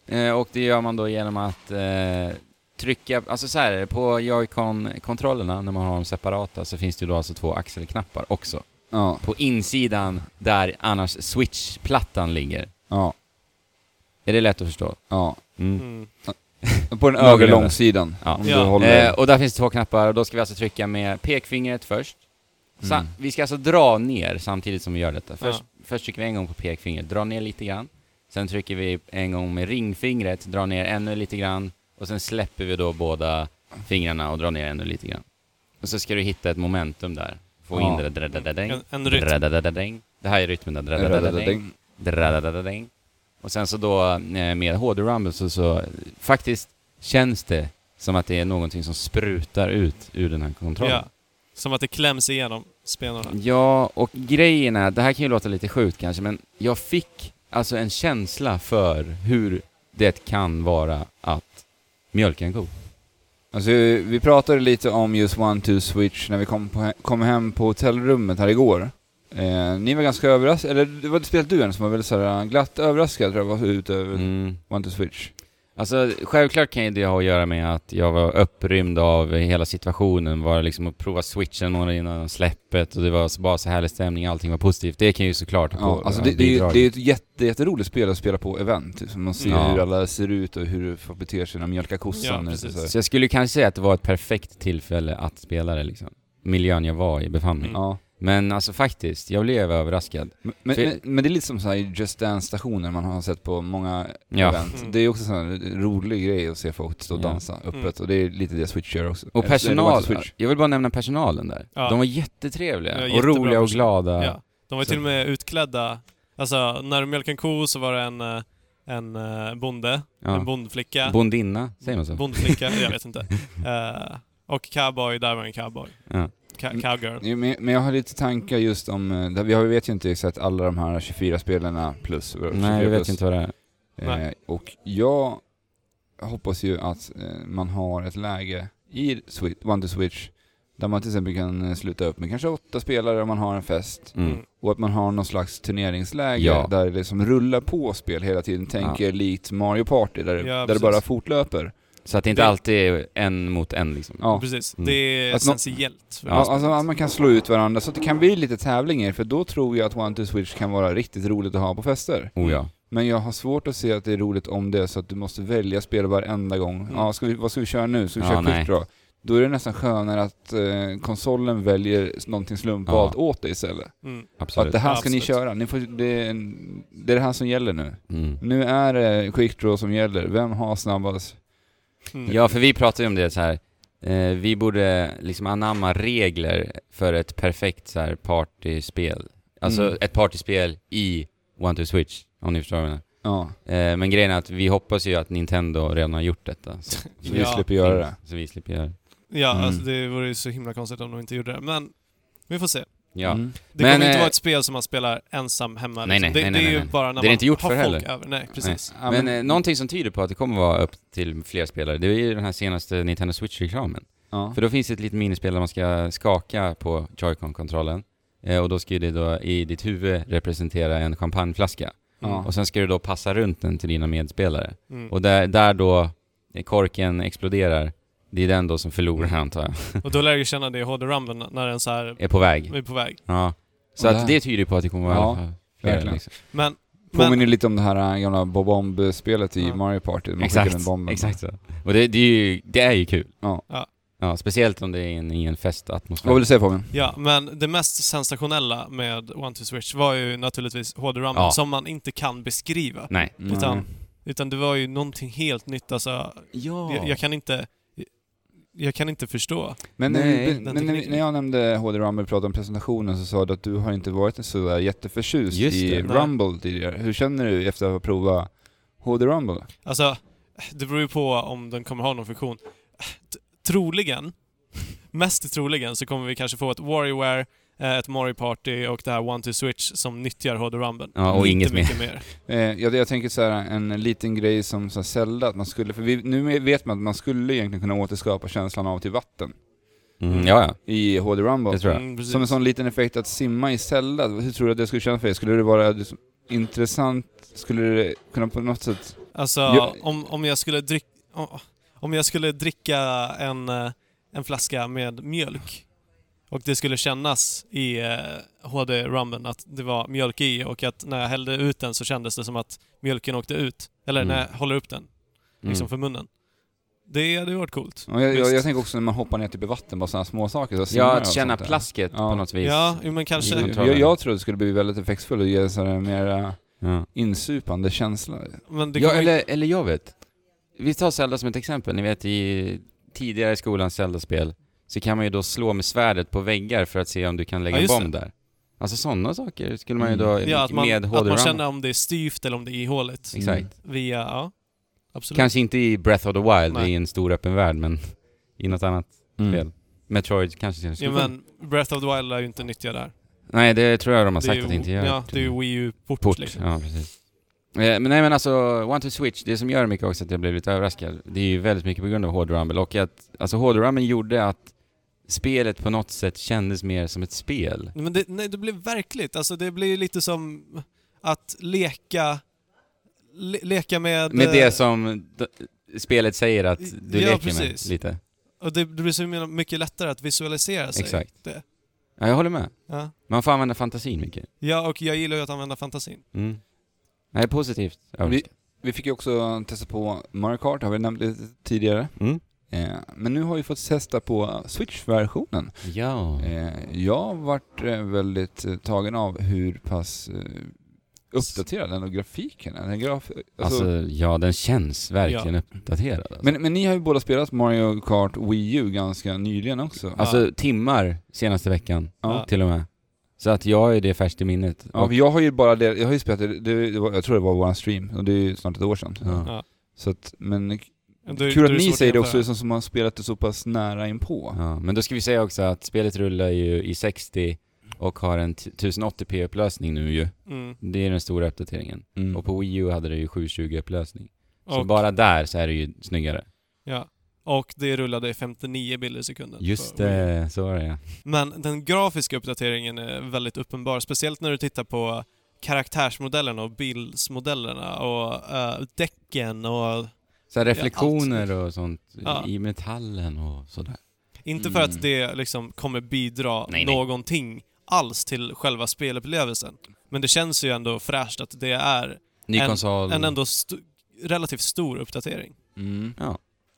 [SPEAKER 2] Eh, och det gör man då genom att eh, trycka, alltså så här, på Joy-Con-kontrollerna när man har dem separata så finns det ju då alltså två axelknappar också.
[SPEAKER 1] Ja,
[SPEAKER 2] På insidan där annars switchplattan ligger.
[SPEAKER 1] ja,
[SPEAKER 2] Är det lätt att förstå?
[SPEAKER 1] ja.
[SPEAKER 2] Mm.
[SPEAKER 3] Mm.
[SPEAKER 1] På den
[SPEAKER 2] Några
[SPEAKER 1] övre
[SPEAKER 2] gubbar.
[SPEAKER 1] långsidan.
[SPEAKER 2] Ja.
[SPEAKER 1] Om du
[SPEAKER 3] Ja.
[SPEAKER 1] håller...
[SPEAKER 2] Eh, och där finns det två knappar och då ska vi alltså trycka med pekfingret först. Sa-
[SPEAKER 1] Mm.
[SPEAKER 2] Vi ska alltså dra ner samtidigt som vi gör detta. Först,
[SPEAKER 3] Ja.
[SPEAKER 2] först trycker vi en gång på pekfingret, dra ner lite grann. Sen trycker vi en gång med ringfingret, dra ner ännu lite grann. Och sen släpper vi då båda fingrarna och drar ner ännu lite grann. Och så ska du hitta ett momentum där. Få
[SPEAKER 1] Ja.
[SPEAKER 2] in det där, där, där, där,
[SPEAKER 3] En, en rytm.
[SPEAKER 2] där, där, där. Det här är rytmen där, där, där, där, där, där. Dradadadading. Och sen så då eh, med HD Rumble så, så eh, faktiskt känns det som att det är någonting som sprutar ut ur den här kontrollen.
[SPEAKER 3] Ja. Som att det kläms igenom spelarna.
[SPEAKER 2] Ja, och grejen är, det här kan ju låta lite sjukt kanske, men jag fick alltså en känsla för hur det kan vara att mjölka en ko.
[SPEAKER 1] Alltså, vi pratade lite om just One Two Switch när vi kom, på, kom hem på hotellrummet här igår. Eh, ni var ganska överraskade, eller det var spelet du en som var väldigt så här, äh, glatt överraskad tror jag var utöver
[SPEAKER 2] Mm.
[SPEAKER 1] One Two Switch.
[SPEAKER 2] Alltså självklart kan ju det ha att göra med att jag var upprymd av hela situationen, var liksom att prova switchen några innan släppet och det var så- bara så härlig stämning, allting var positivt. Det kan ju såklart ha
[SPEAKER 1] Ja,
[SPEAKER 2] på-
[SPEAKER 1] alltså
[SPEAKER 2] ha
[SPEAKER 1] det, det, är ju-
[SPEAKER 2] bidragit.
[SPEAKER 1] det är ju ett jätte, jätteroligt spel att spela på event. Liksom. Man ser
[SPEAKER 2] Ja.
[SPEAKER 1] hur alla ser ut och hur folk beter sig när de mjölkar kossan.
[SPEAKER 3] Ja,
[SPEAKER 1] och så-
[SPEAKER 3] precis.
[SPEAKER 1] så-
[SPEAKER 2] Så jag skulle kanske säga att det var ett perfekt tillfälle att spela det liksom. Miljön jag var i befann mig.
[SPEAKER 3] Mm.
[SPEAKER 1] ja.
[SPEAKER 2] Men alltså faktiskt, jag blev överraskad.
[SPEAKER 1] Men, men,
[SPEAKER 2] För-
[SPEAKER 1] men- men det är lite som så här Just Dance-stationer man har sett på många
[SPEAKER 2] Ja.
[SPEAKER 1] event.
[SPEAKER 3] Mm.
[SPEAKER 1] Det är också en sån här rolig grej att se folk stå och
[SPEAKER 2] Ja.
[SPEAKER 1] dansa öppet och det är lite det Switch gör också.
[SPEAKER 2] Och
[SPEAKER 1] Eller, det var
[SPEAKER 2] personal,
[SPEAKER 1] inte Switch.
[SPEAKER 2] jag vill bara nämna personalen där.
[SPEAKER 3] Ja.
[SPEAKER 2] De var jättetrevliga
[SPEAKER 3] Ja,
[SPEAKER 2] och
[SPEAKER 3] jättebra
[SPEAKER 2] roliga och
[SPEAKER 3] personal.
[SPEAKER 2] glada.
[SPEAKER 3] Ja. De var ju
[SPEAKER 2] Så-
[SPEAKER 3] till och med utklädda. Alltså, när du mjölkade en ko så var det en, eh, en eh, bonde,
[SPEAKER 2] Ja.
[SPEAKER 3] en bondflicka.
[SPEAKER 2] Bondinna, säger man så?
[SPEAKER 3] Bondflicka, jag vet inte. Eh, och cowboy, där var en cowboy.
[SPEAKER 2] ja.
[SPEAKER 3] Ca- cowgirl.
[SPEAKER 1] Jo, Men, men jag har lite tankar just om, eh, där vi har- vi vet ju inte exakt alla de här 24 spelarna plus. 24
[SPEAKER 2] Nej, jag vet
[SPEAKER 1] plus.
[SPEAKER 2] inte vad det är.
[SPEAKER 1] Eh, och jag hoppas ju att eh, man har ett läge i Swi- One to Switch där man till exempel kan eh, sluta upp med kanske åtta spelare om man har en fest.
[SPEAKER 2] Mm.
[SPEAKER 3] Mm.
[SPEAKER 1] Och att man har någon slags turneringsläge
[SPEAKER 2] Ja.
[SPEAKER 1] där det liksom rullar på spel hela tiden. Tänk
[SPEAKER 2] Ja.
[SPEAKER 1] er likt Mario Party där,
[SPEAKER 3] Ja,
[SPEAKER 1] där det
[SPEAKER 3] precis.
[SPEAKER 1] bara fortlöper.
[SPEAKER 2] Så att det inte
[SPEAKER 3] Det-
[SPEAKER 2] alltid är en mot en liksom.
[SPEAKER 1] Ja.
[SPEAKER 3] Precis.
[SPEAKER 2] Mm.
[SPEAKER 3] Det är
[SPEAKER 1] Att nå-
[SPEAKER 3] essentiellt. för
[SPEAKER 1] Ja,
[SPEAKER 3] det
[SPEAKER 1] alltså
[SPEAKER 3] spelet.
[SPEAKER 1] att man kan slå ut varandra så att det kan bli lite tävlingar för då tror jag att One to Switch kan vara riktigt roligt att ha på fester.
[SPEAKER 2] Oh ja.
[SPEAKER 1] Men jag har svårt att se att det är roligt om det är så att du måste välja spel varenda gång.
[SPEAKER 3] Mm.
[SPEAKER 1] Ja, ska vi, vad ska vi köra nu? Ska vi
[SPEAKER 2] Ja,
[SPEAKER 1] köra
[SPEAKER 2] nej.
[SPEAKER 1] quick draw? Då är det nästan skönare att eh, konsolen väljer någonting slumpvalt åt dig istället.
[SPEAKER 3] Mm.
[SPEAKER 1] Att
[SPEAKER 2] Absolut.
[SPEAKER 1] det här ska ni
[SPEAKER 3] Absolut.
[SPEAKER 1] köra, ni får, det, är en, det är det här som gäller nu.
[SPEAKER 2] Mm.
[SPEAKER 1] Nu är det quick draw som gäller, vem har snabbast?
[SPEAKER 3] Mm.
[SPEAKER 2] Ja, för vi pratade ju om det så här. Eh, vi borde liksom anamma regler för ett perfekt så här partyspel. Alltså
[SPEAKER 1] Mm.
[SPEAKER 2] ett partyspel i One to Switch, om ni förstår vad jag menar.
[SPEAKER 1] Ja,
[SPEAKER 2] Eh, men grejen är att vi hoppas ju att Nintendo redan har gjort detta. Så,
[SPEAKER 1] så vi
[SPEAKER 3] Ja.
[SPEAKER 1] slipper göra det.
[SPEAKER 2] så vi slipper göra det.
[SPEAKER 3] Ja,
[SPEAKER 1] Mm.
[SPEAKER 3] alltså det vore ju så himla konstigt om de inte gjorde det. Men vi får se.
[SPEAKER 2] Ja.
[SPEAKER 1] Mm.
[SPEAKER 3] Det
[SPEAKER 2] Men,
[SPEAKER 3] kommer inte
[SPEAKER 2] eh,
[SPEAKER 3] vara ett spel som man spelar ensam hemma.
[SPEAKER 2] Nej,
[SPEAKER 3] liksom.
[SPEAKER 2] nej,
[SPEAKER 3] det,
[SPEAKER 2] nej,
[SPEAKER 3] det är
[SPEAKER 2] nej,
[SPEAKER 3] ju
[SPEAKER 2] nej.
[SPEAKER 3] bara när
[SPEAKER 2] Det är
[SPEAKER 3] man
[SPEAKER 2] inte gjort
[SPEAKER 3] har
[SPEAKER 2] för
[SPEAKER 3] folk
[SPEAKER 2] heller.
[SPEAKER 3] över. Nej, precis.
[SPEAKER 1] Ja,
[SPEAKER 2] men eh, någonting som tyder på att det kommer vara upp till fler spelare, det är ju den här senaste Nintendo Switch-reklamen.
[SPEAKER 1] ja.
[SPEAKER 2] För då finns det ett litet minispel där man ska skaka på Joy-Con-kontrollen. Eh, och då ska ju det då i ditt huvud representera en champagneflaska.
[SPEAKER 1] Ja.
[SPEAKER 2] Och sen ska du då passa runt den till dina medspelare.
[SPEAKER 3] Mm.
[SPEAKER 2] Och där, där då korken exploderar, det är den då som förlorar antar jag,
[SPEAKER 3] Och då lär du känna det i HD Rumble när den så här
[SPEAKER 2] är på väg.
[SPEAKER 3] är på väg.
[SPEAKER 2] Ja. Så
[SPEAKER 1] Och
[SPEAKER 2] att
[SPEAKER 1] där.
[SPEAKER 2] det tyder ju på att det kommer vara i alla
[SPEAKER 1] Ja,
[SPEAKER 2] fall fler.
[SPEAKER 1] verkligen.
[SPEAKER 2] Liksom.
[SPEAKER 3] Men,
[SPEAKER 1] Påminner
[SPEAKER 3] men
[SPEAKER 1] lite om det här äh, gamla Bob Bomb-spelet i
[SPEAKER 3] Ja.
[SPEAKER 1] Mario Party, där man skickar den
[SPEAKER 2] Exakt,
[SPEAKER 1] bomben.
[SPEAKER 2] exakt så. Och det, det, är ju, det är ju kul.
[SPEAKER 1] Ja.
[SPEAKER 3] Ja.
[SPEAKER 2] Ja, speciellt om det är i en, i en festatmosfär.
[SPEAKER 1] Vad vill du säga Fabian?
[SPEAKER 3] ja, men det mest sensationella med One to Switch var ju naturligtvis HD Rumble
[SPEAKER 2] Ja.
[SPEAKER 3] som man inte kan beskriva.
[SPEAKER 2] Nej.
[SPEAKER 1] Mm.
[SPEAKER 3] Utan, utan det var ju någonting helt nytt. Alltså,
[SPEAKER 2] Ja.
[SPEAKER 3] jag, jag kan inte... Jag kan inte förstå.
[SPEAKER 1] Men,
[SPEAKER 2] Nej,
[SPEAKER 1] när vi-
[SPEAKER 3] den
[SPEAKER 1] men när, vi-
[SPEAKER 3] tekniken.
[SPEAKER 1] när jag nämnde HD Rumble och pratade om presentationen så sa du att du har inte varit så där jätteförtjust
[SPEAKER 2] Just
[SPEAKER 1] i
[SPEAKER 2] det.
[SPEAKER 3] Nej.
[SPEAKER 1] Rumble tidigare. Hur känner du efter att ha provat HD Rumble?
[SPEAKER 3] Alltså, det beror ju på om den kommer ha någon funktion. T- Troligen, mest troligen, så kommer vi kanske få ett Warrior, ett Mario Party och det här One to Switch som nyttjar HD Rumble.
[SPEAKER 2] Ja, och
[SPEAKER 3] Inte
[SPEAKER 2] inget mer.
[SPEAKER 3] mycket mer.
[SPEAKER 1] Eh, jag, jag tänker så här, en liten grej som så här, Zelda, att man skulle, för vi, nu vet man att man skulle egentligen kunna återskapa känslan av till vatten
[SPEAKER 2] Mm, ja, ja.
[SPEAKER 1] i HD Rumble.
[SPEAKER 2] Det tror jag.
[SPEAKER 3] Mm, precis.
[SPEAKER 1] Som en sån liten effekt att simma i Zelda, hur tror du att det skulle kännas för dig? Skulle det vara liksom, intressant? Skulle det kunna på något sätt...
[SPEAKER 3] Alltså,
[SPEAKER 1] Ja.
[SPEAKER 3] om, om jag skulle dricka... Om jag skulle dricka en, eh, en flaska med mjölk och det skulle kännas i eh, HD Rumben att det var mjölk i och att när jag hällde ut den så kändes det som att mjölken åkte ut. Eller när
[SPEAKER 2] Mm.
[SPEAKER 3] jag håller upp den,
[SPEAKER 2] Mm.
[SPEAKER 3] liksom för munnen. Det hade ju varit coolt.
[SPEAKER 1] Och jag, jag,
[SPEAKER 3] Visst.
[SPEAKER 1] jag tänker också när man hoppar ner typ i vatten, bara sådana små saker. Så simmar
[SPEAKER 2] ja,
[SPEAKER 1] och
[SPEAKER 2] att känna
[SPEAKER 1] sånt där.
[SPEAKER 2] plasket
[SPEAKER 1] Ja.
[SPEAKER 2] på något vis.
[SPEAKER 3] Ja, jo, men kanske...
[SPEAKER 2] Mm.
[SPEAKER 1] Jag, jag tror det skulle bli väldigt effektfullt och ge en sån här mera
[SPEAKER 2] Ja.
[SPEAKER 1] insupande känsla.
[SPEAKER 3] Men det
[SPEAKER 2] Ja,
[SPEAKER 3] kommer ju-
[SPEAKER 2] eller, eller jag vet. Vi tar Zelda som ett exempel. Ni vet i tidigare i skolans Zelda-spel så kan man ju då slå med svärdet på väggar för att se om du kan lägga
[SPEAKER 3] Ja,
[SPEAKER 2] en
[SPEAKER 3] just
[SPEAKER 2] bomb där. Alltså sådana saker skulle man ju
[SPEAKER 1] Mm.
[SPEAKER 2] då
[SPEAKER 3] ja, att man,
[SPEAKER 2] med
[SPEAKER 3] att
[SPEAKER 2] HD
[SPEAKER 3] man
[SPEAKER 2] Rumble.
[SPEAKER 3] känner om det är styvt eller om det är ihåligt.
[SPEAKER 2] Exakt.
[SPEAKER 1] Mm.
[SPEAKER 3] Via... Ja, absolut.
[SPEAKER 2] Kanske inte i Breath of the Wild,
[SPEAKER 3] Nej.
[SPEAKER 2] i en stor öppen värld, men i något annat
[SPEAKER 1] Mm.
[SPEAKER 2] spel. Metroid kanske känns
[SPEAKER 3] Jo, men Breath of the Wild är ju inte nyttiga där.
[SPEAKER 2] Nej, det tror jag de har
[SPEAKER 3] Det är
[SPEAKER 2] sagt att
[SPEAKER 3] ju-
[SPEAKER 2] det inte gör.
[SPEAKER 3] Ja, det är ju Wii U-port.
[SPEAKER 2] Port,
[SPEAKER 3] Liksom.
[SPEAKER 2] ja precis. Eh, Men nej men alltså, One to Switch, det som gör mycket också att jag blev lite överraskad, det är ju väldigt mycket på grund av Hård Rumble och att, alltså Hård Rumble gjorde att spelet på något sätt kändes mer som ett spel.
[SPEAKER 3] Men det, nej, det blir verkligt. Alltså det blir lite som att leka... Le, leka med...
[SPEAKER 2] Med
[SPEAKER 3] eh,
[SPEAKER 2] det som d- spelet säger att du
[SPEAKER 3] Ja,
[SPEAKER 2] leker
[SPEAKER 3] precis.
[SPEAKER 2] med lite.
[SPEAKER 3] Och det, det blir så himla mycket lättare att visualisera sig.
[SPEAKER 2] Exakt.
[SPEAKER 3] Det.
[SPEAKER 2] Ja, jag håller med.
[SPEAKER 3] Ja.
[SPEAKER 2] Man får använda fantasin mycket.
[SPEAKER 3] ja, och jag gillar ju att använda fantasin.
[SPEAKER 2] Mm. Nej, positivt.
[SPEAKER 1] Vi, vi fick ju också testa på Mario Kart, har vi nämnt lite tidigare.
[SPEAKER 2] Mm.
[SPEAKER 1] Eh, men nu har vi fått testa på Switch-versionen.
[SPEAKER 2] Ja.
[SPEAKER 1] Eh, jag vart eh, väldigt eh, tagen av hur pass eh, uppdaterad den och grafiken är. Den graf, alltså,
[SPEAKER 2] Alltså, ja den känns verkligen uppdaterad. Alltså.
[SPEAKER 1] men, men ni har ju båda spelat Mario Kart Wii U ganska nyligen också.
[SPEAKER 3] Ja.
[SPEAKER 2] Alltså timmar senaste veckan,
[SPEAKER 1] Ja.
[SPEAKER 2] till och med. Så att jag är det färskt i minnet.
[SPEAKER 1] Ja,
[SPEAKER 2] Och-
[SPEAKER 1] för jag har ju bara det, jag har ju spelat det, det, det var, jag tror det var våran stream, och det är ju snart ett år sedan.
[SPEAKER 2] Ja.
[SPEAKER 3] Ja.
[SPEAKER 1] Så att, men
[SPEAKER 3] Då- då
[SPEAKER 1] kul
[SPEAKER 3] är
[SPEAKER 1] att ni
[SPEAKER 3] svårt
[SPEAKER 1] säger det
[SPEAKER 3] jämföra.
[SPEAKER 1] också, som som har spelat det så pass nära inpå.
[SPEAKER 2] Ja, men då ska vi säga också att spelet rullar ju i 60 och har en t- 1080p-upplösning nu ju.
[SPEAKER 3] Mm.
[SPEAKER 2] Det är den stora uppdateringen.
[SPEAKER 1] Mm.
[SPEAKER 2] Och på Wii U hade det ju 720-upplösning. Så
[SPEAKER 3] Och,
[SPEAKER 2] bara där så är det ju snyggare.
[SPEAKER 3] ja. och det rullade i 59 bilder i sekunden.
[SPEAKER 2] Just
[SPEAKER 3] på Wii U.
[SPEAKER 2] det, så var det ja.
[SPEAKER 3] Men den grafiska uppdateringen är väldigt uppenbar, speciellt när du tittar på karaktärsmodellerna och bildsmodellerna och eh, däcken och...
[SPEAKER 2] Så här reflektioner och sånt
[SPEAKER 3] Ja.
[SPEAKER 2] i metallen och sådär.
[SPEAKER 3] Inte för
[SPEAKER 1] Mm.
[SPEAKER 3] att det liksom kommer bidra
[SPEAKER 2] Nej, nej.
[SPEAKER 3] någonting alls till själva spelupplevelsen. Men det känns ju ändå fräscht att det är
[SPEAKER 2] Ny
[SPEAKER 3] En-
[SPEAKER 2] konsol.
[SPEAKER 3] en ändå st- relativt stor uppdatering.
[SPEAKER 1] Mm.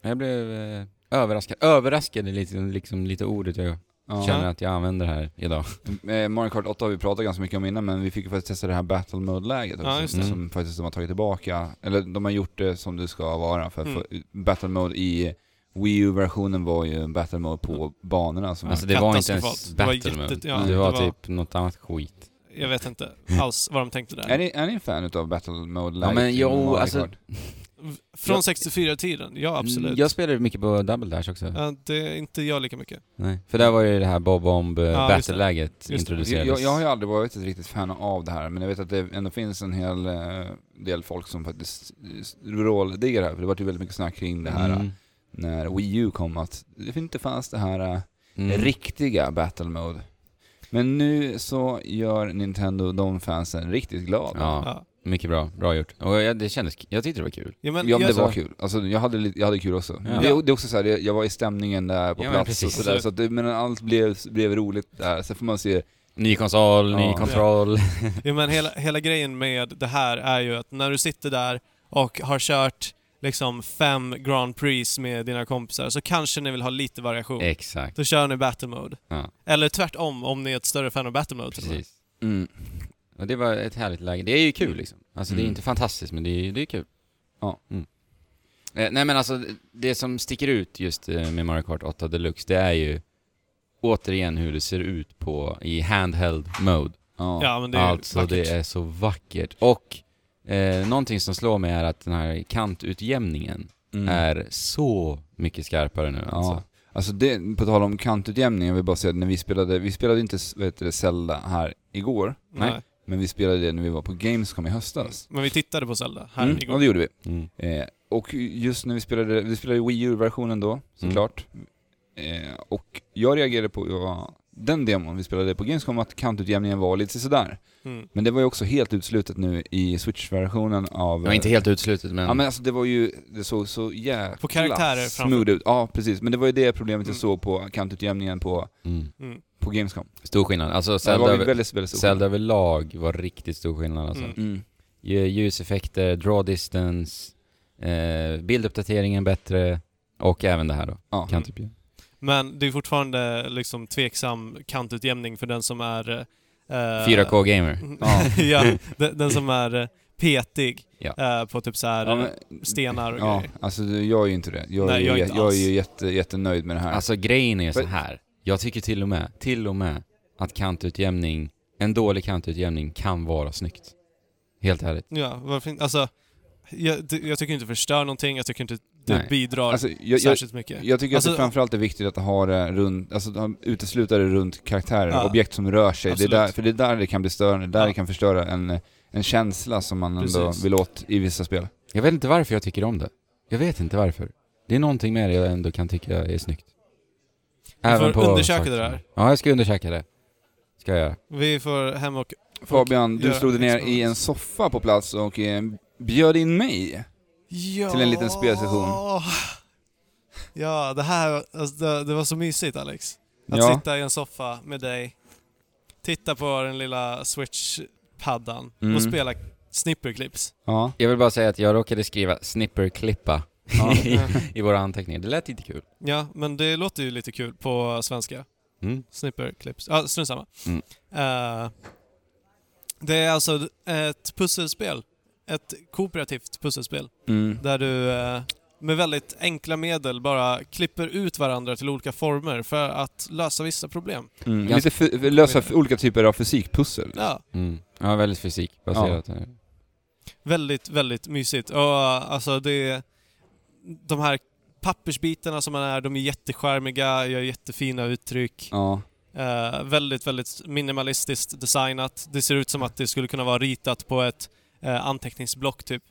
[SPEAKER 2] Jag blev eh, överraskad. Överraskad är lite, liksom, lite ordet jag
[SPEAKER 1] Ja.
[SPEAKER 2] känner att jag använder här idag.
[SPEAKER 1] Eh, Mario Kart 8 har vi pratat ganska mycket om innan, men vi fick ju faktiskt testa det här Battle Mode-läget också,
[SPEAKER 3] Ja, just
[SPEAKER 2] det.
[SPEAKER 1] som faktiskt de har tagit tillbaka. Eller de har gjort det som det ska vara, för att
[SPEAKER 3] Mm.
[SPEAKER 1] få, Battle Mode i Wii U-versionen var ju en Battle Mode på banorna som
[SPEAKER 2] Mm. Alltså det var inte ens
[SPEAKER 3] Katastrofalt. Det var
[SPEAKER 2] battle mode.
[SPEAKER 3] jättet- ja,
[SPEAKER 2] det,
[SPEAKER 3] det
[SPEAKER 2] var
[SPEAKER 3] var-
[SPEAKER 2] typ något annat skit.
[SPEAKER 3] Jag vet inte
[SPEAKER 2] Mm.
[SPEAKER 3] alls vad de tänkte där.
[SPEAKER 1] Är ni, är ni en fan utav Battle Mode-läget?
[SPEAKER 2] Ja, men
[SPEAKER 1] i
[SPEAKER 2] jo,
[SPEAKER 1] Mario
[SPEAKER 2] alltså,
[SPEAKER 1] Kart?
[SPEAKER 3] V- Från 64-tiden, ja absolut.
[SPEAKER 2] Mm, Jag spelade mycket på Double Dash också.
[SPEAKER 3] Ja, det är inte jag lika mycket.
[SPEAKER 2] Nej. För där var ju det här Bob Bomb eh,
[SPEAKER 3] Ja, just det.
[SPEAKER 2] battle-läget
[SPEAKER 3] det.
[SPEAKER 2] introducerades.
[SPEAKER 1] jag, jag har ju aldrig varit ett riktigt fan av det här, men jag vet att det ändå finns en hel eh, del folk som faktiskt eh, vråldiggar det här, för det var ju väldigt mycket snack kring det här eh,
[SPEAKER 2] Mm.
[SPEAKER 1] när Wii U kom, att det inte fanns det här eh,
[SPEAKER 2] Mm.
[SPEAKER 1] riktiga battle mode. Men nu så gör Nintendo de fansen riktigt glada.
[SPEAKER 2] Ja,
[SPEAKER 3] Ja.
[SPEAKER 2] mycket bra. Bra gjort. Och jag, det kändes, jag tyckte det var kul.
[SPEAKER 3] Ja, men
[SPEAKER 1] Ja men
[SPEAKER 3] jag,
[SPEAKER 1] det var kul. Alltså, jag, hade, lite- jag hade kul också.
[SPEAKER 2] Ja.
[SPEAKER 1] Det, det är också så här, det- jag var i stämningen där på
[SPEAKER 2] Ja, men
[SPEAKER 1] plats och
[SPEAKER 2] precis.
[SPEAKER 1] sådär. Så att det- men allt blev, blev roligt där. Sen får man se,
[SPEAKER 2] Ny konsol, ny
[SPEAKER 1] Ja.
[SPEAKER 2] kontroll.
[SPEAKER 3] Ja, men hela, hela grejen med det här är ju att när du sitter där och har kört liksom fem Grand Prix med dina kompisar så kanske ni vill ha lite variation.
[SPEAKER 2] Exakt.
[SPEAKER 3] Då kör ni battle mode.
[SPEAKER 2] Ja.
[SPEAKER 3] Eller tvärtom om ni är ett större fan av battle mode. till och med.
[SPEAKER 2] Precis.
[SPEAKER 1] mm,
[SPEAKER 2] Och det var ett härligt läge. Det är ju kul liksom. Alltså det är
[SPEAKER 1] Mm.
[SPEAKER 2] inte fantastiskt men det är, det är kul.
[SPEAKER 1] Ja.
[SPEAKER 2] Mm. Eh, nej men alltså det som sticker ut just eh, med Mario Kart 8 Deluxe det är ju återigen hur det ser ut på i handheld mode.
[SPEAKER 1] ja.
[SPEAKER 3] Ja, men det är
[SPEAKER 2] alltså
[SPEAKER 3] vackert.
[SPEAKER 2] det är så vackert. Och eh, någonting som slår mig är att den här kantutjämningen
[SPEAKER 1] Mm.
[SPEAKER 2] är så mycket skarpare nu
[SPEAKER 1] Ja.
[SPEAKER 2] alltså.
[SPEAKER 1] Alltså det, på tal om kantutjämning, jag vill bara säga att när vi spelade, vi spelade inte vad heter det, Zelda här igår,
[SPEAKER 3] Nej.
[SPEAKER 1] Nej. men vi spelade det när vi var på Gamescom i höstas.
[SPEAKER 3] Men vi tittade på Zelda här
[SPEAKER 1] Mm, Ja
[SPEAKER 3] igår.
[SPEAKER 1] det gjorde vi.
[SPEAKER 2] Mm.
[SPEAKER 1] Eh, och just när vi spelade, vi spelade ju Wii U-versionen då
[SPEAKER 2] Mm.
[SPEAKER 1] såklart. Eh, och jag reagerade på, ja, den demon vi spelade på Gamescom, att kantutjämningen var lite sådär.
[SPEAKER 3] Mm.
[SPEAKER 1] Men det var ju också helt utslutet nu i Switch-versionen av...
[SPEAKER 2] Det var inte helt utslutet men...
[SPEAKER 1] Ja men alltså det var ju, det såg så jäkla
[SPEAKER 3] På karaktärer framför-
[SPEAKER 1] smooth ut. Ja precis, men det var ju det problemet jag
[SPEAKER 3] Mm.
[SPEAKER 1] såg på kantutjämningen på,
[SPEAKER 2] mm.
[SPEAKER 3] Mm.
[SPEAKER 1] på Gamescom.
[SPEAKER 2] Stor skillnad. Alltså
[SPEAKER 1] det
[SPEAKER 2] Zelda,
[SPEAKER 1] var ju
[SPEAKER 2] över,
[SPEAKER 1] väldigt, väldigt stor
[SPEAKER 2] Zelda överlag var riktigt stor skillnad alltså.
[SPEAKER 3] Mm.
[SPEAKER 1] Mm.
[SPEAKER 2] Ju- Ljuseffekter, draw distance, eh, bilduppdateringen bättre och även det här då.
[SPEAKER 1] Ja.
[SPEAKER 2] Kan typ ju.
[SPEAKER 3] Men det är fortfarande liksom tveksam kantutjämning för den som är... eh,
[SPEAKER 2] 4K gamer.
[SPEAKER 1] Ja.
[SPEAKER 3] ja, den, den som är eh, petig
[SPEAKER 2] Ja.
[SPEAKER 3] eh, på typ så här
[SPEAKER 1] Ja, men,
[SPEAKER 3] eh, stenar och
[SPEAKER 1] ja,
[SPEAKER 3] grejer.
[SPEAKER 1] alltså jag är ju inte det. Jag är
[SPEAKER 3] Nej,
[SPEAKER 1] ju,
[SPEAKER 3] jag är
[SPEAKER 1] jag
[SPEAKER 3] inte
[SPEAKER 1] jag är
[SPEAKER 3] alls.
[SPEAKER 1] ju jätte, jättenöjd med det här.
[SPEAKER 2] Alltså grejen är ju så
[SPEAKER 1] Men-
[SPEAKER 2] här. Jag tycker till och med, till och med att kantutjämning, en dålig kantutjämning kan vara snyggt. Helt ärligt.
[SPEAKER 3] Ja, varför inte? Alltså, jag, det- jag tycker inte det förstör någonting, jag tycker inte det
[SPEAKER 2] Nej.
[SPEAKER 3] bidrar
[SPEAKER 1] alltså, jag, jag,
[SPEAKER 3] särskilt mycket.
[SPEAKER 1] jag tycker att
[SPEAKER 3] Alltså-
[SPEAKER 1] det framförallt är viktigt att ha det runt, alltså att utesluta det runt karaktärer,
[SPEAKER 3] Ja.
[SPEAKER 1] objekt som rör sig. Det är
[SPEAKER 3] Absolut.
[SPEAKER 1] där, för det är där det kan bli störande, där
[SPEAKER 3] Ja.
[SPEAKER 1] det kan förstöra en, en känsla som man ändå
[SPEAKER 3] Precis.
[SPEAKER 1] vill åt i vissa spel.
[SPEAKER 2] Jag vet inte varför jag tycker om det. Jag vet inte varför. Det är någonting med det jag ändå kan tycka är snyggt.
[SPEAKER 3] får undersöka
[SPEAKER 2] saker
[SPEAKER 3] det
[SPEAKER 2] som-
[SPEAKER 3] där.
[SPEAKER 2] Ja, jag ska undersöka det. Ska jag göra.
[SPEAKER 3] Vi får hem och...
[SPEAKER 1] Fabian, du
[SPEAKER 3] göra
[SPEAKER 1] slog dig ner i
[SPEAKER 3] experiment.
[SPEAKER 1] en soffa på plats och eh, bjöd in mig.
[SPEAKER 3] Ja.
[SPEAKER 1] Till en liten spelsession.
[SPEAKER 3] Ja, det här alltså, det, det var så mysigt Alex. Att
[SPEAKER 1] Ja.
[SPEAKER 3] sitta i en soffa med dig, titta på den lilla switch-paddan
[SPEAKER 1] Mm.
[SPEAKER 3] och spela snipperclips.
[SPEAKER 1] Ja.
[SPEAKER 2] Jag vill bara säga att jag råkade skriva snipperklippa
[SPEAKER 1] Ja.
[SPEAKER 2] i, i våra anteckningar. Det lät inte kul.
[SPEAKER 3] Ja, men det låter ju lite kul på svenska.
[SPEAKER 2] Mm.
[SPEAKER 3] Snipperclips. Ja, strunt samma.
[SPEAKER 2] Mm.
[SPEAKER 3] Eh, det är alltså ett pusselspel. Ett kooperativt pusselspel.
[SPEAKER 1] Mm.
[SPEAKER 3] Där du eh, med väldigt enkla medel bara klipper ut varandra till olika former för att lösa vissa problem.
[SPEAKER 1] Mm.
[SPEAKER 2] Ganska-
[SPEAKER 1] Lite f- lösa f- olika typer av fysikpussel.
[SPEAKER 3] Ja,
[SPEAKER 2] Mm. Ja, väldigt eh, fysikbaserat. Ja.
[SPEAKER 3] väldigt, väldigt mysigt. Och eh, alltså det... De här pappersbitarna som man är, de är jätteskärmiga, gör jättefina uttryck.
[SPEAKER 1] Ja.
[SPEAKER 3] Eh, väldigt, väldigt minimalistiskt designat. Det ser ut som att det skulle kunna vara ritat på ett eh, anteckningsblock typ.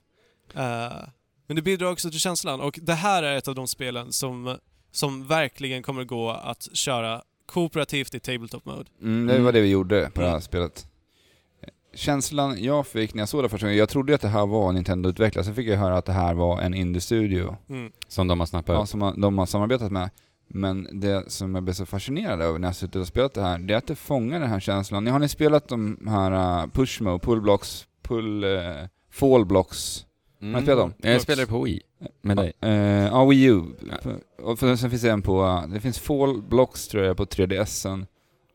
[SPEAKER 3] Eh, men det bidrar också till känslan och det här är ett av de spelen som, som verkligen kommer gå att köra kooperativt i tabletop mode.
[SPEAKER 1] Mm, det
[SPEAKER 2] Mm.
[SPEAKER 1] var det vi gjorde på det här
[SPEAKER 3] Mm.
[SPEAKER 1] spelet. Känslan jag fick när jag såg det första gången, jag trodde att det här var Nintendo-utvecklat, sen fick jag höra att det här var en indie-studio
[SPEAKER 3] Mm.
[SPEAKER 2] Som de har snappat
[SPEAKER 1] ja,
[SPEAKER 2] upp.
[SPEAKER 1] som de har samarbetat med. Men det som jag blev så fascinerad över när jag suttit och spelat det här, det är att det fångar den här känslan. Har ni spelat de här uh, Pushmo, Pullblocks, Pull... Uh, Fallblocks?
[SPEAKER 2] Mm.
[SPEAKER 1] Har ni spelat dem?
[SPEAKER 2] Jag spelade på Wii. med dig?
[SPEAKER 1] Ja, eh, ja, Wii U. Och för- sen finns det en på, eh, det finns Fall Blocks tror jag på 3DSen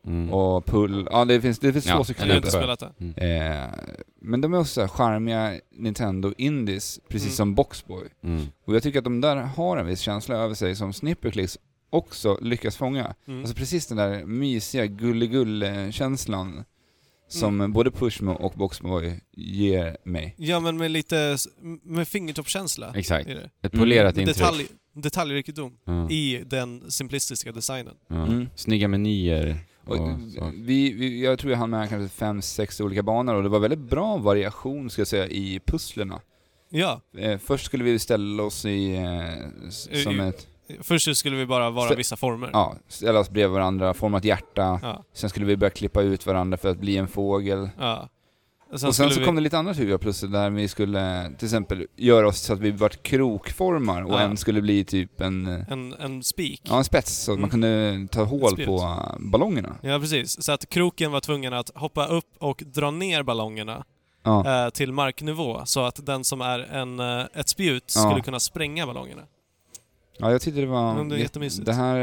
[SPEAKER 2] Mm.
[SPEAKER 1] och Pull, ja det finns, det finns två
[SPEAKER 2] Ja,
[SPEAKER 3] Jag
[SPEAKER 1] stycken.
[SPEAKER 2] det
[SPEAKER 3] har
[SPEAKER 2] är
[SPEAKER 1] där
[SPEAKER 3] inte
[SPEAKER 1] uppe.
[SPEAKER 3] spelat det.
[SPEAKER 1] Eh, men de är också så här charmiga Nintendo Indies, precis
[SPEAKER 3] Mm.
[SPEAKER 1] som Boxboy.
[SPEAKER 2] Mm.
[SPEAKER 1] Och jag tycker att de där har en viss känsla över sig som Snipperclicks också lyckas fånga.
[SPEAKER 3] Mm.
[SPEAKER 1] Alltså precis den där mysiga
[SPEAKER 3] Mm.
[SPEAKER 1] gulligull-känslan som både Pushmo och Boxboy ger mig.
[SPEAKER 3] Ja, men med lite... s- Med fingertoppskänsla.
[SPEAKER 2] Exakt.
[SPEAKER 3] Är det.
[SPEAKER 2] Ett
[SPEAKER 1] Mm.
[SPEAKER 2] polerat intryck.
[SPEAKER 3] Detalj, detaljrikedom
[SPEAKER 2] Ja,
[SPEAKER 3] i den simplistiska designen.
[SPEAKER 2] ja.
[SPEAKER 1] Mm.
[SPEAKER 2] Snygga menyer och,
[SPEAKER 1] Och
[SPEAKER 2] så.
[SPEAKER 1] vi, vi, jag tror jag hann med kanske fem, sex olika banor och det var väldigt bra variation ska jag säga i pusslerna.
[SPEAKER 3] Ja,
[SPEAKER 1] Eh, först skulle vi ställa oss i... Eh, s-
[SPEAKER 3] I-
[SPEAKER 1] som
[SPEAKER 3] i-
[SPEAKER 1] ett,
[SPEAKER 3] först så skulle vi bara vara
[SPEAKER 1] Så-
[SPEAKER 3] vissa former.
[SPEAKER 1] ja, ställa oss bredvid varandra, forma ett hjärta.
[SPEAKER 3] Ja.
[SPEAKER 1] Sen skulle vi börja klippa ut varandra för att bli en fågel.
[SPEAKER 3] ja. Och
[SPEAKER 1] och sen
[SPEAKER 3] skulle
[SPEAKER 1] så kom det lite andra typer av pussel där vi skulle till exempel göra oss så att vi vart krokformar och
[SPEAKER 3] Ja.
[SPEAKER 1] en skulle bli typ en, eh,
[SPEAKER 3] en, en spik.
[SPEAKER 1] ja, en spets så att man
[SPEAKER 3] Mm.
[SPEAKER 1] kunde ta hål
[SPEAKER 3] Spirit.
[SPEAKER 1] på eh, ballongerna.
[SPEAKER 3] Ja, precis. Så att kroken var tvungen att hoppa upp och dra ner ballongerna
[SPEAKER 1] Ja.
[SPEAKER 3] eh, till marknivå så att den som är en, eh, ett spjut
[SPEAKER 1] Ja.
[SPEAKER 3] skulle kunna spränga ballongerna.
[SPEAKER 1] ja, jag tyckte det var...
[SPEAKER 3] Men det är
[SPEAKER 1] jät-
[SPEAKER 3] jättemysigt.
[SPEAKER 1] det här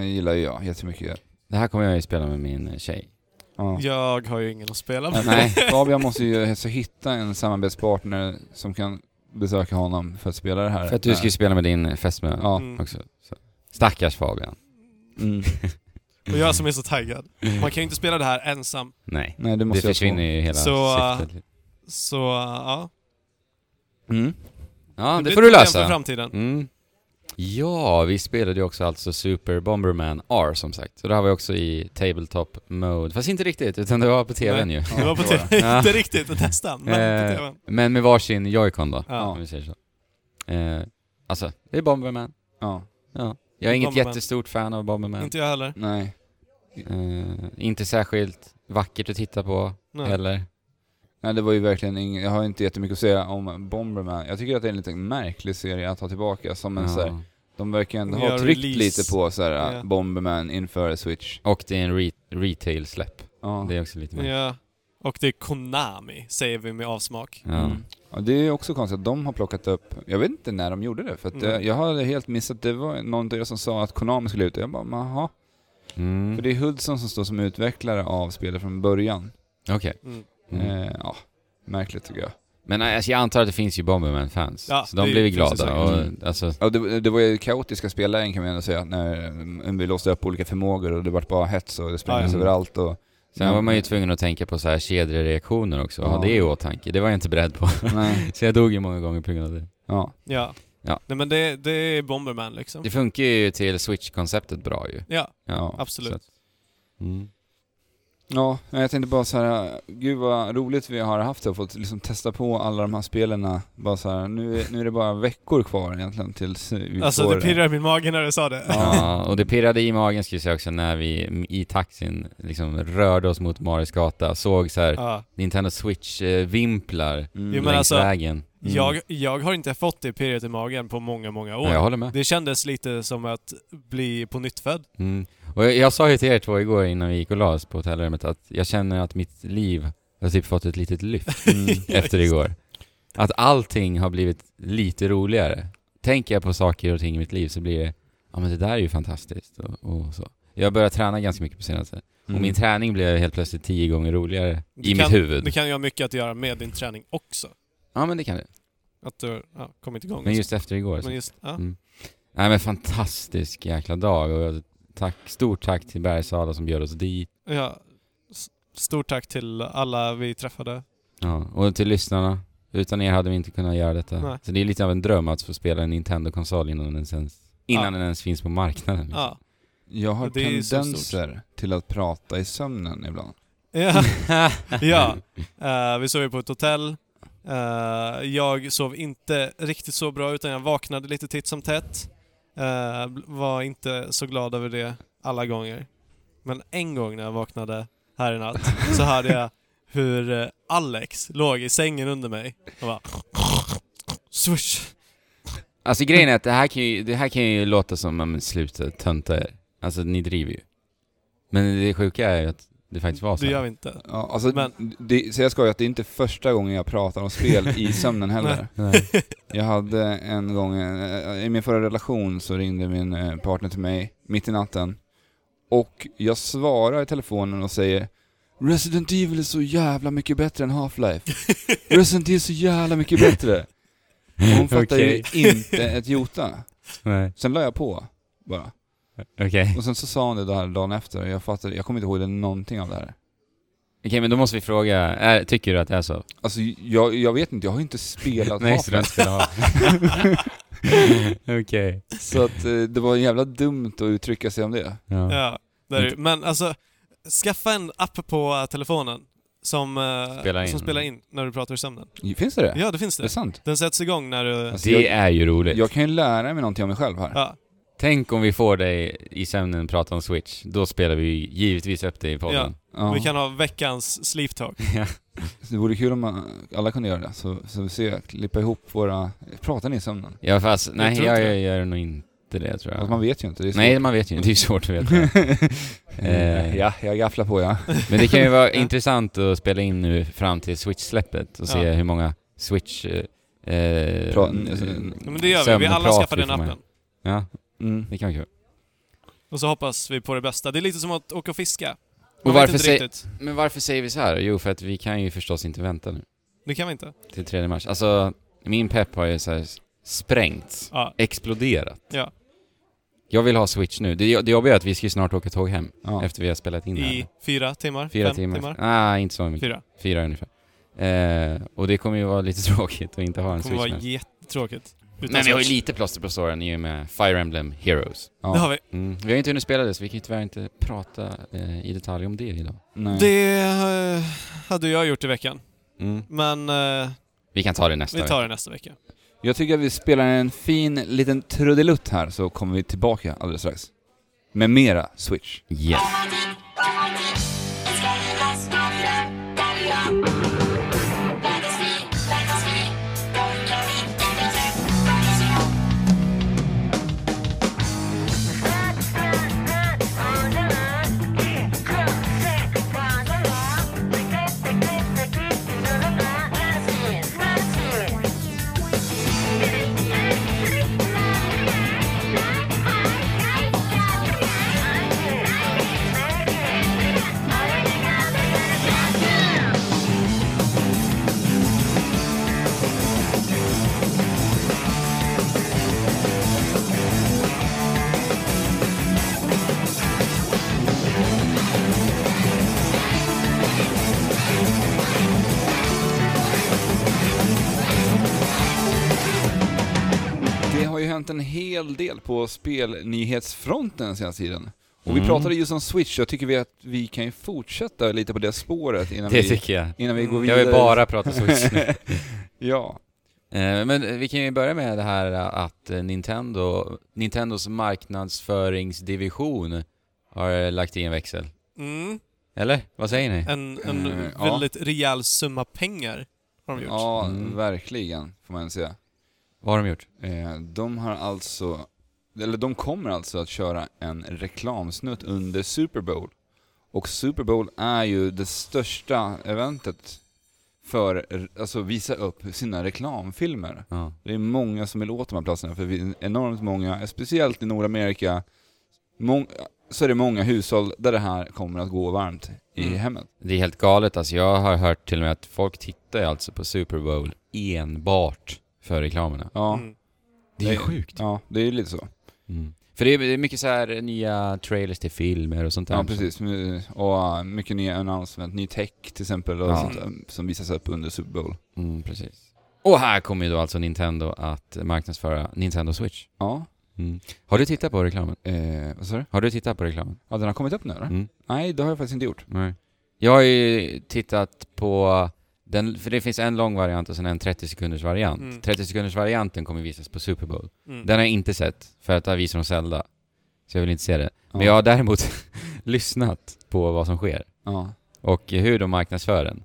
[SPEAKER 1] eh, gillar ju jag jättemycket.
[SPEAKER 2] Det här kommer jag ju spela med min eh, tjej.
[SPEAKER 1] Ja. Eh,
[SPEAKER 3] Jag har ju ingen att spela med.
[SPEAKER 1] Nej, Fabian måste ju alltså hitta en samarbetspartner som kan besöka honom för att spela det här.
[SPEAKER 2] För att du ska ju spela med din eh, fästmö
[SPEAKER 1] Ja.
[SPEAKER 3] Mm.
[SPEAKER 2] också. Så. Stackars Fabian.
[SPEAKER 1] Mm.
[SPEAKER 3] Och jag som är så taggad. Man kan ju inte spela det här ensam.
[SPEAKER 2] Nej.
[SPEAKER 1] Nej, det
[SPEAKER 2] Det
[SPEAKER 1] måste jag
[SPEAKER 2] försvinner ju hela
[SPEAKER 3] Så, eh,
[SPEAKER 2] syftet.
[SPEAKER 3] Så, ja.
[SPEAKER 1] På. Mm.
[SPEAKER 2] Ja, det, får
[SPEAKER 3] blir ett
[SPEAKER 2] du
[SPEAKER 3] problem för
[SPEAKER 2] lösa.
[SPEAKER 3] framtiden.
[SPEAKER 2] Mm. Ja, vi spelade ju också alltså Super Bomberman R som sagt. Så det här var ju också i Tabletop Mode. Fast inte riktigt, utan det var på TVn ju.
[SPEAKER 3] Det var på
[SPEAKER 1] det var
[SPEAKER 3] tv,
[SPEAKER 2] Ja.
[SPEAKER 3] inte riktigt, nästan, men på
[SPEAKER 2] Eh,
[SPEAKER 3] tvn.
[SPEAKER 2] Men med varsin Joy-Con då,
[SPEAKER 3] Ja.
[SPEAKER 2] om vi säger så. Eh, alltså, det är Bomberman.
[SPEAKER 1] Ja,
[SPEAKER 2] Ja. Jag är inget
[SPEAKER 3] Bomberman.
[SPEAKER 2] jättestort fan av Bomberman.
[SPEAKER 3] Inte jag heller.
[SPEAKER 1] nej.
[SPEAKER 2] Eh, inte särskilt vackert att titta på
[SPEAKER 3] Nej.
[SPEAKER 2] heller.
[SPEAKER 1] Nej, det var ju verkligen ing- jag har inte jättemycket att säga om Bomberman. Jag tycker att det är en lite märklig serie att ta tillbaka som en
[SPEAKER 2] Ja.
[SPEAKER 1] så här, de verkar ändå
[SPEAKER 3] Ja,
[SPEAKER 1] ha tryckt
[SPEAKER 3] release.
[SPEAKER 1] lite på så här,
[SPEAKER 3] Ja.
[SPEAKER 1] Bomberman inför Switch.
[SPEAKER 2] Och det är en re- retail-släpp.
[SPEAKER 1] Ja.
[SPEAKER 2] Det är också lite mer...
[SPEAKER 3] Ja. Och det är Konami, säger vi med avsmak.
[SPEAKER 2] Ja.
[SPEAKER 1] Mm. Ja, det är också konstigt att de har plockat upp, jag vet inte när de gjorde det för att eh,
[SPEAKER 3] Mm.
[SPEAKER 1] jag, jag hade helt missat, det var någon av er som sa att Konami skulle ut och jag bara, "Men, jaha.
[SPEAKER 2] Mm.
[SPEAKER 1] För det är Hudson som står som utvecklare av spelet från början.
[SPEAKER 2] Okej.
[SPEAKER 3] Mm.
[SPEAKER 2] Mm.
[SPEAKER 1] Eh, ja, märkligt tycker jag.
[SPEAKER 2] Men eh, alltså, jag antar att det finns ju Bomberman-fans.
[SPEAKER 3] Ja,
[SPEAKER 2] så de
[SPEAKER 3] det
[SPEAKER 2] blir ju
[SPEAKER 3] finns det Mm.
[SPEAKER 2] glada. Och,
[SPEAKER 1] säkert.
[SPEAKER 2] alltså,
[SPEAKER 1] Ja, det, det var ju kaotiska spellägen kan man ändå säga, när mm, vi låste upp olika förmågor och det vart bara hets och det sprängdes
[SPEAKER 2] Ja, ja.
[SPEAKER 1] överallt och...
[SPEAKER 2] sen var man ju tvungen att tänka på så här kedjereaktioner också. Ja.
[SPEAKER 1] Ja.
[SPEAKER 2] Det är i åtanke. Det var jag inte beredd på.
[SPEAKER 1] Nej,
[SPEAKER 2] så jag dog ju många gånger på grund av det.
[SPEAKER 1] ja.
[SPEAKER 3] Ja.
[SPEAKER 2] Ja.
[SPEAKER 3] Nej men det, det är Bomberman liksom.
[SPEAKER 2] Det funkar ju till Switch-konceptet bra ju.
[SPEAKER 3] Ja,
[SPEAKER 1] Ja.
[SPEAKER 2] så
[SPEAKER 3] absolut.
[SPEAKER 2] att- Mm.
[SPEAKER 1] Ja, men jag tänkte bara så här, gud vad roligt vi har haft det och fått liksom testa på alla de här spelen. Bara så här, nu, nu är det bara veckor kvar egentligen tills vi
[SPEAKER 3] Alltså
[SPEAKER 1] får...
[SPEAKER 2] eh,
[SPEAKER 3] det pirrar i min mage när du sa det.
[SPEAKER 2] Ja, och det pirrade i magen ska jag säga också när vi mm, i taxin liksom rörde oss mot Maris gata, såg så här
[SPEAKER 3] Ja.
[SPEAKER 2] Nintendo Switch-vimplar
[SPEAKER 1] Mm.
[SPEAKER 3] Jo, men
[SPEAKER 2] längs
[SPEAKER 3] alltså,
[SPEAKER 2] vägen. Mm.
[SPEAKER 3] Jag, jag har inte fått det pirret i magen på många, många år.
[SPEAKER 2] Ja, jag håller med.
[SPEAKER 3] Det kändes lite som att bli på nytt född.
[SPEAKER 2] Mm. Och jag, jag sa ju till er två igår innan vi gick och la oss på hotellrummet att jag känner att mitt liv har typ fått ett litet lyft
[SPEAKER 1] Mm.
[SPEAKER 2] efter igår. Att allting har blivit lite roligare. Tänker jag på saker och ting i mitt liv så blir det, ja men det där är ju fantastiskt och, och så. Jag börjar träna ganska mycket på senaste.
[SPEAKER 1] Mm.
[SPEAKER 2] Och min träning blev helt plötsligt tio gånger roligare
[SPEAKER 3] Det
[SPEAKER 2] i
[SPEAKER 3] Mm. kan-
[SPEAKER 2] mitt huvud.
[SPEAKER 3] Det kan ju ha mycket att göra med din träning också.
[SPEAKER 2] Ja men det kan det.
[SPEAKER 3] Att du ja, kommit igång.
[SPEAKER 2] Men just efter igår. Så.
[SPEAKER 3] men just ja.
[SPEAKER 2] Nej men fantastisk jäkla dag och jag- tack, stort tack till Bergsala som bjöd oss dit.
[SPEAKER 3] Ja. S- Stort tack till alla vi
[SPEAKER 2] Mm.
[SPEAKER 3] träffade.
[SPEAKER 2] Ja, och till lyssnarna. Utan er hade vi inte kunnat göra detta.
[SPEAKER 3] Nej.
[SPEAKER 2] Så det är lite av en dröm att få spela en Nintendo-konsol innan den ens, innan den ens finns på marknaden. liksom.
[SPEAKER 3] Ja.
[SPEAKER 1] Jag har
[SPEAKER 3] Det är ju så
[SPEAKER 1] tendenser till att prata i sömnen ibland.
[SPEAKER 3] Ja. ja. Eh, vi sov ju på ett hotell. Eh, jag sov inte riktigt så bra utan jag vaknade lite titt som tätt. Eh, bl- var inte så glad över det alla gånger. Men en gång när jag vaknade här i natt så hörde jag hur eh, Alex låg i sängen under mig och bara... Swish!
[SPEAKER 2] Alltså grejen är att det här kan ju, det här kan ju låta som, ja, men sluta tönta er. Alltså ni driver ju. Men det sjuka är ju att det faktiskt var så.
[SPEAKER 3] Det
[SPEAKER 2] här.
[SPEAKER 3] gör vi inte.
[SPEAKER 1] Ja, alltså,
[SPEAKER 3] Men-
[SPEAKER 1] det, så jag ska ju att det är inte första gången jag pratar om spel i sömnen heller.
[SPEAKER 2] Nej.
[SPEAKER 1] Jag hade en gång, eh, i min förra relation så ringde min eh, partner till mig mitt i natten. Och jag svarar i telefonen och säger Resident Evil är så jävla mycket bättre än Half-Life. Resident Evil är så jävla mycket bättre. Och Hon fattar
[SPEAKER 2] Okej.
[SPEAKER 1] ju inte ett jota.
[SPEAKER 2] Nej.
[SPEAKER 1] Sen la jag på bara.
[SPEAKER 2] Okej.
[SPEAKER 1] Och sen så sa hon det där dagen efter och jag fattade, jag kommer inte ihåg det, någonting av det här.
[SPEAKER 2] Okej, men då måste vi fråga, är, tycker du att det är så?
[SPEAKER 1] Alltså jag, jag vet inte, jag har ju inte spelat
[SPEAKER 2] Nej,
[SPEAKER 1] Half-Life.
[SPEAKER 2] så du har inte spelat av. Okej.
[SPEAKER 1] Så att eh, det var jävla dumt att uttrycka sig om det.
[SPEAKER 2] Ja.
[SPEAKER 3] Ja, det är det. ju.
[SPEAKER 2] Inte-
[SPEAKER 3] Men alltså, skaffa en app på eh, telefonen som, eh,
[SPEAKER 2] Spelar in.
[SPEAKER 3] som spelar in när du pratar i sömnen.
[SPEAKER 1] Finns det det?
[SPEAKER 3] Ja, det finns
[SPEAKER 1] Är det
[SPEAKER 3] det.
[SPEAKER 1] sant?
[SPEAKER 3] Den sätts igång när du...
[SPEAKER 1] Alltså,
[SPEAKER 2] Det
[SPEAKER 1] jag,
[SPEAKER 2] är ju roligt.
[SPEAKER 1] jag kan ju lära mig någonting om mig själv här.
[SPEAKER 3] Ja,
[SPEAKER 2] Tänk om vi får dig i sömnen prata om Switch. Då spelar vi ju givetvis upp det i podden.
[SPEAKER 1] Ja.
[SPEAKER 3] Vi kan ha veckans sleep talk.
[SPEAKER 2] Ja.
[SPEAKER 1] Så Det vore kul om man, alla kunde göra det, så, så vi ser, klippa ihop våra... Pratar ni i sömnen?
[SPEAKER 2] ja fast, nej
[SPEAKER 3] tror
[SPEAKER 2] jag,
[SPEAKER 3] inte
[SPEAKER 2] jag,
[SPEAKER 3] det.
[SPEAKER 2] gör nog inte det tror
[SPEAKER 1] Fast
[SPEAKER 2] jag.
[SPEAKER 1] man vet ju inte, det är
[SPEAKER 2] nej, man vet ju inte. Det är ju svårt att veta. Eh.
[SPEAKER 1] ja, jag gafflar på ja.
[SPEAKER 2] Men det kan ju vara intressant att spela in nu fram till Switch-släppet och se
[SPEAKER 3] Ja.
[SPEAKER 2] hur många Switch... Eh, eh,
[SPEAKER 1] Pra-
[SPEAKER 3] Ja, men det gör vi. Vi alla
[SPEAKER 2] sömnprat
[SPEAKER 3] skaffar den
[SPEAKER 2] får med.
[SPEAKER 3] appen.
[SPEAKER 2] Ja,
[SPEAKER 1] Mm.
[SPEAKER 2] det kan vi göra.
[SPEAKER 3] Och så hoppas vi på det bästa. Det är lite som att åka och fiska. Man
[SPEAKER 2] Och
[SPEAKER 3] vet
[SPEAKER 2] varför
[SPEAKER 3] inte
[SPEAKER 2] säger-
[SPEAKER 3] riktigt.
[SPEAKER 2] Men varför säger vi så här? Jo, för att vi kan ju förstås inte vänta nu
[SPEAKER 3] Det kan vi inte.
[SPEAKER 2] till 3 mars. Alltså, min pepp har ju så här sprängts,
[SPEAKER 3] Ja.
[SPEAKER 2] exploderat.
[SPEAKER 3] Ja.
[SPEAKER 2] Jag vill ha Switch nu. Det, det jobbiga är att vi ska ju snart åka tåg hem
[SPEAKER 1] Ja.
[SPEAKER 2] efter vi har spelat in det
[SPEAKER 3] I
[SPEAKER 2] här.
[SPEAKER 3] fyra timmar?
[SPEAKER 2] Fyra
[SPEAKER 3] fem
[SPEAKER 2] timmar. Nej, inte så mycket.
[SPEAKER 3] Fyra.
[SPEAKER 2] Fyra ungefär. Eh, och det kommer ju vara lite tråkigt att inte ha en
[SPEAKER 3] Det kommer vara
[SPEAKER 2] Switch nu.
[SPEAKER 3] jättetråkigt. Utan
[SPEAKER 2] Men vi har ju
[SPEAKER 3] Switch.
[SPEAKER 2] lite plåster på såren i och med Fire Emblem Heroes.
[SPEAKER 1] Ja.
[SPEAKER 3] Det har vi.
[SPEAKER 2] Mm. Vi har ju inte hunnit spela det, så vi kan ju tyvärr inte prata eh, i detalj om det idag.
[SPEAKER 1] Nej.
[SPEAKER 3] Det eh, hade jag gjort i veckan.
[SPEAKER 2] Mm.
[SPEAKER 3] Men eh,
[SPEAKER 2] Vi kan ta det nästa
[SPEAKER 3] vi tar det nästa vecka.
[SPEAKER 1] Jag tycker att vi spelar en fin liten trudelutt här, så kommer vi tillbaka alldeles strax. Med mera Switch.
[SPEAKER 2] vecka. Yes.
[SPEAKER 1] Det har ju hänt en hel del på spelnyhetsfronten den senaste tiden. Och vi
[SPEAKER 2] Mm.
[SPEAKER 1] pratade just om Switch, jag tycker vi att vi kan ju fortsätta lite på det spåret innan,
[SPEAKER 2] Det
[SPEAKER 1] vi,
[SPEAKER 2] tycker jag.
[SPEAKER 1] innan vi går
[SPEAKER 2] Jag
[SPEAKER 1] vidare.
[SPEAKER 2] vill bara prata Switch nu.
[SPEAKER 1] ja.
[SPEAKER 2] Eh, Men vi kan ju börja med det här att eh, Nintendo, Nintendos marknadsföringsdivision har eh, lagt i en växel.
[SPEAKER 3] Mm.
[SPEAKER 2] Eller? Vad säger ni?
[SPEAKER 3] En, en
[SPEAKER 1] Eh, ja.
[SPEAKER 3] väldigt rejäl summa pengar har de gjort.
[SPEAKER 1] Ja,
[SPEAKER 2] Mm.
[SPEAKER 1] verkligen, får man säga.
[SPEAKER 2] Vad har de gjort?
[SPEAKER 1] Eh, de har alltså, eller de kommer alltså att köra en reklamsnutt under Super Bowl. Och Super Bowl är ju det största eventet för alltså visa upp sina reklamfilmer.
[SPEAKER 2] Ja.
[SPEAKER 1] Det är många som vill åt de här platserna, för vi är enormt många, speciellt i Nordamerika, mång- så är det många hushåll där det här kommer att gå varmt i
[SPEAKER 3] Mm.
[SPEAKER 1] hemmet.
[SPEAKER 2] Det är helt galet alltså. Jag har hört till och med att folk tittar ju alltså på Super Bowl enbart för reklamerna.
[SPEAKER 1] Ja,
[SPEAKER 3] Mm.
[SPEAKER 2] Det är ju
[SPEAKER 1] Det-
[SPEAKER 2] sjukt.
[SPEAKER 1] ja det är ju lite så.
[SPEAKER 2] Mm. För det är, det är mycket så här nya trailers till filmer och sånt där.
[SPEAKER 1] Ja, precis. Mm, Och uh, mycket nya announcement, ny tech till exempel och
[SPEAKER 2] Ja.
[SPEAKER 1] sånt där, som visas upp under Super Bowl.
[SPEAKER 2] Mm, precis. Och här kommer ju då alltså Nintendo att marknadsföra Nintendo Switch.
[SPEAKER 1] Ja,
[SPEAKER 2] Mm. Har du tittat på reklamen?
[SPEAKER 1] eh, vad sa du?
[SPEAKER 2] Har du tittat på reklamen?
[SPEAKER 1] Ja, den har kommit upp nu eller?
[SPEAKER 2] Mm.
[SPEAKER 1] Nej, det har jag faktiskt inte gjort.
[SPEAKER 2] Nej. Jag har ju tittat på den, för det finns en lång variant och sen en 30 sekunders variant.
[SPEAKER 3] Mm.
[SPEAKER 2] 30 sekunders varianten kommer visas på Super Bowl.
[SPEAKER 3] Mm.
[SPEAKER 2] Den har jag inte sett, för att där visar de Zelda. Så jag vill inte se det. Men
[SPEAKER 1] Ja.
[SPEAKER 2] jag har däremot lyssnat på vad som sker.
[SPEAKER 1] Ja.
[SPEAKER 2] Och hur de marknadsför den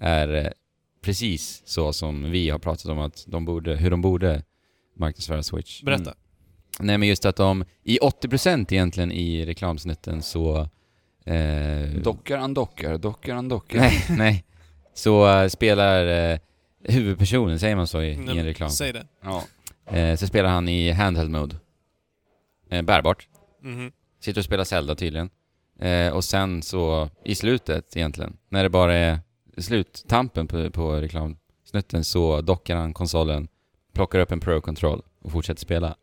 [SPEAKER 2] är eh, precis så som vi har pratat om att de borde, hur de borde marknadsföra Switch.
[SPEAKER 3] Berätta.
[SPEAKER 2] Nej men just att de, i 80% egentligen i reklamsnutten så Eh,
[SPEAKER 1] Dockar han dockar, dockar han dockar.
[SPEAKER 2] Nej, nej. Så eh, spelar eh, huvudpersonen, säger man så i, i en reklam?
[SPEAKER 3] Säg det.
[SPEAKER 1] Ja.
[SPEAKER 2] Eh, så spelar han i handheld mode. Eh, bärbart.
[SPEAKER 3] Mhm.
[SPEAKER 2] Sitter och spelar Zelda tydligen. Eh, och sen så i slutet egentligen, när det bara är sluttampen på, på reklamsnutten så dockar han konsolen, plockar upp en Pro Control och fortsätter spela.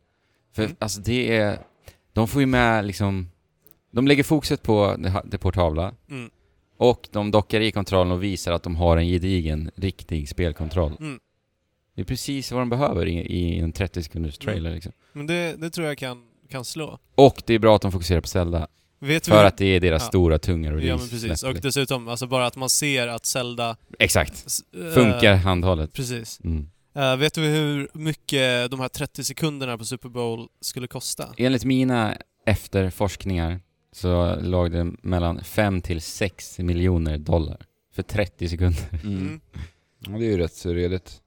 [SPEAKER 2] För
[SPEAKER 3] Mm.
[SPEAKER 2] alltså det är, de får ju med liksom, de lägger fokuset på det, det portabla
[SPEAKER 3] Mm.
[SPEAKER 2] och de dockar i kontrollen och visar att de har en gedigen, riktig spelkontroll.
[SPEAKER 3] Mm.
[SPEAKER 2] Det är precis vad de behöver i, i en 30 sekunders
[SPEAKER 3] Mm.
[SPEAKER 2] trailer liksom.
[SPEAKER 3] Men det, det tror jag kan, kan slå.
[SPEAKER 2] Och det är bra att de fokuserar på Zelda.
[SPEAKER 3] Vet vi
[SPEAKER 2] För att det är deras
[SPEAKER 3] Mm. Ja.
[SPEAKER 2] stora, tunga release.
[SPEAKER 3] Ja men precis. Och
[SPEAKER 2] släppligt.
[SPEAKER 3] dessutom, alltså bara att man ser att Zelda...
[SPEAKER 2] Exakt.
[SPEAKER 3] s- eh,
[SPEAKER 2] Funkar handhållet.
[SPEAKER 3] Precis.
[SPEAKER 2] Mm.
[SPEAKER 3] Eh, vet du hur mycket de här 30 sekunderna på Super Bowl skulle kosta?
[SPEAKER 2] Enligt mina efterforskningar så låg det mellan 5 till 6 miljoner dollar för 30 sekunder.
[SPEAKER 1] Mm.
[SPEAKER 3] Mm.
[SPEAKER 1] Ja, det är ju rätt så redigt.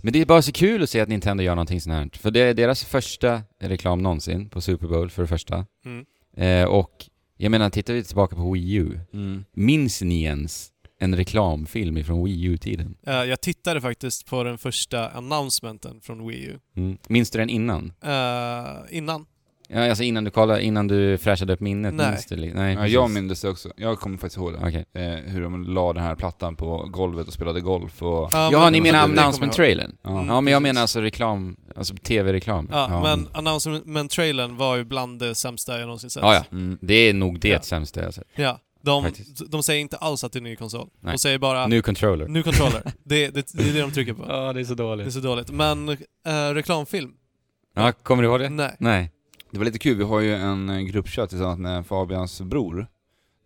[SPEAKER 2] Men det är bara så kul att se att Nintendo gör någonting sånt här. För det är deras första reklam någonsin på Super Bowl för det första.
[SPEAKER 3] Mm.
[SPEAKER 2] Eh, och jag menar, tittar vi tillbaka på Wii U.
[SPEAKER 1] Mm.
[SPEAKER 2] Minns ni ens en reklamfilm ifrån Wii U-tiden?
[SPEAKER 3] Eh, jag tittade faktiskt på den första announcementen från Wii U.
[SPEAKER 2] Mm. Minns du den innan?
[SPEAKER 3] Eh, innan.
[SPEAKER 2] Ja, alltså innan du kollade, innan du fräschade upp minnet?
[SPEAKER 3] Nej.
[SPEAKER 2] Minns du, li- nej
[SPEAKER 1] Ja, jag minns det också. Jag kommer faktiskt ihåg det.
[SPEAKER 2] Okej.
[SPEAKER 1] Eh, hur de la den här plattan på golvet och spelade golf och...
[SPEAKER 3] Ja,
[SPEAKER 2] Ja,
[SPEAKER 3] men-
[SPEAKER 2] ni
[SPEAKER 1] det
[SPEAKER 2] menar
[SPEAKER 1] kommer jag
[SPEAKER 2] announcement-trailern?
[SPEAKER 1] Ja.
[SPEAKER 2] Ja, men jag
[SPEAKER 3] precis.
[SPEAKER 2] menar alltså reklam, alltså tv-reklam.
[SPEAKER 3] Ja, men announcement-trailern var ju bland det sämsta jag någonsin sett.
[SPEAKER 2] Ja, ja.
[SPEAKER 1] Mm.
[SPEAKER 2] Det är nog det
[SPEAKER 3] Ja.
[SPEAKER 2] sämsta jag har sett.
[SPEAKER 3] Ja, de,
[SPEAKER 2] Faktiskt.
[SPEAKER 3] de säger inte alls att det är en ny konsol.
[SPEAKER 2] Nej.
[SPEAKER 3] De säger bara nu,
[SPEAKER 2] Nu controller.
[SPEAKER 3] controller. det, det, det är det de trycker på.
[SPEAKER 2] Ja, det är så
[SPEAKER 3] Det är
[SPEAKER 2] dåligt.
[SPEAKER 3] så dåligt. Men eh, reklamfilm?
[SPEAKER 2] Ja, kommer du ihåg det?
[SPEAKER 3] Nej.
[SPEAKER 2] Nej.
[SPEAKER 1] Det var lite kul, vi har ju en eh, gruppchatt tillsammans med Fabians bror.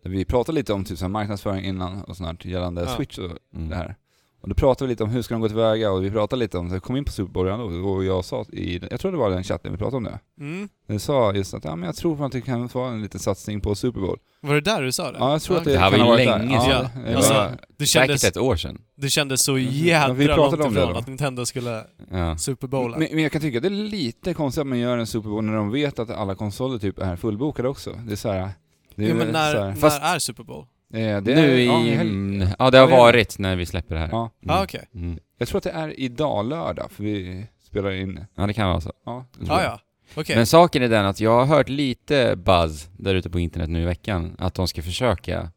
[SPEAKER 1] Där vi pratade lite om typ så här marknadsföring innan och sånt här, gällande
[SPEAKER 3] Ja.
[SPEAKER 1] Switch och
[SPEAKER 2] Mm.
[SPEAKER 1] det här. Och då pratade vi lite om hur ska de gå tillväga och vi pratade lite om, så här, kom in på Super Bowl ändå, och jag sa i, jag tror det var den chatten vi pratade om det.
[SPEAKER 3] Mm.
[SPEAKER 1] Du sa just att ja, men jag tror fan att det kan vara en liten satsning på Super Bowl.
[SPEAKER 3] Var det där du sa det?
[SPEAKER 1] Ja, jag tror att det,
[SPEAKER 2] Det här
[SPEAKER 1] kan
[SPEAKER 2] var
[SPEAKER 1] ha
[SPEAKER 2] ju
[SPEAKER 1] varit där.
[SPEAKER 2] länge
[SPEAKER 1] Ja,
[SPEAKER 2] sedan.
[SPEAKER 1] det var-
[SPEAKER 3] Alltså, Det
[SPEAKER 2] Säkert
[SPEAKER 3] kändes,
[SPEAKER 2] ett år sedan.
[SPEAKER 3] det kändes så
[SPEAKER 1] Mhm. Ja, vi
[SPEAKER 3] jädra
[SPEAKER 1] pratade
[SPEAKER 3] långt
[SPEAKER 1] om det
[SPEAKER 3] ifrån
[SPEAKER 1] då.
[SPEAKER 3] att Nintendo skulle
[SPEAKER 2] Ja.
[SPEAKER 3] Super Bowla.
[SPEAKER 1] men, men jag kan tycka att det är lite konstigt att man gör en Super Bowl när de vet att alla konsoler typ är fullbokade också. Det är så här, det är
[SPEAKER 3] Jo, men
[SPEAKER 1] så
[SPEAKER 3] när,
[SPEAKER 1] här-
[SPEAKER 2] Fast-
[SPEAKER 3] när är Super Bowl?
[SPEAKER 1] eh, det är,
[SPEAKER 2] Nu i...
[SPEAKER 1] ja,
[SPEAKER 2] Ja,
[SPEAKER 1] helg-
[SPEAKER 2] det har
[SPEAKER 1] Ja, det är-
[SPEAKER 2] varit när vi släpper det här.
[SPEAKER 1] Ja.
[SPEAKER 3] Ja, ah, okej.
[SPEAKER 2] Mm.
[SPEAKER 1] Jag tror att det är idag lördag, för vi spelar in...
[SPEAKER 2] Ja, det kan vara så.
[SPEAKER 1] Ja, det tror
[SPEAKER 3] Ah,
[SPEAKER 1] jag.
[SPEAKER 3] ja, okej.
[SPEAKER 2] Men saken är den att jag har hört lite buzz där ute på internet nu i veckan att de ska försöka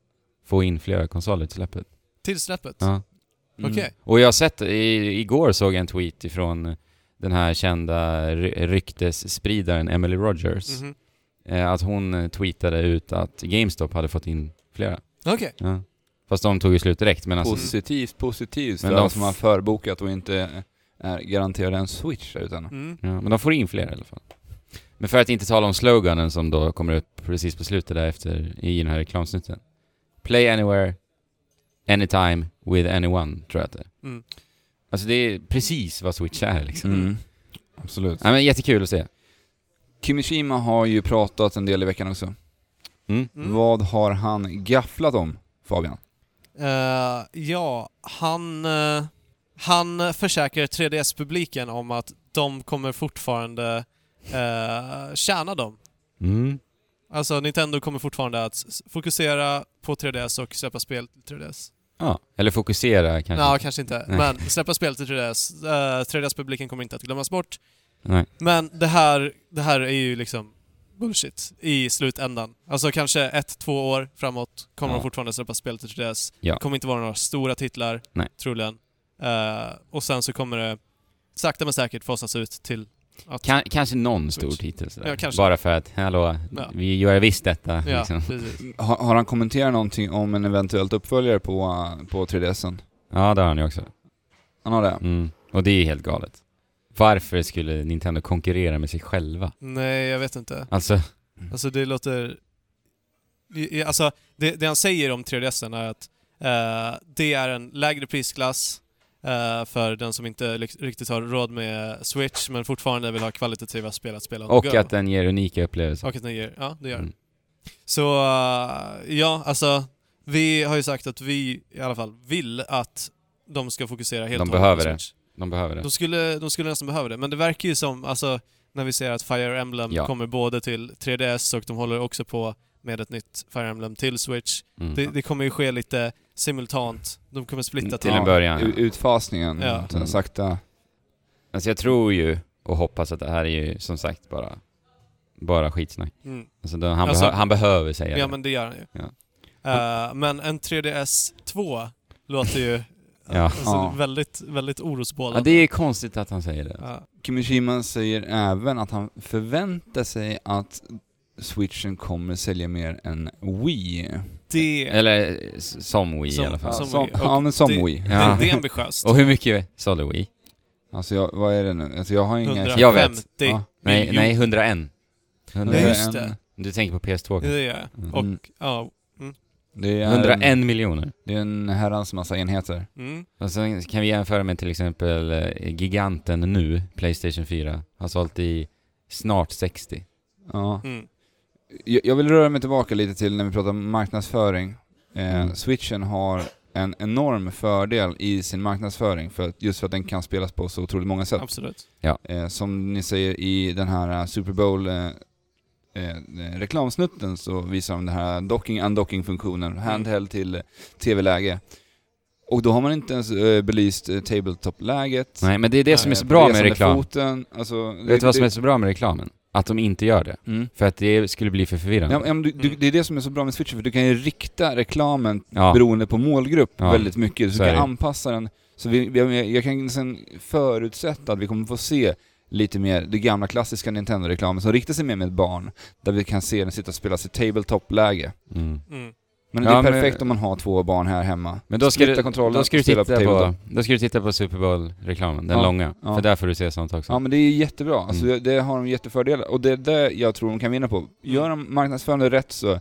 [SPEAKER 2] få in fler konsoler till släppet.
[SPEAKER 3] Till släppet?
[SPEAKER 2] Ja.
[SPEAKER 1] Mm.
[SPEAKER 3] Okej.
[SPEAKER 2] Och jag har sett, i, igår såg jag en tweet ifrån den här kända ry- ryktesspridaren Emily Rogers.
[SPEAKER 3] Mhm.
[SPEAKER 2] Eh, att hon eh, tweetade ut att GameStop hade fått in flera.
[SPEAKER 3] Okej.
[SPEAKER 2] Ja. Fast de tog ju slut direkt, men alltså...
[SPEAKER 1] Positivt, positivt
[SPEAKER 2] Men
[SPEAKER 1] för
[SPEAKER 2] de-
[SPEAKER 1] de som har förbokat och inte är garanterade en switch utan...
[SPEAKER 3] Mm.
[SPEAKER 2] Ja, men de får in fler i alla fall. Men för att inte tala om sloganen som då kommer upp precis på slutet där efter i den här reklamsnutten. Play anywhere, anytime, with anyone, tror jag att det är.
[SPEAKER 3] Mm.
[SPEAKER 2] Alltså det är precis vad Switch är liksom.
[SPEAKER 1] Mm. Absolut.
[SPEAKER 2] Ja, men jättekul att se.
[SPEAKER 1] Kimishima har ju pratat en del i veckan också.
[SPEAKER 2] Mm.
[SPEAKER 3] Mm.
[SPEAKER 1] Vad har han gafflat om, Fabian?
[SPEAKER 3] Eh, ja, han, eh, han försäkrar 3DS-publiken om att de kommer fortfarande uh, tjäna dem.
[SPEAKER 2] Mm.
[SPEAKER 3] Alltså Nintendo kommer fortfarande att s- fokusera på 3DS och släppa spel till 3DS.
[SPEAKER 2] Ja, eller fokusera kanske.
[SPEAKER 3] Ja, kanske inte.
[SPEAKER 2] Mm. Nej.
[SPEAKER 3] Men släppa spel till 3DS. Eh, 3DS-publiken kommer inte att glömmas bort.
[SPEAKER 2] Nej.
[SPEAKER 3] Men det här, det här är ju liksom bullshit i slutändan. Alltså kanske ett, två år framåt kommer
[SPEAKER 2] Ja.
[SPEAKER 3] de fortfarande släppa spel till 3DS.
[SPEAKER 2] Ja.
[SPEAKER 3] Det kommer inte vara några stora titlar,
[SPEAKER 2] Nej.
[SPEAKER 3] troligen. Eh, och sen så kommer det sakta men säkert fasas ut till att...
[SPEAKER 2] Kan, kanske någon stor
[SPEAKER 3] Switch.
[SPEAKER 2] titel sådär.
[SPEAKER 3] Ja, kanske.
[SPEAKER 2] Bara för att, hallå,
[SPEAKER 3] Ja.
[SPEAKER 2] vi gör visst detta.
[SPEAKER 3] ja,
[SPEAKER 2] Liksom.
[SPEAKER 3] precis.
[SPEAKER 1] Har, har han kommenterat någonting om en eventuellt uppföljare på, eh, på 3DSen?
[SPEAKER 2] ja, det har han ju också.
[SPEAKER 1] Han har det?
[SPEAKER 2] Mm. Och det är helt galet. Varför skulle Nintendo konkurrera med sig själva?
[SPEAKER 3] Nej, jag vet inte.
[SPEAKER 2] Alltså,
[SPEAKER 3] Alltså det låter... I- i- Alltså det, det han säger om 3DSen är att eh, det är en lägre prisklass eh, för den som inte lik- riktigt har råd med Switch men fortfarande vill ha kvalitativa spel att spela on the
[SPEAKER 2] och
[SPEAKER 3] go.
[SPEAKER 2] att den ger unika upplevelser.
[SPEAKER 3] Och att den ger... Ja, det gör den.
[SPEAKER 2] Mm.
[SPEAKER 3] Så eh, ja, alltså vi har ju sagt att vi i alla fall vill att de ska fokusera helt
[SPEAKER 2] De
[SPEAKER 3] och hållet
[SPEAKER 2] behöver
[SPEAKER 3] på
[SPEAKER 2] det.
[SPEAKER 3] Switch.
[SPEAKER 2] De behöver det.
[SPEAKER 3] De skulle, de skulle nästan behöva det, men det verkar ju som, alltså när vi ser att Fire Emblem
[SPEAKER 2] Ja.
[SPEAKER 3] kommer både till 3DS och de håller också på med ett nytt Fire Emblem till Switch.
[SPEAKER 2] Mm. Mm,
[SPEAKER 3] Det, det kommer ju ske lite simultant. De kommer splitta
[SPEAKER 2] Till en
[SPEAKER 3] tiden.
[SPEAKER 2] början, ja.
[SPEAKER 1] u- Utfasningen,
[SPEAKER 3] Ja.
[SPEAKER 1] så här sakta.
[SPEAKER 2] Alltså jag tror ju och hoppas att det här är ju som sagt bara, bara skitsnack.
[SPEAKER 3] Mm.
[SPEAKER 2] Alltså då, han,
[SPEAKER 3] Alltså-
[SPEAKER 2] behö- han behöver säga
[SPEAKER 3] Ja,
[SPEAKER 2] det.
[SPEAKER 3] men det gör han ju.
[SPEAKER 2] Ja.
[SPEAKER 3] Eh, men en 3DS 2 låter ju
[SPEAKER 2] Ja.
[SPEAKER 3] alltså,
[SPEAKER 1] Ja.
[SPEAKER 3] väldigt, väldigt Eh, orosbådande.
[SPEAKER 2] Ja, det är konstigt att han säger det.
[SPEAKER 3] Ja.
[SPEAKER 1] Kimishima säger även att han förväntar sig att switchen kommer sälja mer än Wii.
[SPEAKER 3] det,
[SPEAKER 2] Eller eh, s- som Wii
[SPEAKER 3] Som-
[SPEAKER 2] i alla fall.
[SPEAKER 1] Ja,
[SPEAKER 3] som
[SPEAKER 1] som,
[SPEAKER 3] Wii. Och
[SPEAKER 1] ja men som
[SPEAKER 3] det-
[SPEAKER 1] Wii.
[SPEAKER 2] Ja.
[SPEAKER 3] det, det är ambitiöst.
[SPEAKER 2] Och hur mycket sålde Wii?
[SPEAKER 1] Alltså jag, vad är det nu? Alltså jag har inga...
[SPEAKER 3] 150.
[SPEAKER 2] Jag vet.
[SPEAKER 1] Ja.
[SPEAKER 2] Nej,
[SPEAKER 3] miljon-
[SPEAKER 2] nej 101.
[SPEAKER 3] Ja,
[SPEAKER 2] 101.
[SPEAKER 3] just det.
[SPEAKER 2] Du tänker på PS2 kanske?
[SPEAKER 3] Det gör jag.
[SPEAKER 2] Mm.
[SPEAKER 3] Och,
[SPEAKER 1] Mm.
[SPEAKER 3] ja.
[SPEAKER 1] Det är, 101.
[SPEAKER 2] 101 miljoner.
[SPEAKER 1] det är en herrans massa enheter.
[SPEAKER 3] Mm.
[SPEAKER 2] Och sen kan vi jämföra med till exempel eh, giganten nu, Playstation 4, har sålt i snart 60.
[SPEAKER 1] Ja.
[SPEAKER 3] Mm.
[SPEAKER 1] Jag, jag vill röra mig tillbaka lite till när vi pratar marknadsföring. Eh,
[SPEAKER 2] Mm.
[SPEAKER 1] Switchen har en enorm fördel i sin marknadsföring för att, just för att den kan spelas på så otroligt många sätt.
[SPEAKER 3] Absolut.
[SPEAKER 1] Eh, som ni säger i den här eh, Super Bowl eh, eh, reklamsnutten så visar de den här docking undocking
[SPEAKER 2] Mm.
[SPEAKER 1] funktionen, handheld till eh, tv-läge. Och då har man inte ens eh, belyst eh, tabletop-läget.
[SPEAKER 2] Nej, men det är det som är
[SPEAKER 1] eh,
[SPEAKER 2] så bra med
[SPEAKER 1] resande
[SPEAKER 2] reklam.
[SPEAKER 1] Foten, alltså, det-
[SPEAKER 2] Vet du vad som
[SPEAKER 1] det-
[SPEAKER 2] är så bra med reklamen? Att de inte gör det.
[SPEAKER 1] Mm.
[SPEAKER 2] För att det skulle bli för förvirrande.
[SPEAKER 1] Ja, men- ja, men du, du,
[SPEAKER 3] Mm.
[SPEAKER 1] det är det som är så bra med Switchen, för du kan ju rikta reklamen
[SPEAKER 2] Ja.
[SPEAKER 1] beroende på målgrupp
[SPEAKER 2] Ja.
[SPEAKER 1] väldigt mycket. Så
[SPEAKER 2] Så
[SPEAKER 1] du
[SPEAKER 2] är
[SPEAKER 1] kan
[SPEAKER 2] det.
[SPEAKER 1] anpassa den. Så vi, vi, jag kan sen förutsätta att vi kommer få se lite mer det gamla klassiska Nintendo-reklamen som riktar sig mer med ett barn. Där vi kan se den sitta och spela sitt tabletop-läge.
[SPEAKER 2] Mm.
[SPEAKER 3] Mm.
[SPEAKER 1] Men
[SPEAKER 2] Ja,
[SPEAKER 1] det är
[SPEAKER 2] men-
[SPEAKER 1] perfekt om man har två barn här hemma.
[SPEAKER 2] Men då ska,
[SPEAKER 1] Splitta
[SPEAKER 2] du,
[SPEAKER 1] kontrollen
[SPEAKER 2] då, ska du
[SPEAKER 1] och spela
[SPEAKER 2] titta
[SPEAKER 1] på
[SPEAKER 2] på,
[SPEAKER 1] tabletop.
[SPEAKER 2] då ska du titta på Super Bowl-reklamen, den
[SPEAKER 1] Ja.
[SPEAKER 2] långa.
[SPEAKER 1] Ja.
[SPEAKER 2] För där får du se sånt också.
[SPEAKER 1] Ja men det är jättebra, alltså,
[SPEAKER 2] Mm.
[SPEAKER 1] det- det har de jättefördelar. Och det är det jag tror de kan vinna på. Gör de marknadsförande rätt så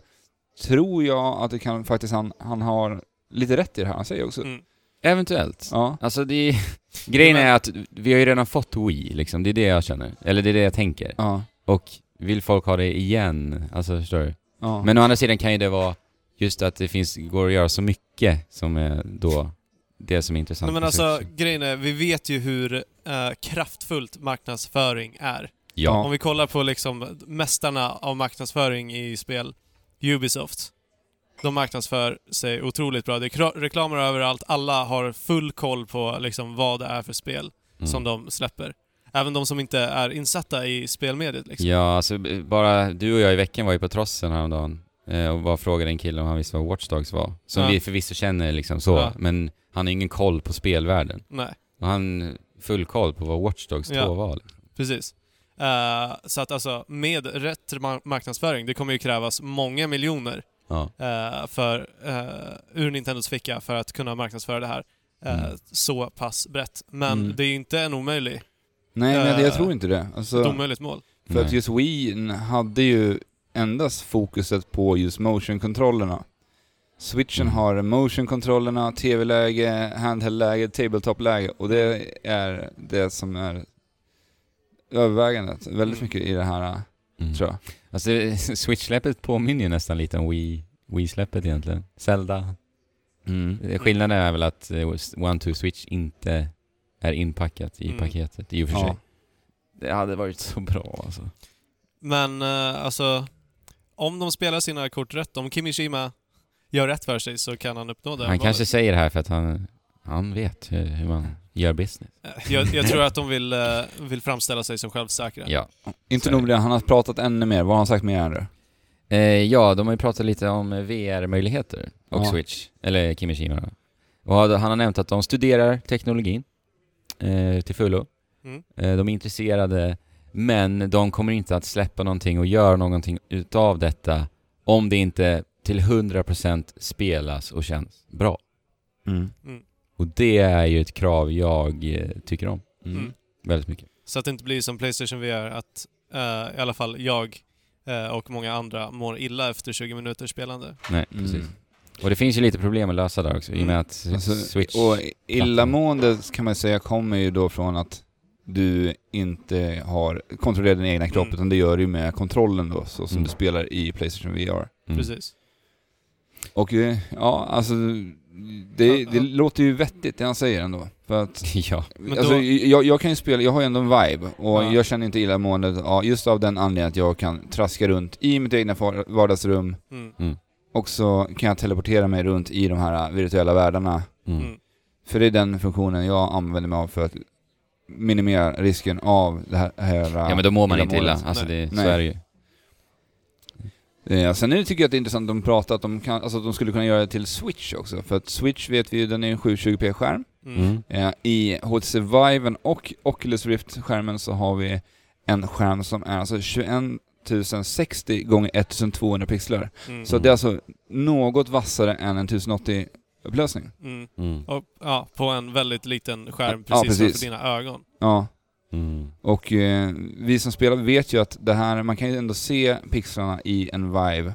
[SPEAKER 1] tror jag att det kan faktiskt han, han har lite rätt i det här han säger också.
[SPEAKER 3] Mm.
[SPEAKER 2] Eventuellt.
[SPEAKER 1] Ja.
[SPEAKER 2] Alltså det är, Grejen
[SPEAKER 3] Men-
[SPEAKER 2] är att vi har ju redan fått Wii, liksom. Det är det jag känner. Eller det är det jag tänker.
[SPEAKER 1] Ja.
[SPEAKER 2] Och vill folk ha det igen? Alltså förstår du?
[SPEAKER 1] ja.
[SPEAKER 2] Men å andra sidan kan ju det vara just att det finns, går att göra så mycket som är då det som är intressant.
[SPEAKER 3] Nej, men
[SPEAKER 2] med
[SPEAKER 3] alltså,
[SPEAKER 2] Switch.
[SPEAKER 3] grejen är, vi vet ju hur eh, kraftfullt marknadsföring är.
[SPEAKER 2] ja.
[SPEAKER 3] Om vi kollar på liksom mästarna av marknadsföring i spel, Ubisoft. De marknadsför sig otroligt bra. Det är kra- reklamer överallt. Alla har full koll på liksom vad det är för spel
[SPEAKER 2] Mm.
[SPEAKER 3] som de släpper. Även de som inte är insatta i spelmediet. Liksom.
[SPEAKER 2] Ja, alltså b- bara du och jag i veckan var ju på Trossen häromdagen eh, och bara frågade en kille om han visste vad Watch Dogs var. Som
[SPEAKER 3] Ja.
[SPEAKER 2] vi förvisso känner liksom så,
[SPEAKER 3] Ja.
[SPEAKER 2] men han har ingen koll på spelvärlden.
[SPEAKER 3] Nej,
[SPEAKER 2] Och han full koll på vad Watch Dogs 2
[SPEAKER 3] Ja.
[SPEAKER 2] var. liksom.
[SPEAKER 3] precis. Eh, så att alltså, med rätt ma- marknadsföring, det kommer ju krävas många miljoner
[SPEAKER 2] Ja.
[SPEAKER 3] eh, för, eh, ur Nintendos ficka för att kunna marknadsföra det här eh,
[SPEAKER 2] Mm.
[SPEAKER 3] så pass brett. Men
[SPEAKER 1] Mm.
[SPEAKER 3] det är ju inte en omöjlig,
[SPEAKER 1] Nej, men
[SPEAKER 3] Eh,
[SPEAKER 1] jag tror inte det.
[SPEAKER 3] ett
[SPEAKER 1] Alltså,
[SPEAKER 3] omöjligt mål.
[SPEAKER 1] för att
[SPEAKER 2] Nej.
[SPEAKER 1] just Wii hade ju endast fokuset på just motion-kontrollerna. Switchen
[SPEAKER 2] Mm.
[SPEAKER 1] har motion-kontrollerna, tv-läge, handheld-läge, tabletop-läge och det är det som är övervägandet väldigt
[SPEAKER 3] Mm.
[SPEAKER 1] mycket i det här,
[SPEAKER 2] Mm.
[SPEAKER 1] tror jag.
[SPEAKER 2] Alltså Switch-släppet påminner ju nästan lite om Wii, Wii-släppet egentligen. Zelda. Eh, Skillnaden är väl att eh, One Two Switch inte är inpackat i
[SPEAKER 3] Mm.
[SPEAKER 2] paketet i och för sig.
[SPEAKER 1] Ja.
[SPEAKER 2] Det hade varit så bra alltså.
[SPEAKER 3] Men eh, alltså, om de spelar sina kort rätt, om Kimishima gör rätt för sig så kan han uppnå det.
[SPEAKER 2] Han
[SPEAKER 3] målet.
[SPEAKER 2] kanske säger det här för att han, han vet hur, hur man gör business.
[SPEAKER 3] Eh, jag, jag tror att de vill, eh, vill framställa sig som självsäkra.
[SPEAKER 2] Ja.
[SPEAKER 1] Inte
[SPEAKER 2] Så är
[SPEAKER 1] nog med det, han har pratat ännu mer. Vad har han sagt mer än det?
[SPEAKER 2] Eh, ja, de har ju pratat lite om eh, VR-möjligheter och
[SPEAKER 1] Ja.
[SPEAKER 2] Switch. Eller Kimishima då. Och han han har nämnt att de studerar teknologin eh, till fullo.
[SPEAKER 3] Mm.
[SPEAKER 2] Eh, de är intresserade, men de kommer inte att släppa någonting och göra någonting utav detta om det inte till 100% spelas och känns bra.
[SPEAKER 3] Mm,
[SPEAKER 2] Och det är ju ett krav jag eh, tycker om
[SPEAKER 1] Mm.
[SPEAKER 3] Mm.
[SPEAKER 2] väldigt mycket.
[SPEAKER 3] Så att det inte blir som Playstation VR, att eh, i alla fall jag eh, och många andra mår illa efter 20 minuter spelande.
[SPEAKER 2] Nej,
[SPEAKER 1] Mm.
[SPEAKER 2] precis. Och det finns ju lite problem att lösa där också i och med att eh,
[SPEAKER 1] Alltså,
[SPEAKER 2] Switch...
[SPEAKER 1] Och illamående kan man säga kommer ju då från att du inte har kontrollerat din egna kropp
[SPEAKER 3] Mm.
[SPEAKER 1] utan det gör du ju med kontrollen då så som
[SPEAKER 2] Mm.
[SPEAKER 1] du spelar i Playstation VR.
[SPEAKER 2] Mm.
[SPEAKER 3] Precis.
[SPEAKER 1] Och eh, ja, alltså Det,
[SPEAKER 3] Ja,
[SPEAKER 1] det
[SPEAKER 3] ja.
[SPEAKER 1] låter ju vettigt det han säger ändå. För att,
[SPEAKER 2] ja.
[SPEAKER 3] Men
[SPEAKER 1] alltså,
[SPEAKER 3] då-
[SPEAKER 1] jag, jag kan ju spela, jag har ju ändå en vibe och
[SPEAKER 3] Ja.
[SPEAKER 1] jag känner inte illamående ja, just av den anledningen att jag kan traska runt i mitt egna far- vardagsrum
[SPEAKER 3] Mm.
[SPEAKER 1] och så kan jag teleportera mig runt i de här virtuella världarna.
[SPEAKER 2] Mm.
[SPEAKER 3] Mm.
[SPEAKER 1] För det är den funktionen jag använder mig av för att minimera risken av det här... här
[SPEAKER 2] ja, men då mår man inte illa.
[SPEAKER 1] illamåendet.
[SPEAKER 2] Alltså, det, så
[SPEAKER 1] Nej.
[SPEAKER 2] är det ju.
[SPEAKER 1] Eh, sen nu tycker jag att det är intressant att de pratar att de, kan, alltså att de skulle kunna göra det till Switch också. För att Switch vet vi ju, den är en 720p-skärm.
[SPEAKER 3] Mm.
[SPEAKER 2] Mm.
[SPEAKER 1] Eh, I HTC Viven och Oculus Rift-skärmen så har vi en skärm som är alltså 21 1060 gånger 1200 pixlar.
[SPEAKER 3] Mm.
[SPEAKER 1] Så det är alltså något vassare än en 1080-upplösning.
[SPEAKER 3] Mm.
[SPEAKER 2] Mm.
[SPEAKER 3] Och, ja, på en väldigt liten skärm
[SPEAKER 1] Ja,
[SPEAKER 3] precis,
[SPEAKER 1] precis.
[SPEAKER 3] framför dina ögon.
[SPEAKER 1] Ja,
[SPEAKER 2] Mm.
[SPEAKER 1] och eh, vi som spelar vet ju att det här, man kan ju ändå se pixlarna i en Vive.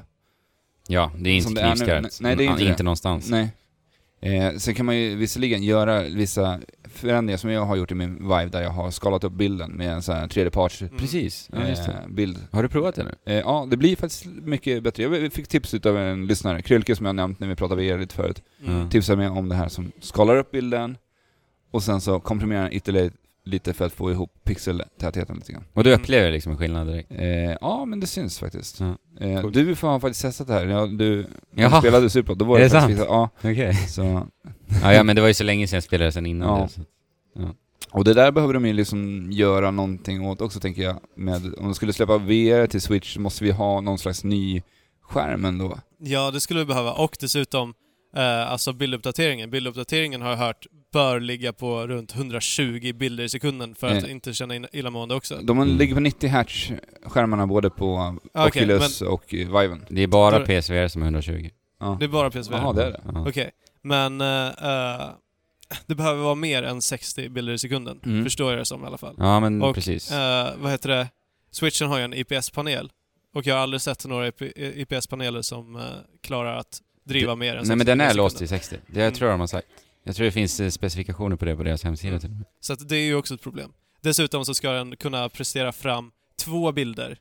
[SPEAKER 2] Ja, det är inte
[SPEAKER 1] Som det är nu.
[SPEAKER 2] knivskarpt.
[SPEAKER 1] Nej, det är
[SPEAKER 2] Ja,
[SPEAKER 1] inte det.
[SPEAKER 2] någonstans.
[SPEAKER 1] Nej. Eh, sen kan man ju visserligen göra vissa förändringar som jag har gjort i min Vive där jag har skalat upp bilden med en sån här tredjeparts
[SPEAKER 3] Mm.
[SPEAKER 2] Precis. Ja, just det.
[SPEAKER 1] eh, bild.
[SPEAKER 2] Har du provat det nu?
[SPEAKER 1] Eh, ja, det blir faktiskt mycket bättre. Jag fick tips av en lyssnare, Krylke som jag nämnt när vi pratade VR lite förut.
[SPEAKER 2] Mm.
[SPEAKER 1] Tipsade mig om det här som skalar upp bilden och sen så komprimerar den ytterligare lite för att få ihop pixeltätheten lite grann.
[SPEAKER 2] Och du
[SPEAKER 3] Mm.
[SPEAKER 2] upplever liksom en skillnad direkt?
[SPEAKER 1] Eh, ja, men det syns faktiskt.
[SPEAKER 2] Ja.
[SPEAKER 1] Eh,
[SPEAKER 2] Coolt.
[SPEAKER 1] Du får faktiskt testat det här. Ja, du
[SPEAKER 2] Jaha.
[SPEAKER 1] spelade Super, då var
[SPEAKER 2] Är
[SPEAKER 1] det
[SPEAKER 2] det
[SPEAKER 1] faktiskt... Ja,
[SPEAKER 2] Okej.
[SPEAKER 1] så
[SPEAKER 2] ja, ja, men det var ju så länge sedan jag spelade sen innan
[SPEAKER 1] Ja.
[SPEAKER 2] det. Så.
[SPEAKER 1] Och det där behöver de ju liksom göra någonting åt också tänker jag. Med, om de skulle släppa VR till Switch så måste vi ha någon slags ny skärm ändå.
[SPEAKER 3] Ja, det skulle vi behöva. Och dessutom eh, alltså bilduppdateringen. Bilduppdateringen har jag hört bör ligga på runt 120 bilder i sekunden för att
[SPEAKER 1] Eh.
[SPEAKER 3] inte känna in- illamående också.
[SPEAKER 1] De
[SPEAKER 2] Mm. Ah,
[SPEAKER 1] ligger på 90 Hz skärmarna både på
[SPEAKER 3] Ah, Okej,
[SPEAKER 1] Oculus och eh, Viven.
[SPEAKER 2] Det är bara
[SPEAKER 3] Då-
[SPEAKER 2] PSVR som är 120.
[SPEAKER 1] Ja.
[SPEAKER 3] Det är bara PSVR.
[SPEAKER 1] Jaha,
[SPEAKER 3] Okej,
[SPEAKER 1] det är det.
[SPEAKER 2] Ja.
[SPEAKER 3] men eh, eh, det behöver vara mer än 60 bilder i sekunden.
[SPEAKER 1] Mm.
[SPEAKER 3] Förstår jag det som i alla fall.
[SPEAKER 2] Ja, men
[SPEAKER 3] Och,
[SPEAKER 2] precis.
[SPEAKER 3] Eh, vad heter det? Switchen har ju en IPS-panel. Och jag har aldrig sett några IPS-paneler som eh, klarar att driva mer än 60
[SPEAKER 2] Nej, men den
[SPEAKER 3] bilder i
[SPEAKER 2] är
[SPEAKER 3] sekunden.
[SPEAKER 2] låst till 60. Det
[SPEAKER 3] Mm.
[SPEAKER 2] jag tror jag de har sagt. Jag tror det finns eh, specifikationer på det på deras hemsida typ. till och med.
[SPEAKER 3] Så att det är ju också ett problem. Dessutom så ska den kunna prestera fram två bilder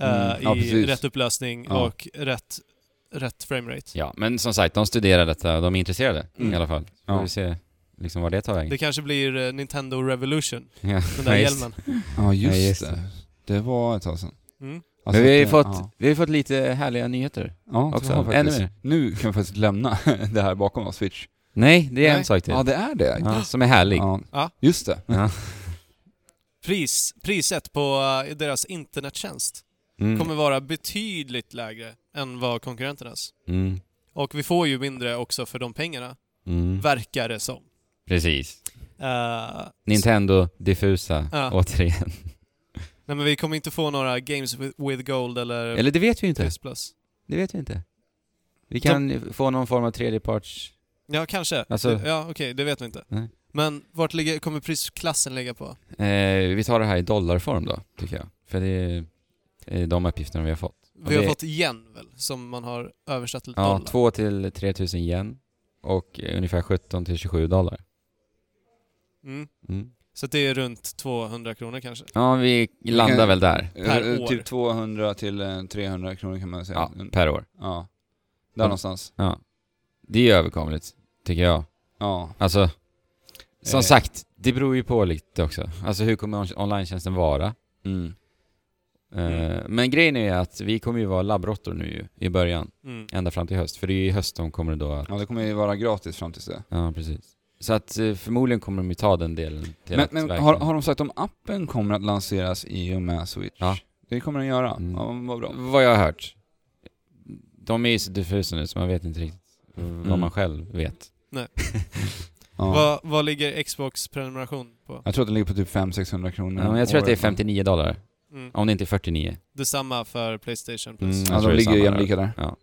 [SPEAKER 3] eh,
[SPEAKER 1] Mm, ja,
[SPEAKER 3] i
[SPEAKER 1] precis.
[SPEAKER 3] rätt upplösning
[SPEAKER 1] Ja.
[SPEAKER 3] och rätt, rätt framerate.
[SPEAKER 2] Ja, men som sagt, de studerar detta och de är intresserade
[SPEAKER 1] Mm.
[SPEAKER 2] i alla fall. Så
[SPEAKER 1] Ja.
[SPEAKER 2] får vi se liksom var det tar vägen.
[SPEAKER 3] Det kanske blir eh, Nintendo Revolution,
[SPEAKER 2] Ja,
[SPEAKER 3] den där
[SPEAKER 2] ja, just.
[SPEAKER 3] hjälmen.
[SPEAKER 1] Ja, just,
[SPEAKER 2] Ja, just
[SPEAKER 1] det. Det var ett tag sedan.
[SPEAKER 3] Mm.
[SPEAKER 1] Alltså
[SPEAKER 2] men vi har ju
[SPEAKER 1] att,
[SPEAKER 2] fått,
[SPEAKER 1] eh,
[SPEAKER 2] vi har ju fått lite härliga nyheter.
[SPEAKER 1] Ja, ja
[SPEAKER 2] också.
[SPEAKER 1] också. Har faktiskt.
[SPEAKER 2] Ännu mer.
[SPEAKER 1] Nu kan vi faktiskt lämna det här bakom oss, Switch.
[SPEAKER 2] Nej, det är
[SPEAKER 3] Nej.
[SPEAKER 2] en sak till.
[SPEAKER 1] Ja, det är det.
[SPEAKER 2] Ja, som är härlig.
[SPEAKER 1] Ja.
[SPEAKER 3] Ja.
[SPEAKER 1] Just det.
[SPEAKER 3] Pris, priset på eh, deras internettjänst
[SPEAKER 2] Mm.
[SPEAKER 3] kommer vara betydligt lägre än vad konkurrenternas.
[SPEAKER 2] Mm.
[SPEAKER 3] Och vi får ju mindre också för de pengarna,
[SPEAKER 2] Mm.
[SPEAKER 3] verkar det som.
[SPEAKER 2] Precis.
[SPEAKER 3] Eh,
[SPEAKER 2] Nintendo diffusa,
[SPEAKER 3] Ja.
[SPEAKER 2] återigen.
[SPEAKER 3] nej men vi kommer inte få några Games with, with Gold eller,
[SPEAKER 2] Eller det vet vi ju inte.
[SPEAKER 3] PS Plus.
[SPEAKER 2] Det vet vi inte. Vi kan få någon form av tredjeparts...
[SPEAKER 3] Ja, kanske.
[SPEAKER 2] Alltså-
[SPEAKER 3] ja, okej, det vet vi inte.
[SPEAKER 2] Nej.
[SPEAKER 3] Men vart ligger, kommer prisklassen ligga på?
[SPEAKER 2] Eh, vi tar det här i dollarform då, tycker jag. För det är eh, de uppgifterna vi har fått.
[SPEAKER 3] Vi
[SPEAKER 2] det-
[SPEAKER 3] har fått yen väl, som man har översatt till
[SPEAKER 2] Ja,
[SPEAKER 3] dollar.
[SPEAKER 2] 2 till 3 000 yen och eh, ungefär 17 till 27 dollar.
[SPEAKER 3] Mm.
[SPEAKER 2] Mm.
[SPEAKER 3] Så det är runt 200 kronor kanske.
[SPEAKER 2] Ja, vi landar
[SPEAKER 1] kan-
[SPEAKER 2] väl där.
[SPEAKER 3] Per
[SPEAKER 1] Eh,
[SPEAKER 3] år.
[SPEAKER 1] Typ 200 till eh, 300 kronor kan man säga.
[SPEAKER 2] Ja,
[SPEAKER 1] Mm.
[SPEAKER 2] per år.
[SPEAKER 1] ja. Där
[SPEAKER 2] Ja.
[SPEAKER 1] någonstans.
[SPEAKER 2] Ja. Det är överkomligt, tycker jag.
[SPEAKER 1] Ja.
[SPEAKER 2] Alltså, som
[SPEAKER 1] Eh.
[SPEAKER 2] sagt, det beror ju på lite också. Alltså hur kommer on- online-tjänsten vara?
[SPEAKER 1] Mm.
[SPEAKER 2] Eh,
[SPEAKER 3] Mm.
[SPEAKER 2] Men grejen är ju att vi kommer ju vara labbråttor nu ju, i början,
[SPEAKER 3] Mm.
[SPEAKER 2] ända fram till höst. För det är ju i höst de kommer då att...
[SPEAKER 1] ja, det kommer ju vara gratis fram tills det.
[SPEAKER 2] Ja, precis. Så att eh, förmodligen kommer de ju ta den delen till
[SPEAKER 1] Men,
[SPEAKER 2] att
[SPEAKER 1] men
[SPEAKER 2] verkligen-
[SPEAKER 1] har, har de sagt om appen kommer att lanseras i och med Switch?
[SPEAKER 2] Ja.
[SPEAKER 1] Det kommer den göra.
[SPEAKER 2] Mm.
[SPEAKER 1] Ja, vad bra.
[SPEAKER 2] Vad jag har hört. De är ju så diffusa nu så man vet inte riktigt vad
[SPEAKER 1] Mm.
[SPEAKER 2] man själv vet.
[SPEAKER 1] Ja.
[SPEAKER 3] Vad, vad ligger Xbox prenumeration på?
[SPEAKER 1] Jag tror att den ligger på typ 500-600 kronor.
[SPEAKER 2] Ja, men jag tror att det är
[SPEAKER 1] året.
[SPEAKER 2] 59 dollar.
[SPEAKER 3] Mm.
[SPEAKER 2] Om det inte är 49.
[SPEAKER 3] Detsamma för Playstation Plus.
[SPEAKER 2] Mm.
[SPEAKER 1] Ja,
[SPEAKER 2] tror
[SPEAKER 1] de
[SPEAKER 2] det är
[SPEAKER 1] ligger ju
[SPEAKER 2] samma
[SPEAKER 1] jämlika där.
[SPEAKER 2] Ja.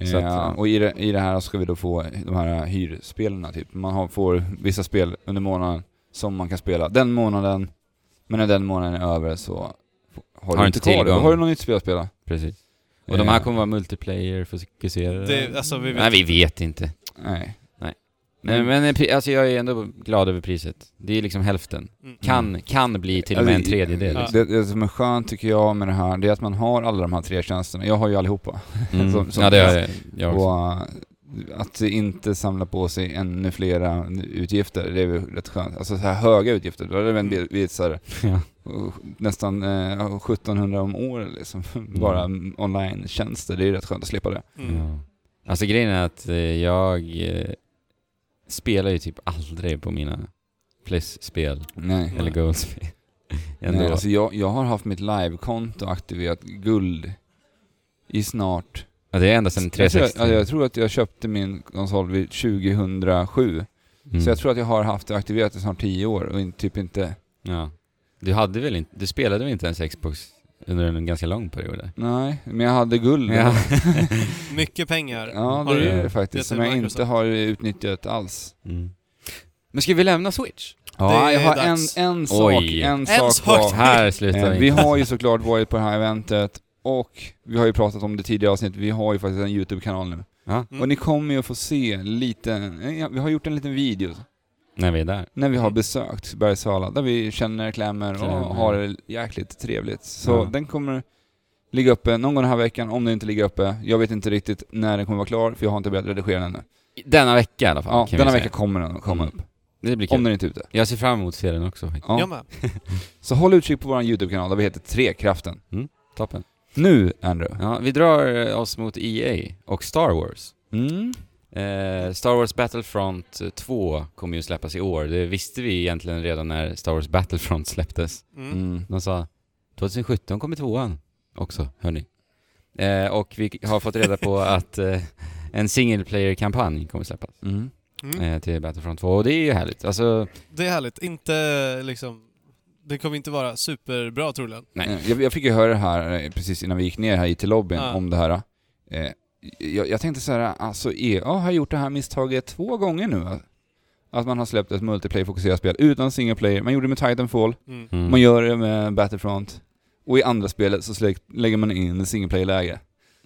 [SPEAKER 2] Så
[SPEAKER 1] Ja.
[SPEAKER 2] att, ja.
[SPEAKER 1] och i det, i det här ska vi då få de här hyrspelarna typ. Man har, får vissa spel under månaden som man kan spela den månaden, men när den månaden är över så f- har, du
[SPEAKER 2] du
[SPEAKER 1] inte kvar
[SPEAKER 2] inte
[SPEAKER 1] det. Då
[SPEAKER 2] tillgång.
[SPEAKER 1] har du något nytt spel att spela.
[SPEAKER 2] Precis. Och de här
[SPEAKER 1] Eh,
[SPEAKER 2] kommer vara multiplayer-fokuserade.
[SPEAKER 3] Det, alltså, vi vet. Mm.
[SPEAKER 2] Nej, vi vet inte.
[SPEAKER 1] Nej.
[SPEAKER 2] Nej. Nej, men eh, pri- alltså, jag är ändå glad över priset. Det är liksom hälften.
[SPEAKER 3] Mm.
[SPEAKER 2] Kan, kan bli till och med en
[SPEAKER 1] Alltså, i-
[SPEAKER 2] tredjedel. Liksom.
[SPEAKER 1] Det, det som är skönt tycker jag med det här, det är att man har alla de här tre tjänsterna. Jag har ju allihopa.
[SPEAKER 2] Mm.
[SPEAKER 1] Som- som-
[SPEAKER 2] ja, det har jag, jag också.
[SPEAKER 1] Och, äh, Att inte samla på sig ännu flera utgifter, det är väl rätt skönt. Alltså så här höga utgifter, då hade det väl
[SPEAKER 3] Mm.
[SPEAKER 1] blivit så här,
[SPEAKER 2] Ja.
[SPEAKER 1] och nästan eh, 1700 om året liksom.
[SPEAKER 2] Mm.
[SPEAKER 1] Bara online-tjänster, det är rätt skönt att slippa det.
[SPEAKER 3] Mm.
[SPEAKER 2] Ja. Alltså grejen är att eh, jag eh, spelar ju typ aldrig på mina Plus-spel
[SPEAKER 1] Nej.
[SPEAKER 2] eller Gold-spel. Ändå.
[SPEAKER 1] Mm. Nej, alltså jag, jag har haft mitt livekonto aktiverat guld i snart...
[SPEAKER 2] ja, det är ända sedan
[SPEAKER 1] Jag tror,
[SPEAKER 2] 360.
[SPEAKER 1] alltså jag tror att jag köpte min konsol vid 2007.
[SPEAKER 2] Mm.
[SPEAKER 1] Så jag tror att jag har haft det aktiverat i snart 10 år och in, typ inte...
[SPEAKER 2] Ja. Du hade väl inte, du spelade väl inte ens Xbox under en ganska lång period där?
[SPEAKER 1] Nej, men jag hade guld.
[SPEAKER 2] Ja.
[SPEAKER 3] Mycket pengar.
[SPEAKER 1] Ja,
[SPEAKER 3] Har
[SPEAKER 1] det
[SPEAKER 3] du-
[SPEAKER 1] är
[SPEAKER 2] det?
[SPEAKER 1] det faktiskt. Som jag
[SPEAKER 3] Microsoft.
[SPEAKER 1] inte har utnyttjat alls.
[SPEAKER 2] Mm. Men ska vi lämna Switch?
[SPEAKER 1] Ja,
[SPEAKER 3] Det
[SPEAKER 1] jag har
[SPEAKER 3] är
[SPEAKER 1] en,
[SPEAKER 3] dags.
[SPEAKER 1] en sak,
[SPEAKER 2] Oj.
[SPEAKER 1] en
[SPEAKER 3] En
[SPEAKER 1] sak
[SPEAKER 3] sak.
[SPEAKER 1] kvar.
[SPEAKER 2] Här slutar
[SPEAKER 1] Eh,
[SPEAKER 2] vi.
[SPEAKER 1] Vi har ju såklart varit på det här eventet och vi har ju pratat om det tidigare avsnitt. Vi har ju faktiskt en YouTube-kanal nu.
[SPEAKER 2] Ja,
[SPEAKER 3] Mm.
[SPEAKER 1] Och ni kommer ju att få se lite, eh, vi har gjort en liten video
[SPEAKER 2] när vi är där.
[SPEAKER 1] när vi har
[SPEAKER 3] Mm.
[SPEAKER 1] besökt Bergsala där vi känner, klämmer och
[SPEAKER 2] Klämmer.
[SPEAKER 1] har det jäkligt trevligt. Så
[SPEAKER 2] Ja.
[SPEAKER 1] den kommer ligga uppe någon gång den här veckan, om den inte ligger uppe. Jag vet inte riktigt när den kommer vara klar, för jag har inte börjat redigera den ännu.
[SPEAKER 2] Denna vecka i alla fall.
[SPEAKER 1] Ja,
[SPEAKER 2] kan vi
[SPEAKER 1] denna
[SPEAKER 2] säga.
[SPEAKER 1] vecka kommer den att komma upp.
[SPEAKER 2] Det blir kul.
[SPEAKER 1] Om den inte är ute.
[SPEAKER 2] Jag ser fram emot serien också faktiskt.
[SPEAKER 1] Ja.
[SPEAKER 3] Jag med.
[SPEAKER 1] Så håll utkik på vår YouTube-kanal där vi heter Trekraften.
[SPEAKER 2] Toppen.
[SPEAKER 1] Nu, Andrew.
[SPEAKER 2] Ja, vi drar eh, oss mot EA och Star Wars.
[SPEAKER 1] Mm.
[SPEAKER 2] Eh, Star Wars Battlefront 2 kommer ju släppas i år. Det visste vi egentligen redan när Star Wars Battlefront släpptes.
[SPEAKER 3] Mm.
[SPEAKER 1] Mm.
[SPEAKER 2] De sa 2017 kommer tvåan också, hörni. Eh, och vi har fått reda på att eh, en single player-kampanj kommer släppas
[SPEAKER 1] Mm.
[SPEAKER 3] Mm.
[SPEAKER 2] eh, till Battlefront 2 och det är ju härligt. Alltså,
[SPEAKER 3] Det är härligt. Inte liksom... Det kommer inte vara superbra troligen.
[SPEAKER 2] Nej.
[SPEAKER 1] Eh, Jag, jag fick ju höra det här eh, precis innan vi gick ner här i till lobbyn
[SPEAKER 3] Ja.
[SPEAKER 1] om det här. Eh, jag, jag tänkte så här, alltså EA har gjort det här misstaget två gånger nu. va? Att man har släppt ett multiplayer-fokuserat spel utan single player. Man gjorde det med Titanfall,
[SPEAKER 3] Mm.
[SPEAKER 2] mm.
[SPEAKER 1] man gör det med Battlefront. Och i andra spelet så slä- lägger man in single player-läge.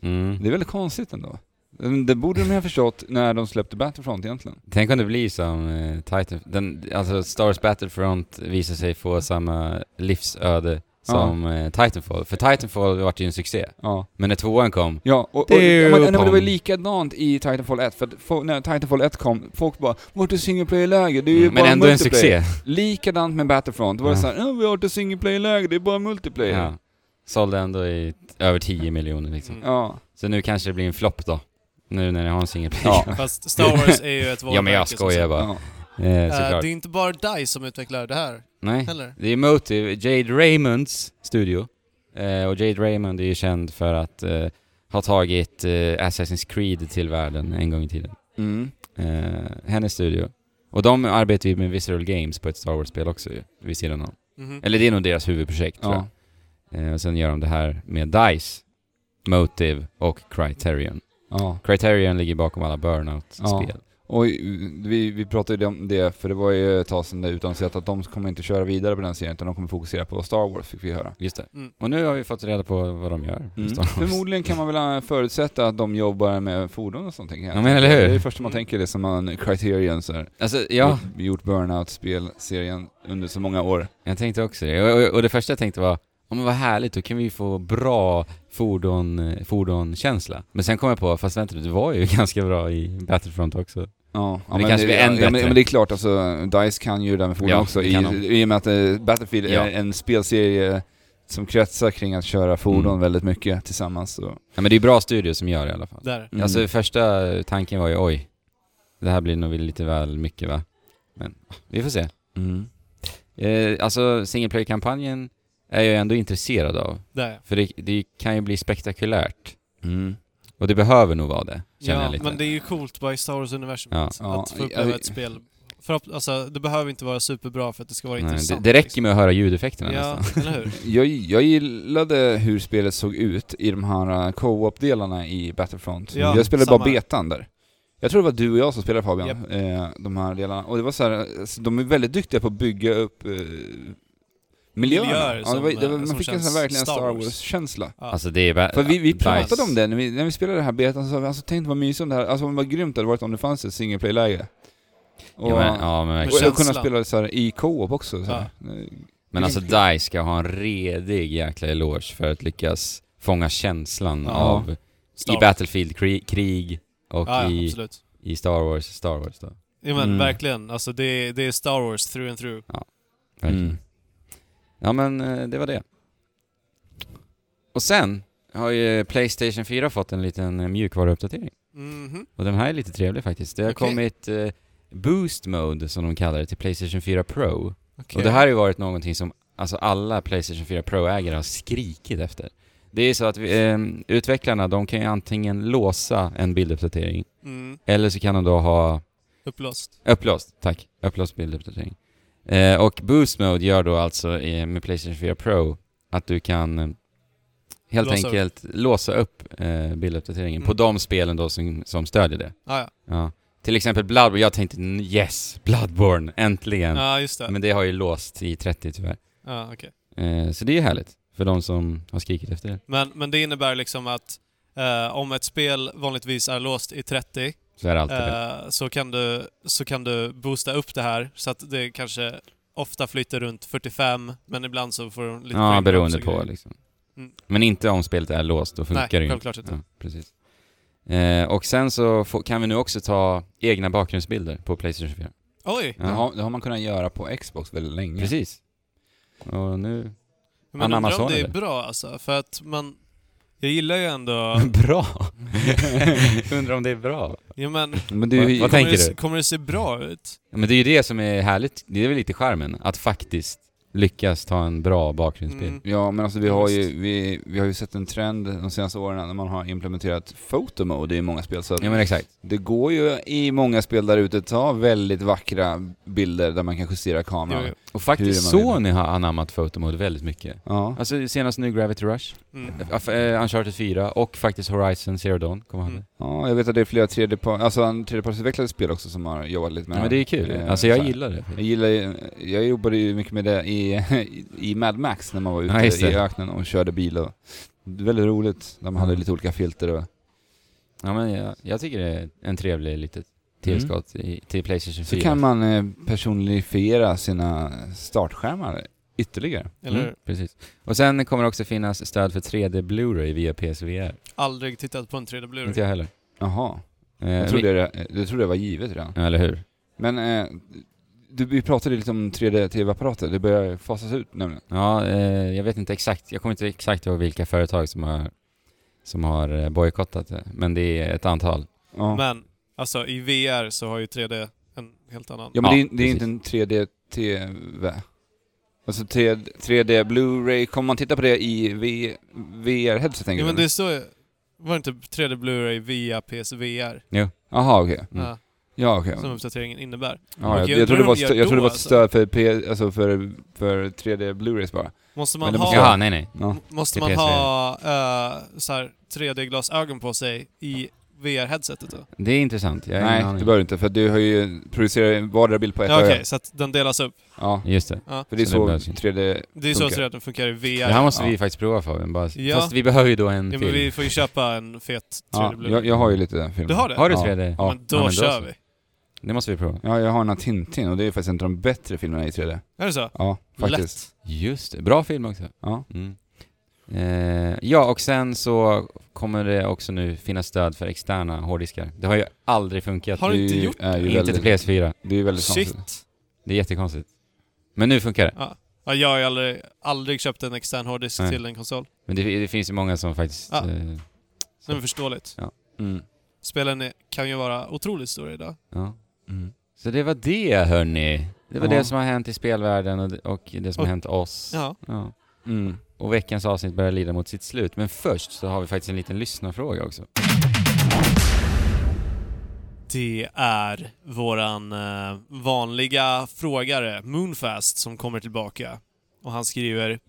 [SPEAKER 2] mm.
[SPEAKER 1] Det är väldigt konstigt ändå. Men Det borde de ha förstått när de släppte Battlefront egentligen.
[SPEAKER 2] Tänk om det blir som eh, Titan... Den, alltså Star Wars Battlefront visar sig få samma livsöde som eh, Titanfall. För Titanfall vart ju en succé.
[SPEAKER 1] Ja.
[SPEAKER 2] Men när tvåan kom
[SPEAKER 1] Ja, och, och,
[SPEAKER 2] Det är ju
[SPEAKER 1] ja, men, nej, men det var
[SPEAKER 2] kom.
[SPEAKER 1] ju likadant i Titanfall 1, för att fo- när Titanfall 1 kom, folk bara ”Vart är single player-läge? Det är ju
[SPEAKER 2] Mm,
[SPEAKER 1] bara
[SPEAKER 2] men ändå en
[SPEAKER 1] multiplayer."
[SPEAKER 2] succé.
[SPEAKER 1] Likadant med Battlefront, då var det
[SPEAKER 2] Ja.
[SPEAKER 1] såhär ja, vi har inte single player-läge, det är bara multiplayer”. Ja.
[SPEAKER 2] Ja. Sålde ändå i t- över 10 miljoner liksom.
[SPEAKER 3] Mm.
[SPEAKER 1] Ja.
[SPEAKER 2] Så nu kanske det blir en flopp då. Nu när jag har en single player.
[SPEAKER 1] Ja.
[SPEAKER 3] Fast Star Wars är ju ett
[SPEAKER 2] Ja,
[SPEAKER 3] varumärke.
[SPEAKER 2] men jag
[SPEAKER 3] som
[SPEAKER 2] skojar
[SPEAKER 3] sagt.
[SPEAKER 2] bara.
[SPEAKER 1] ja.
[SPEAKER 2] Eh,
[SPEAKER 3] Eh,
[SPEAKER 2] såklart.
[SPEAKER 3] det är inte bara DICE som utvecklar det här
[SPEAKER 2] Nej.
[SPEAKER 3] heller.
[SPEAKER 2] Det är Motive, Jade Raymonds studio. Eh, och Jade Raymond är ju känd för att eh, ha tagit eh, Assassin's Creed till världen en gång i tiden.
[SPEAKER 1] Mm.
[SPEAKER 2] Eh, hennes studio. Och de arbetar ju med Visceral Games på ett Star Wars-spel också ju, vid sidan om.
[SPEAKER 3] Mhm.
[SPEAKER 2] Eller det är nog deras huvudprojekt tror jag.
[SPEAKER 1] ja.
[SPEAKER 2] Eh, och sen gör de det här med DICE, Motive och Criterion.
[SPEAKER 1] ja.
[SPEAKER 2] Criterion ligger bakom alla Burnout-spel.
[SPEAKER 1] Och vi, vi pratade ju om det, för det var ju ett tag sedan det utannonserat att de kommer inte köra vidare på den serien, utan de kommer fokusera på Star Wars, fick vi höra.
[SPEAKER 2] Just det.
[SPEAKER 3] Mm.
[SPEAKER 2] Och nu har vi fått reda på vad de gör.
[SPEAKER 1] Mm.
[SPEAKER 2] Star Wars.
[SPEAKER 1] Förmodligen kan man väl äh, förutsätta att de jobbar med fordon och sånt, tänker jag.
[SPEAKER 2] Ja, men eller hur?
[SPEAKER 1] Det är det första man tänker, det är som man, Criterion så här.
[SPEAKER 2] Alltså, ja,
[SPEAKER 1] gjort, gjort Burnout-spelserien under så många år.
[SPEAKER 2] jag tänkte också det. Och, och, och det första jag tänkte var, om vad härligt, då kan vi få bra fordon, eh, fordonkänsla. Men sen kom jag på, fast vänta det var ju ganska bra i Battlefront också.
[SPEAKER 1] Ja, ja,
[SPEAKER 2] det kanske blir
[SPEAKER 1] ja,
[SPEAKER 2] än
[SPEAKER 1] ja, men,
[SPEAKER 2] bättre.
[SPEAKER 1] ja, men det är klart, alltså, DICE kan ju det där med fordon
[SPEAKER 2] Ja,
[SPEAKER 1] också,
[SPEAKER 2] det
[SPEAKER 1] i,
[SPEAKER 2] kan de.
[SPEAKER 1] i och med att eh, Battlefield
[SPEAKER 2] Ja.
[SPEAKER 1] är en spelserie som kretsar kring att köra fordon
[SPEAKER 2] Mm.
[SPEAKER 1] väldigt mycket tillsammans. Så.
[SPEAKER 2] Ja, men det är bra studio som gör det i alla fall.
[SPEAKER 3] Där.
[SPEAKER 1] Mm.
[SPEAKER 2] Alltså första tanken var ju, oj, det här blir nog lite väl mycket va? Men ah, vi får se.
[SPEAKER 1] mm.
[SPEAKER 2] Eh, alltså single player-kampanjen är jag ändå intresserad av.
[SPEAKER 3] Där.
[SPEAKER 2] För det, det kan ju bli spektakulärt.
[SPEAKER 1] Mm.
[SPEAKER 2] Och det behöver nog vara det, känner
[SPEAKER 3] Ja,
[SPEAKER 2] jag lite.
[SPEAKER 3] men det är ju coolt bara i Star Wars-universum
[SPEAKER 2] Ja.
[SPEAKER 3] att,
[SPEAKER 1] Ja,
[SPEAKER 3] att få uppleva
[SPEAKER 1] alltså-
[SPEAKER 3] ett spel. Förhopp- alltså, det behöver inte vara superbra för att det ska vara
[SPEAKER 2] Nej, det,
[SPEAKER 3] intressant.
[SPEAKER 2] det räcker med att höra ljudeffekterna
[SPEAKER 3] liksom.
[SPEAKER 2] nästan.
[SPEAKER 3] Ja, eller hur?
[SPEAKER 1] Jag, jag gillade hur spelet såg ut i de här eh, co-op-delarna i Battlefront.
[SPEAKER 3] Ja,
[SPEAKER 1] jag spelade
[SPEAKER 3] samma.
[SPEAKER 1] bara betan där. Jag tror det var du och jag som spelade Fabian,
[SPEAKER 3] Japp.
[SPEAKER 1] eh, de här delarna. Och det var så här, alltså, de är väldigt duktiga på att bygga upp eh, miljöerna. ja,
[SPEAKER 3] Miljöer
[SPEAKER 1] det
[SPEAKER 3] som,
[SPEAKER 1] var, det var,
[SPEAKER 3] eh,
[SPEAKER 1] man
[SPEAKER 3] som
[SPEAKER 1] fick en
[SPEAKER 3] känns
[SPEAKER 1] sån här verkligen
[SPEAKER 3] Star
[SPEAKER 1] Star
[SPEAKER 3] Wars. Eh,
[SPEAKER 1] Wars-känsla.
[SPEAKER 3] Ja.
[SPEAKER 2] Alltså det är bara...
[SPEAKER 1] För vi, vi pratade
[SPEAKER 2] Nice.
[SPEAKER 1] om det när vi, när vi spelade det här betan, så sa vi alltså tänk vad mysigt om det här, alltså vad grymt det hade varit om det fanns ett single play-läge. Och,
[SPEAKER 2] ja, men, ja, men,
[SPEAKER 1] och,
[SPEAKER 2] verkligen.
[SPEAKER 1] och
[SPEAKER 3] känslan.
[SPEAKER 1] kunna spela så här i co-op också. Så här.
[SPEAKER 2] men alltså DICE ska ha en redig jäkla eloge för att lyckas fånga känslan
[SPEAKER 3] Ja.
[SPEAKER 2] av
[SPEAKER 3] Star
[SPEAKER 2] i
[SPEAKER 3] Wars.
[SPEAKER 2] Battlefield krig, krig Och
[SPEAKER 3] Ja, ja,
[SPEAKER 2] i,
[SPEAKER 3] absolut.
[SPEAKER 2] i Star Wars, Star Wars då.
[SPEAKER 3] Ja, men
[SPEAKER 1] Mm.
[SPEAKER 3] verkligen. Alltså det är, det är Star Wars through and through.
[SPEAKER 2] Verkligen.
[SPEAKER 1] Mm.
[SPEAKER 2] Ja men eh, det var det. Och sen har ju Playstation 4 fått en liten eh, mjukvaruuppdatering.
[SPEAKER 3] Mhm.
[SPEAKER 2] Och den här är lite trevlig faktiskt. Det har
[SPEAKER 3] Okej.
[SPEAKER 2] kommit eh, Boost Mode som de kallar det till Playstation 4 Pro.
[SPEAKER 3] Okej.
[SPEAKER 2] Och det här har ju varit någonting som alltså alla Playstation 4 Pro-ägare har skrikit efter. Det är så att vi, eh, utvecklarna, de kan ju antingen låsa en bilduppdatering
[SPEAKER 3] Mm.
[SPEAKER 2] eller så kan de då ha
[SPEAKER 3] Upplåst.
[SPEAKER 2] Upplåst, tack. Upplåst bilduppdatering. Eh, och Boost Mode gör då alltså eh, med Playstation 4 Pro att du kan eh, helt
[SPEAKER 3] Låsa upp.
[SPEAKER 2] enkelt låsa upp eh, bilduppdateringen på
[SPEAKER 3] Mm.
[SPEAKER 2] de spelen då som, som stödjer det.
[SPEAKER 3] Ah, ja,
[SPEAKER 2] Ja. Till exempel Bloodborne, jag tänkte "N- yes, Bloodborne, äntligen.
[SPEAKER 3] ja, just det.
[SPEAKER 2] Men det har ju låst i 30 tyvärr.
[SPEAKER 3] Ja, okej.
[SPEAKER 2] Eh, så det är ju härligt för de som har skrikit efter det.
[SPEAKER 3] men, men det innebär liksom att eh, om ett spel vanligtvis är låst i 30
[SPEAKER 2] Så är det alltid bättre.
[SPEAKER 3] eh, så, kan du, så kan du boosta upp det här så att det kanske ofta flyter runt 45 men ibland så får de lite
[SPEAKER 2] Ja,
[SPEAKER 3] framegrabs
[SPEAKER 2] beroende
[SPEAKER 3] och
[SPEAKER 2] på
[SPEAKER 3] grejer.
[SPEAKER 2] liksom.
[SPEAKER 3] Mm.
[SPEAKER 2] Men inte om spelet är låst, då funkar
[SPEAKER 3] Nej,
[SPEAKER 2] det ju
[SPEAKER 3] självklart inte.
[SPEAKER 2] Ja, precis. Eh, och sen så få, kan vi nu också ta egna bakgrundsbilder på Playstation 4.
[SPEAKER 3] Oj!
[SPEAKER 2] Ja,
[SPEAKER 1] Det, har, det har man kunnat göra på Xbox väldigt länge.
[SPEAKER 2] Precis. Och nu...
[SPEAKER 3] Men undrar om
[SPEAKER 2] Amazon,
[SPEAKER 3] det är
[SPEAKER 2] eller?
[SPEAKER 3] bra alltså, för att man... Jag gillar ju ändå...
[SPEAKER 2] bra! Undrar om det är bra?
[SPEAKER 3] ja, men,
[SPEAKER 1] Men det är ju,
[SPEAKER 2] Vad
[SPEAKER 3] kommer,
[SPEAKER 2] tänker
[SPEAKER 3] det,
[SPEAKER 2] du?
[SPEAKER 3] kommer det se bra ut?
[SPEAKER 2] Ja, Men det är ju det som är härligt, det är väl lite charmen, att faktiskt lyckas ta en bra bakgrundsbild.
[SPEAKER 3] Mm.
[SPEAKER 1] Ja men alltså vi har, ju, vi, vi har ju sett en trend de senaste åren när man har implementerat photo mode i många spel. Så att
[SPEAKER 2] Ja men exakt.
[SPEAKER 1] det går ju i många spel där ute att ta väldigt vackra bilder där man kan justera kameran.
[SPEAKER 3] Jo, jo.
[SPEAKER 2] Och
[SPEAKER 1] Hur
[SPEAKER 2] faktiskt
[SPEAKER 1] man vill.
[SPEAKER 2] Sony har anammat photomode väldigt mycket.
[SPEAKER 1] Ja.
[SPEAKER 2] Alltså senast nu Gravity Rush,
[SPEAKER 3] Mm.
[SPEAKER 2] eh, eh, Uncharted 4 och faktiskt Horizon Zero Dawn, kommer han
[SPEAKER 3] Mm.
[SPEAKER 1] ja, jag vet att det är flera tredjepar- alltså, en tredjepartsutvecklade spel också som har jobbat lite med
[SPEAKER 2] Ja, men det är kul.
[SPEAKER 1] Eh,
[SPEAKER 2] alltså jag
[SPEAKER 1] så här.
[SPEAKER 2] gillar det.
[SPEAKER 1] Jag gillar ju- jag jobbade ju mycket med det i, i Mad Max när man var ute
[SPEAKER 2] Ja, just det.
[SPEAKER 1] i öknen och körde bil och det är väldigt roligt. De hade
[SPEAKER 2] Mm.
[SPEAKER 1] lite olika filter och...
[SPEAKER 2] Ja, men jag, jag tycker det är en trevlig litet tillskott i, till Playstation 4.
[SPEAKER 1] Mm. Så kan man eh, personifiera sina startskärmar ytterligare.
[SPEAKER 3] Eller
[SPEAKER 2] Mm, precis. Och sen kommer det också finnas stöd för 3D Blu-ray via PSVR.
[SPEAKER 3] aldrig tittat på en 3D Blu-ray.
[SPEAKER 2] Inte jag heller.
[SPEAKER 1] Jaha.
[SPEAKER 2] Eh,
[SPEAKER 1] Jag trodde det, jag trodde det var givet redan.
[SPEAKER 2] Ja, eller hur?
[SPEAKER 1] Men eh, du, vi pratade lite om 3D-tv-apparater, det börjar fasas ut nämligen.
[SPEAKER 2] Ja, eh, jag vet inte exakt. Jag kommer inte exakt ihåg vilka företag som har, som har eh, bojkottat det. Men det är ett antal.
[SPEAKER 1] Ja, men,
[SPEAKER 3] Men alltså i VR så har ju 3D en helt annan...
[SPEAKER 1] ja, men
[SPEAKER 2] Ja,
[SPEAKER 1] det, är- det är inte en 3D-tv. Alltså 3D, 3D Blu-ray, kommer man titta på det i VR-headset tänker
[SPEAKER 3] Ja, men
[SPEAKER 1] du?
[SPEAKER 3] det står ju... Var det inte 3D Blu-ray via PSVR?
[SPEAKER 1] Jaha okej.
[SPEAKER 2] Mm.
[SPEAKER 3] Ja,
[SPEAKER 1] Ja okej.
[SPEAKER 3] som uppdateringen innebär.
[SPEAKER 1] Ja, jag,
[SPEAKER 3] Okej,
[SPEAKER 1] jag, trodde det var ett stö-
[SPEAKER 3] undrar om de gör
[SPEAKER 1] jag trodde det var ett
[SPEAKER 3] då,
[SPEAKER 1] stöd för, P- alltså för, för 3D Blu-rays bara.
[SPEAKER 3] Måste
[SPEAKER 1] Men
[SPEAKER 3] man
[SPEAKER 1] det
[SPEAKER 3] ha,
[SPEAKER 1] måste
[SPEAKER 2] Jaha, nej nej.
[SPEAKER 1] Ja.
[SPEAKER 3] m- måste
[SPEAKER 2] till
[SPEAKER 3] man ha eh, så här 3D-glasögon på sig i VR-headsetet då?
[SPEAKER 2] Det är intressant. Jag har
[SPEAKER 1] Nej,
[SPEAKER 2] ingen aning.
[SPEAKER 1] det behöver du inte för du har ju producerat vardera bild på ett
[SPEAKER 3] Ja, Okej,
[SPEAKER 1] öga.
[SPEAKER 3] så att den delas upp.
[SPEAKER 1] Ja,
[SPEAKER 2] Just det.
[SPEAKER 3] Ja.
[SPEAKER 1] för det är
[SPEAKER 2] Så
[SPEAKER 1] så,
[SPEAKER 2] det behövs inte.
[SPEAKER 1] 3D...
[SPEAKER 3] Det är så
[SPEAKER 1] Funkar.
[SPEAKER 3] 3D funkar i VR.
[SPEAKER 2] Det här måste
[SPEAKER 1] Ja.
[SPEAKER 2] vi faktiskt prova Fabian. Bara.
[SPEAKER 3] Ja.
[SPEAKER 2] Fast vi behöver ju då en
[SPEAKER 3] ja,
[SPEAKER 2] film.
[SPEAKER 3] men vi får ju köpa en fet 3D
[SPEAKER 1] Ja,
[SPEAKER 3] Blu-ray.
[SPEAKER 1] jag, jag har ju lite film.
[SPEAKER 3] Du har det?
[SPEAKER 2] Har du
[SPEAKER 1] Ja.
[SPEAKER 2] 3D?
[SPEAKER 1] Ja.
[SPEAKER 3] Men då
[SPEAKER 2] Ja, men då
[SPEAKER 3] kör
[SPEAKER 2] så.
[SPEAKER 3] vi.
[SPEAKER 2] Det måste vi prova.
[SPEAKER 1] Ja, jag har en av Tintin och det är faktiskt en av de bättre filmerna i 3D.
[SPEAKER 3] Är det så?
[SPEAKER 1] Ja, faktiskt.
[SPEAKER 3] Lätt.
[SPEAKER 2] Just det. Bra film också.
[SPEAKER 1] Ja.
[SPEAKER 2] Mm. Eh, ja, och sen så kommer det också nu finnas stöd för externa hårddiskar. Det har ju aldrig funkat.
[SPEAKER 3] Har du inte
[SPEAKER 1] Det
[SPEAKER 3] gjort
[SPEAKER 1] är ju
[SPEAKER 2] inte
[SPEAKER 1] väldigt,
[SPEAKER 2] till PS4.
[SPEAKER 1] Det är ju väldigt
[SPEAKER 3] Shit.
[SPEAKER 1] konstigt.
[SPEAKER 2] Det är jättekonstigt. Men nu funkar det.
[SPEAKER 3] Ja. Ja, jag har ju aldrig, aldrig köpt en extern hårddisk
[SPEAKER 2] Nej.
[SPEAKER 3] till en konsol.
[SPEAKER 2] Men det, det finns ju många som faktiskt...
[SPEAKER 3] Ja.
[SPEAKER 2] Eh,
[SPEAKER 3] Det är väl förståeligt.
[SPEAKER 1] Mm.
[SPEAKER 3] Spelen är- kan ju vara otroligt stora idag.
[SPEAKER 2] ja.
[SPEAKER 1] Mm.
[SPEAKER 2] Så det var det hörni. Det var
[SPEAKER 1] Ja.
[SPEAKER 2] det som har hänt i spelvärlden och det, och det som
[SPEAKER 3] Och-
[SPEAKER 2] har hänt oss.
[SPEAKER 3] Ja.
[SPEAKER 2] Ja.
[SPEAKER 1] Mm.
[SPEAKER 2] Och veckans avsnitt börjar lida mot sitt slut. Men först så har vi faktiskt en liten lyssnarfråga också.
[SPEAKER 3] Det är våran eh, vanliga frågare, Moonfast, som kommer tillbaka. Och han skriver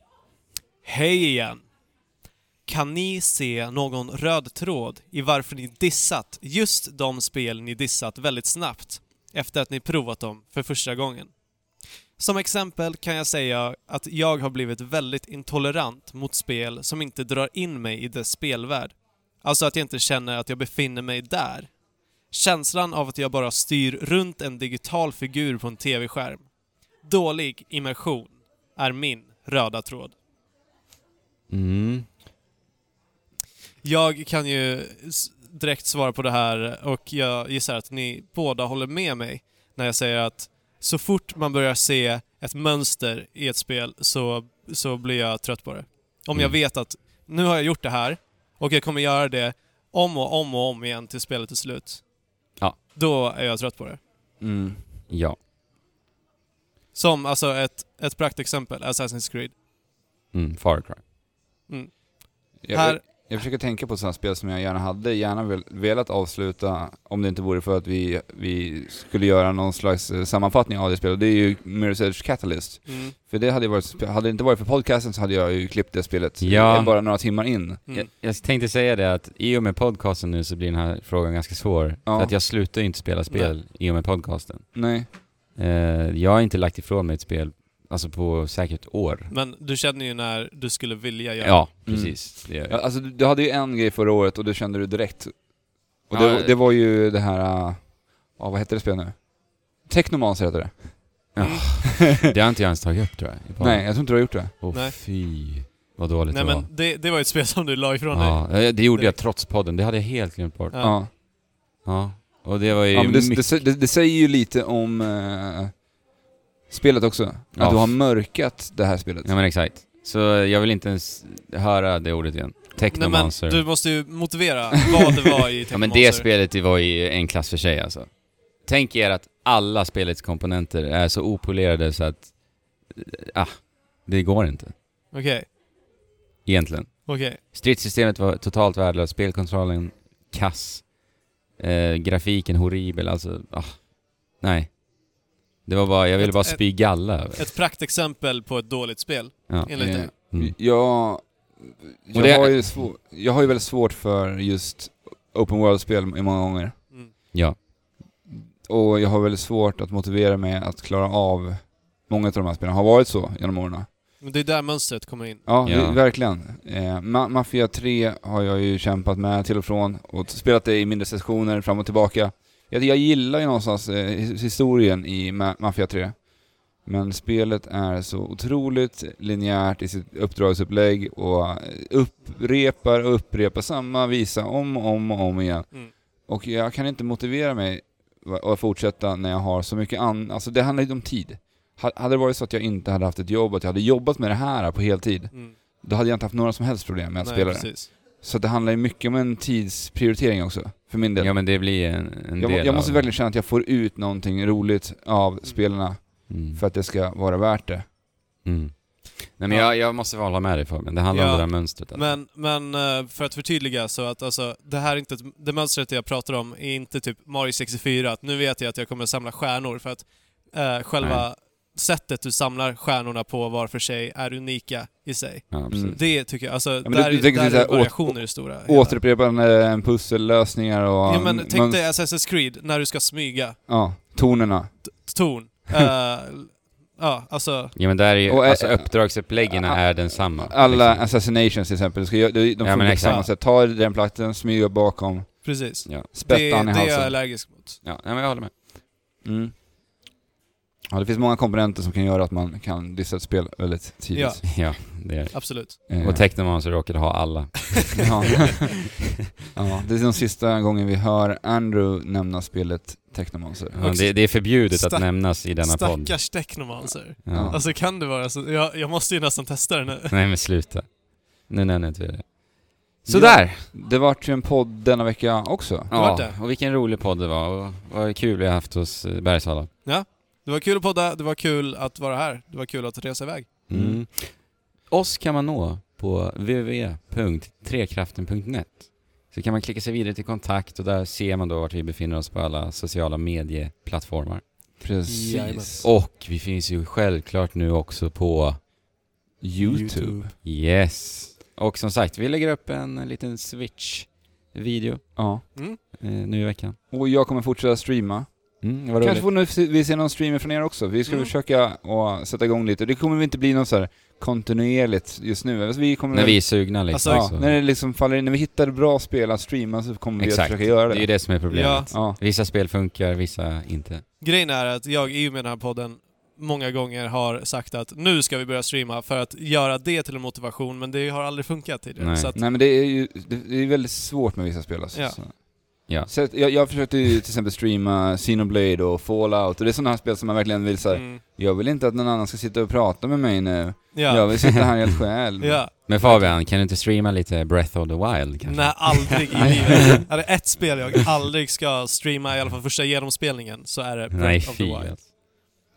[SPEAKER 3] Hej igen! Kan ni se någon röd tråd i varför ni dissat just de spel ni dissat väldigt snabbt efter att ni provat dem för första gången? Som exempel kan jag säga att jag har blivit väldigt intolerant mot spel som inte drar in mig i dess spelvärld. Alltså att jag inte känner att jag befinner mig där. Känslan av att jag bara styr runt en digital figur på en tv-skärm. Dålig immersion är min röda tråd.
[SPEAKER 2] Mm.
[SPEAKER 3] Jag kan ju s- direkt svar på det här och jag gissar att ni båda håller med mig när jag säger att så fort man börjar se ett mönster i ett spel så, så blir jag trött på det. Om jag
[SPEAKER 2] Mm.
[SPEAKER 3] vet att nu har jag gjort det här och jag kommer göra det om och om och om igen till spelet är slut.
[SPEAKER 2] Ja.
[SPEAKER 3] Då är jag trött på det.
[SPEAKER 1] Mm.
[SPEAKER 2] Ja.
[SPEAKER 3] Som alltså ett, ett praktexempel, Assassin's Creed.
[SPEAKER 2] Mm, Far Cry.
[SPEAKER 1] Jag,
[SPEAKER 3] Här-
[SPEAKER 1] jag försöker tänka på sådana spel som jag gärna hade gärna vel- velat avsluta om det inte vore för att vi, vi skulle göra någon slags eh, sammanfattning av det spelet. Det är ju Mirror's Edge Catalyst.
[SPEAKER 3] Mm.
[SPEAKER 1] För det hade ju varit, spe- hade det inte varit för podcasten så hade jag ju klippt det spelet
[SPEAKER 2] Ja.
[SPEAKER 1] Det är bara några timmar in.
[SPEAKER 3] Mm.
[SPEAKER 2] Jag, jag tänkte säga det att i och med podcasten nu så blir den här frågan ganska svår.
[SPEAKER 1] Ja.
[SPEAKER 2] För att jag slutar ju inte spela spel i och med podcasten.
[SPEAKER 1] Nej.
[SPEAKER 2] Eh, jag har inte lagt ifrån mig ett spel, alltså på säkert år.
[SPEAKER 3] Men du känner ju när du skulle vilja
[SPEAKER 2] Ja,
[SPEAKER 3] göra
[SPEAKER 2] precis. Det gör
[SPEAKER 1] Ja,
[SPEAKER 2] jag.
[SPEAKER 1] Alltså du, du hade ju en grej förra året och det kände du direkt. Och
[SPEAKER 2] Ja,
[SPEAKER 1] det,
[SPEAKER 2] eh.
[SPEAKER 1] det var ju det här, äh, ja vad hette det spelet nu? Technomans heter det.
[SPEAKER 2] Det har inte jag ens tagit upp tror jag. i podden.
[SPEAKER 1] Nej, jag tror inte du har gjort det.
[SPEAKER 2] Åh
[SPEAKER 3] Nej.
[SPEAKER 2] fy, vad dåligt
[SPEAKER 3] Nej
[SPEAKER 2] det var.
[SPEAKER 3] men det, det var ju ett spel som du la ifrån dig.
[SPEAKER 2] Ja, eh, det gjorde jag
[SPEAKER 3] Direkt.
[SPEAKER 2] trots podden, det hade jag helt glömt bort. Ja.
[SPEAKER 3] Ja.
[SPEAKER 1] Ja.
[SPEAKER 2] Och det var ju
[SPEAKER 1] Ja, men det,
[SPEAKER 2] mycket...
[SPEAKER 1] det, sä- det, det säger ju lite om eh, spelet också. Att
[SPEAKER 2] Ja.
[SPEAKER 1] du har mörkat det här spelet.
[SPEAKER 2] Ja men exakt. Så jag vill inte ens höra det ordet igen.
[SPEAKER 3] Nej men
[SPEAKER 2] Technomancer.
[SPEAKER 3] du måste ju motivera vad det var
[SPEAKER 2] Ja
[SPEAKER 3] i
[SPEAKER 2] men
[SPEAKER 3] Technomancer.
[SPEAKER 2] det spelet var ju en klass för sig alltså. Tänk er att alla spelets komponenter är så opolerade så att... Ah, det går inte.
[SPEAKER 3] Okej,
[SPEAKER 2] Egentligen.
[SPEAKER 3] okej.
[SPEAKER 2] Stridssystemet var totalt värdelöst, spelkontrollen kass. Eh, grafiken horribel, alltså... Ah, nej. Det var bara, jag ville
[SPEAKER 3] Ett-
[SPEAKER 2] bara
[SPEAKER 3] ett-
[SPEAKER 2] spy galla över.
[SPEAKER 3] Ett praktexempel på ett dåligt spel,
[SPEAKER 2] Ja.
[SPEAKER 3] enligt dig.
[SPEAKER 2] Mm.
[SPEAKER 1] Jag, jag,
[SPEAKER 2] Och det-
[SPEAKER 1] har ju svår, jag har ju väldigt svårt för just open world-spel i många gånger.
[SPEAKER 3] Mm.
[SPEAKER 2] ja.
[SPEAKER 1] Och jag har väldigt svårt att motivera mig att klara av många av de här spelen. Har varit så genom åren.
[SPEAKER 3] Men det är där mönstret kommer in.
[SPEAKER 1] Ja,
[SPEAKER 2] Ja.
[SPEAKER 1] Det, verkligen. Eh, Ma- Mafia 3 har jag ju kämpat med till och från och spelat det i mindre sessioner fram och tillbaka. Jag, jag gillar ju någonstans eh, his- historien i Ma- Mafia 3. Men spelet är så otroligt linjärt i sitt uppdragsupplägg och eh, upprepar och upprepar samma visa om och om och om igen.
[SPEAKER 3] Mm.
[SPEAKER 1] Och jag kan inte motivera mig va- att fortsätta när jag har så mycket annat. Alltså det handlar ju om tid. Ha- Hade det varit så att jag inte hade haft ett jobb, att jag hade jobbat med det här på heltid,
[SPEAKER 3] Mm.
[SPEAKER 1] då hade jag inte haft några som helst problem med att spela det.
[SPEAKER 3] precis.
[SPEAKER 1] Så det handlar ju mycket om en tidsprioritering också, för min del.
[SPEAKER 2] ja men det blir en, en
[SPEAKER 1] jag, må-
[SPEAKER 2] del
[SPEAKER 1] jag måste
[SPEAKER 2] av-
[SPEAKER 1] verkligen känna att jag får ut någonting roligt av spelarna
[SPEAKER 2] Mm.
[SPEAKER 1] för att det ska vara värt det.
[SPEAKER 2] Mm. Nej men
[SPEAKER 3] Ja.
[SPEAKER 2] jag, jag måste väl hålla med dig Fabian, det handlar
[SPEAKER 3] Ja.
[SPEAKER 2] om det där mönstret. Alltså.
[SPEAKER 3] Men, men eh, för att förtydliga så att alltså, det här är inte, ett- det mönstret jag pratar om är inte typ Mario 64, att nu vet jag att jag kommer samla stjärnor för att eh, själva sättet du samlar stjärnorna på var för sig är unika i sig.
[SPEAKER 2] ja, precis.
[SPEAKER 1] Mm.
[SPEAKER 3] Det tycker jag, alltså
[SPEAKER 1] men du-
[SPEAKER 3] där,
[SPEAKER 1] du tänker
[SPEAKER 3] där
[SPEAKER 1] så här,
[SPEAKER 3] är
[SPEAKER 1] åt-
[SPEAKER 3] variationer stora. hela.
[SPEAKER 1] Återupprepande eh, pussellösningar och...
[SPEAKER 3] Ja men tänk
[SPEAKER 1] möns-
[SPEAKER 3] dig Assassin's Creed när du ska smyga
[SPEAKER 1] Ja, tonerna.
[SPEAKER 3] torn. Eh, ja, alltså...
[SPEAKER 2] Ja men där är ju,
[SPEAKER 1] Och, eh,
[SPEAKER 2] alltså uppdragsuppläggen
[SPEAKER 1] a-
[SPEAKER 2] är densamma.
[SPEAKER 1] Alla
[SPEAKER 2] liksom.
[SPEAKER 1] assassinations till exempel, ska gö- de, de
[SPEAKER 2] men
[SPEAKER 1] funkar på
[SPEAKER 2] exakt.
[SPEAKER 1] samma sätt. Ta den plattan, smyga bakom,
[SPEAKER 3] Precis.
[SPEAKER 2] Ja.
[SPEAKER 3] Det, det
[SPEAKER 1] spettan i
[SPEAKER 3] är jag
[SPEAKER 1] halsen.
[SPEAKER 3] allergisk mot.
[SPEAKER 2] ja, nej men jag håller med.
[SPEAKER 1] Mm. Ja, det finns många komponenter som kan göra att man kan dissa ett spel väldigt tidigt.
[SPEAKER 3] Ja.
[SPEAKER 2] Ja, det är
[SPEAKER 3] Absolut.
[SPEAKER 1] Eh,
[SPEAKER 2] Och Technomancer råkade ha alla.
[SPEAKER 1] Ja. ja, det är den sista gången vi hör Andrew nämna spelet Technomancer.
[SPEAKER 2] Ja, det, det är förbjudet
[SPEAKER 3] Stack-
[SPEAKER 2] att nämnas i denna podd.
[SPEAKER 3] Stackars Technomancer.
[SPEAKER 1] Ja.
[SPEAKER 2] Ja.
[SPEAKER 3] Alltså kan det vara så? Jag, jag måste ju nästan testa det nu.
[SPEAKER 2] Nej men sluta. Nu nämner inte vi det. Sådär!
[SPEAKER 1] Det vart ju en podd denna vecka också.
[SPEAKER 3] vart
[SPEAKER 2] Ja,
[SPEAKER 3] det.
[SPEAKER 2] och vilken rolig podd det var. Och vad kul vi har haft hos eh, Bergsala.
[SPEAKER 3] Det var kul att podda, det var kul att vara här, det var kul att resa iväg.
[SPEAKER 2] Mm.
[SPEAKER 1] Mm.
[SPEAKER 2] Oss kan man nå på www.trekraften.net. Så kan man klicka sig vidare till kontakt och där ser man då vart vi befinner oss på alla sociala medieplattformar.
[SPEAKER 3] Jajamän.
[SPEAKER 1] Precis. Och
[SPEAKER 2] Och vi finns ju självklart nu också på
[SPEAKER 1] YouTube.
[SPEAKER 2] Yes. Och som sagt, vi lägger upp en liten Switch-video
[SPEAKER 1] Ja.
[SPEAKER 3] Mm.
[SPEAKER 2] eh, nu i veckan.
[SPEAKER 1] Och jag kommer fortsätta streama.
[SPEAKER 2] Mm, vad
[SPEAKER 1] Kanske
[SPEAKER 2] roligt.
[SPEAKER 1] får nu se- vi se någon streamer från er också. Vi ska
[SPEAKER 3] Mm.
[SPEAKER 1] försöka och sätta igång lite. Det kommer inte bli något så här kontinuerligt just nu. Alltså, vi kommer
[SPEAKER 2] När vi är sugna liksom.
[SPEAKER 1] ja,
[SPEAKER 2] så-
[SPEAKER 1] när det liksom faller in, när vi hittar bra spel att streama så kommer vi att
[SPEAKER 2] Exakt.
[SPEAKER 1] försöka göra
[SPEAKER 2] Det är ju det som är problemet.
[SPEAKER 3] Ja.
[SPEAKER 1] Ja.
[SPEAKER 2] Vissa spel funkar, vissa inte.
[SPEAKER 3] Grejen är att jag i och med den här podden många gånger har sagt att nu ska vi börja streama för att göra det till en motivation, men det har aldrig funkat tidigare.
[SPEAKER 2] Nej.
[SPEAKER 3] Så att,
[SPEAKER 1] Nej men det är ju det det är väldigt svårt med vissa spel alltså.
[SPEAKER 3] Ja.
[SPEAKER 1] Så-
[SPEAKER 2] Ja.
[SPEAKER 1] Så att jag, jag försökte ju till exempel streama Xenoblade och Fallout och det är sådana här spel som man verkligen vill så här,
[SPEAKER 3] Mm.
[SPEAKER 1] jag vill inte att någon annan ska sitta och prata med mig nu.
[SPEAKER 3] Ja.
[SPEAKER 1] Jag
[SPEAKER 3] Ja.
[SPEAKER 1] vill sitta här helt själv.
[SPEAKER 2] Men Fabian, kan du inte streama lite Breath of the Wild kanske?
[SPEAKER 3] Nej, aldrig i livet. Är det ett spel jag aldrig ska streama, i alla fall första genomspelningen, så är det Breath
[SPEAKER 2] Nej,
[SPEAKER 3] of the
[SPEAKER 2] fy. alltså.
[SPEAKER 3] Wild.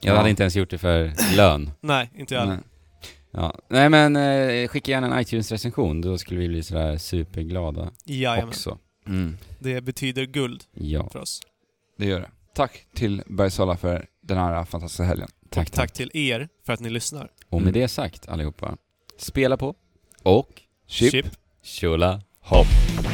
[SPEAKER 2] Jag
[SPEAKER 1] Ja.
[SPEAKER 2] hade inte ens gjort det för lön.
[SPEAKER 3] Nej, inte jag heller.
[SPEAKER 1] Nej.
[SPEAKER 2] Ja. Nej men eh, skicka gärna en iTunes-recension, då skulle vi bli sådär superglada
[SPEAKER 3] Jajamän.
[SPEAKER 2] också.
[SPEAKER 1] Mm,
[SPEAKER 3] Det betyder guld
[SPEAKER 2] Ja,
[SPEAKER 3] för oss.
[SPEAKER 1] det gör det. Tack till Bergsala för den här fantastiska helgen.
[SPEAKER 2] tack,
[SPEAKER 3] Och
[SPEAKER 2] tack.
[SPEAKER 3] tack till er för att ni lyssnar.
[SPEAKER 2] Och med
[SPEAKER 1] Mm.
[SPEAKER 2] det sagt allihopa, spela på och
[SPEAKER 1] Chip.
[SPEAKER 2] tjola
[SPEAKER 1] Hopp.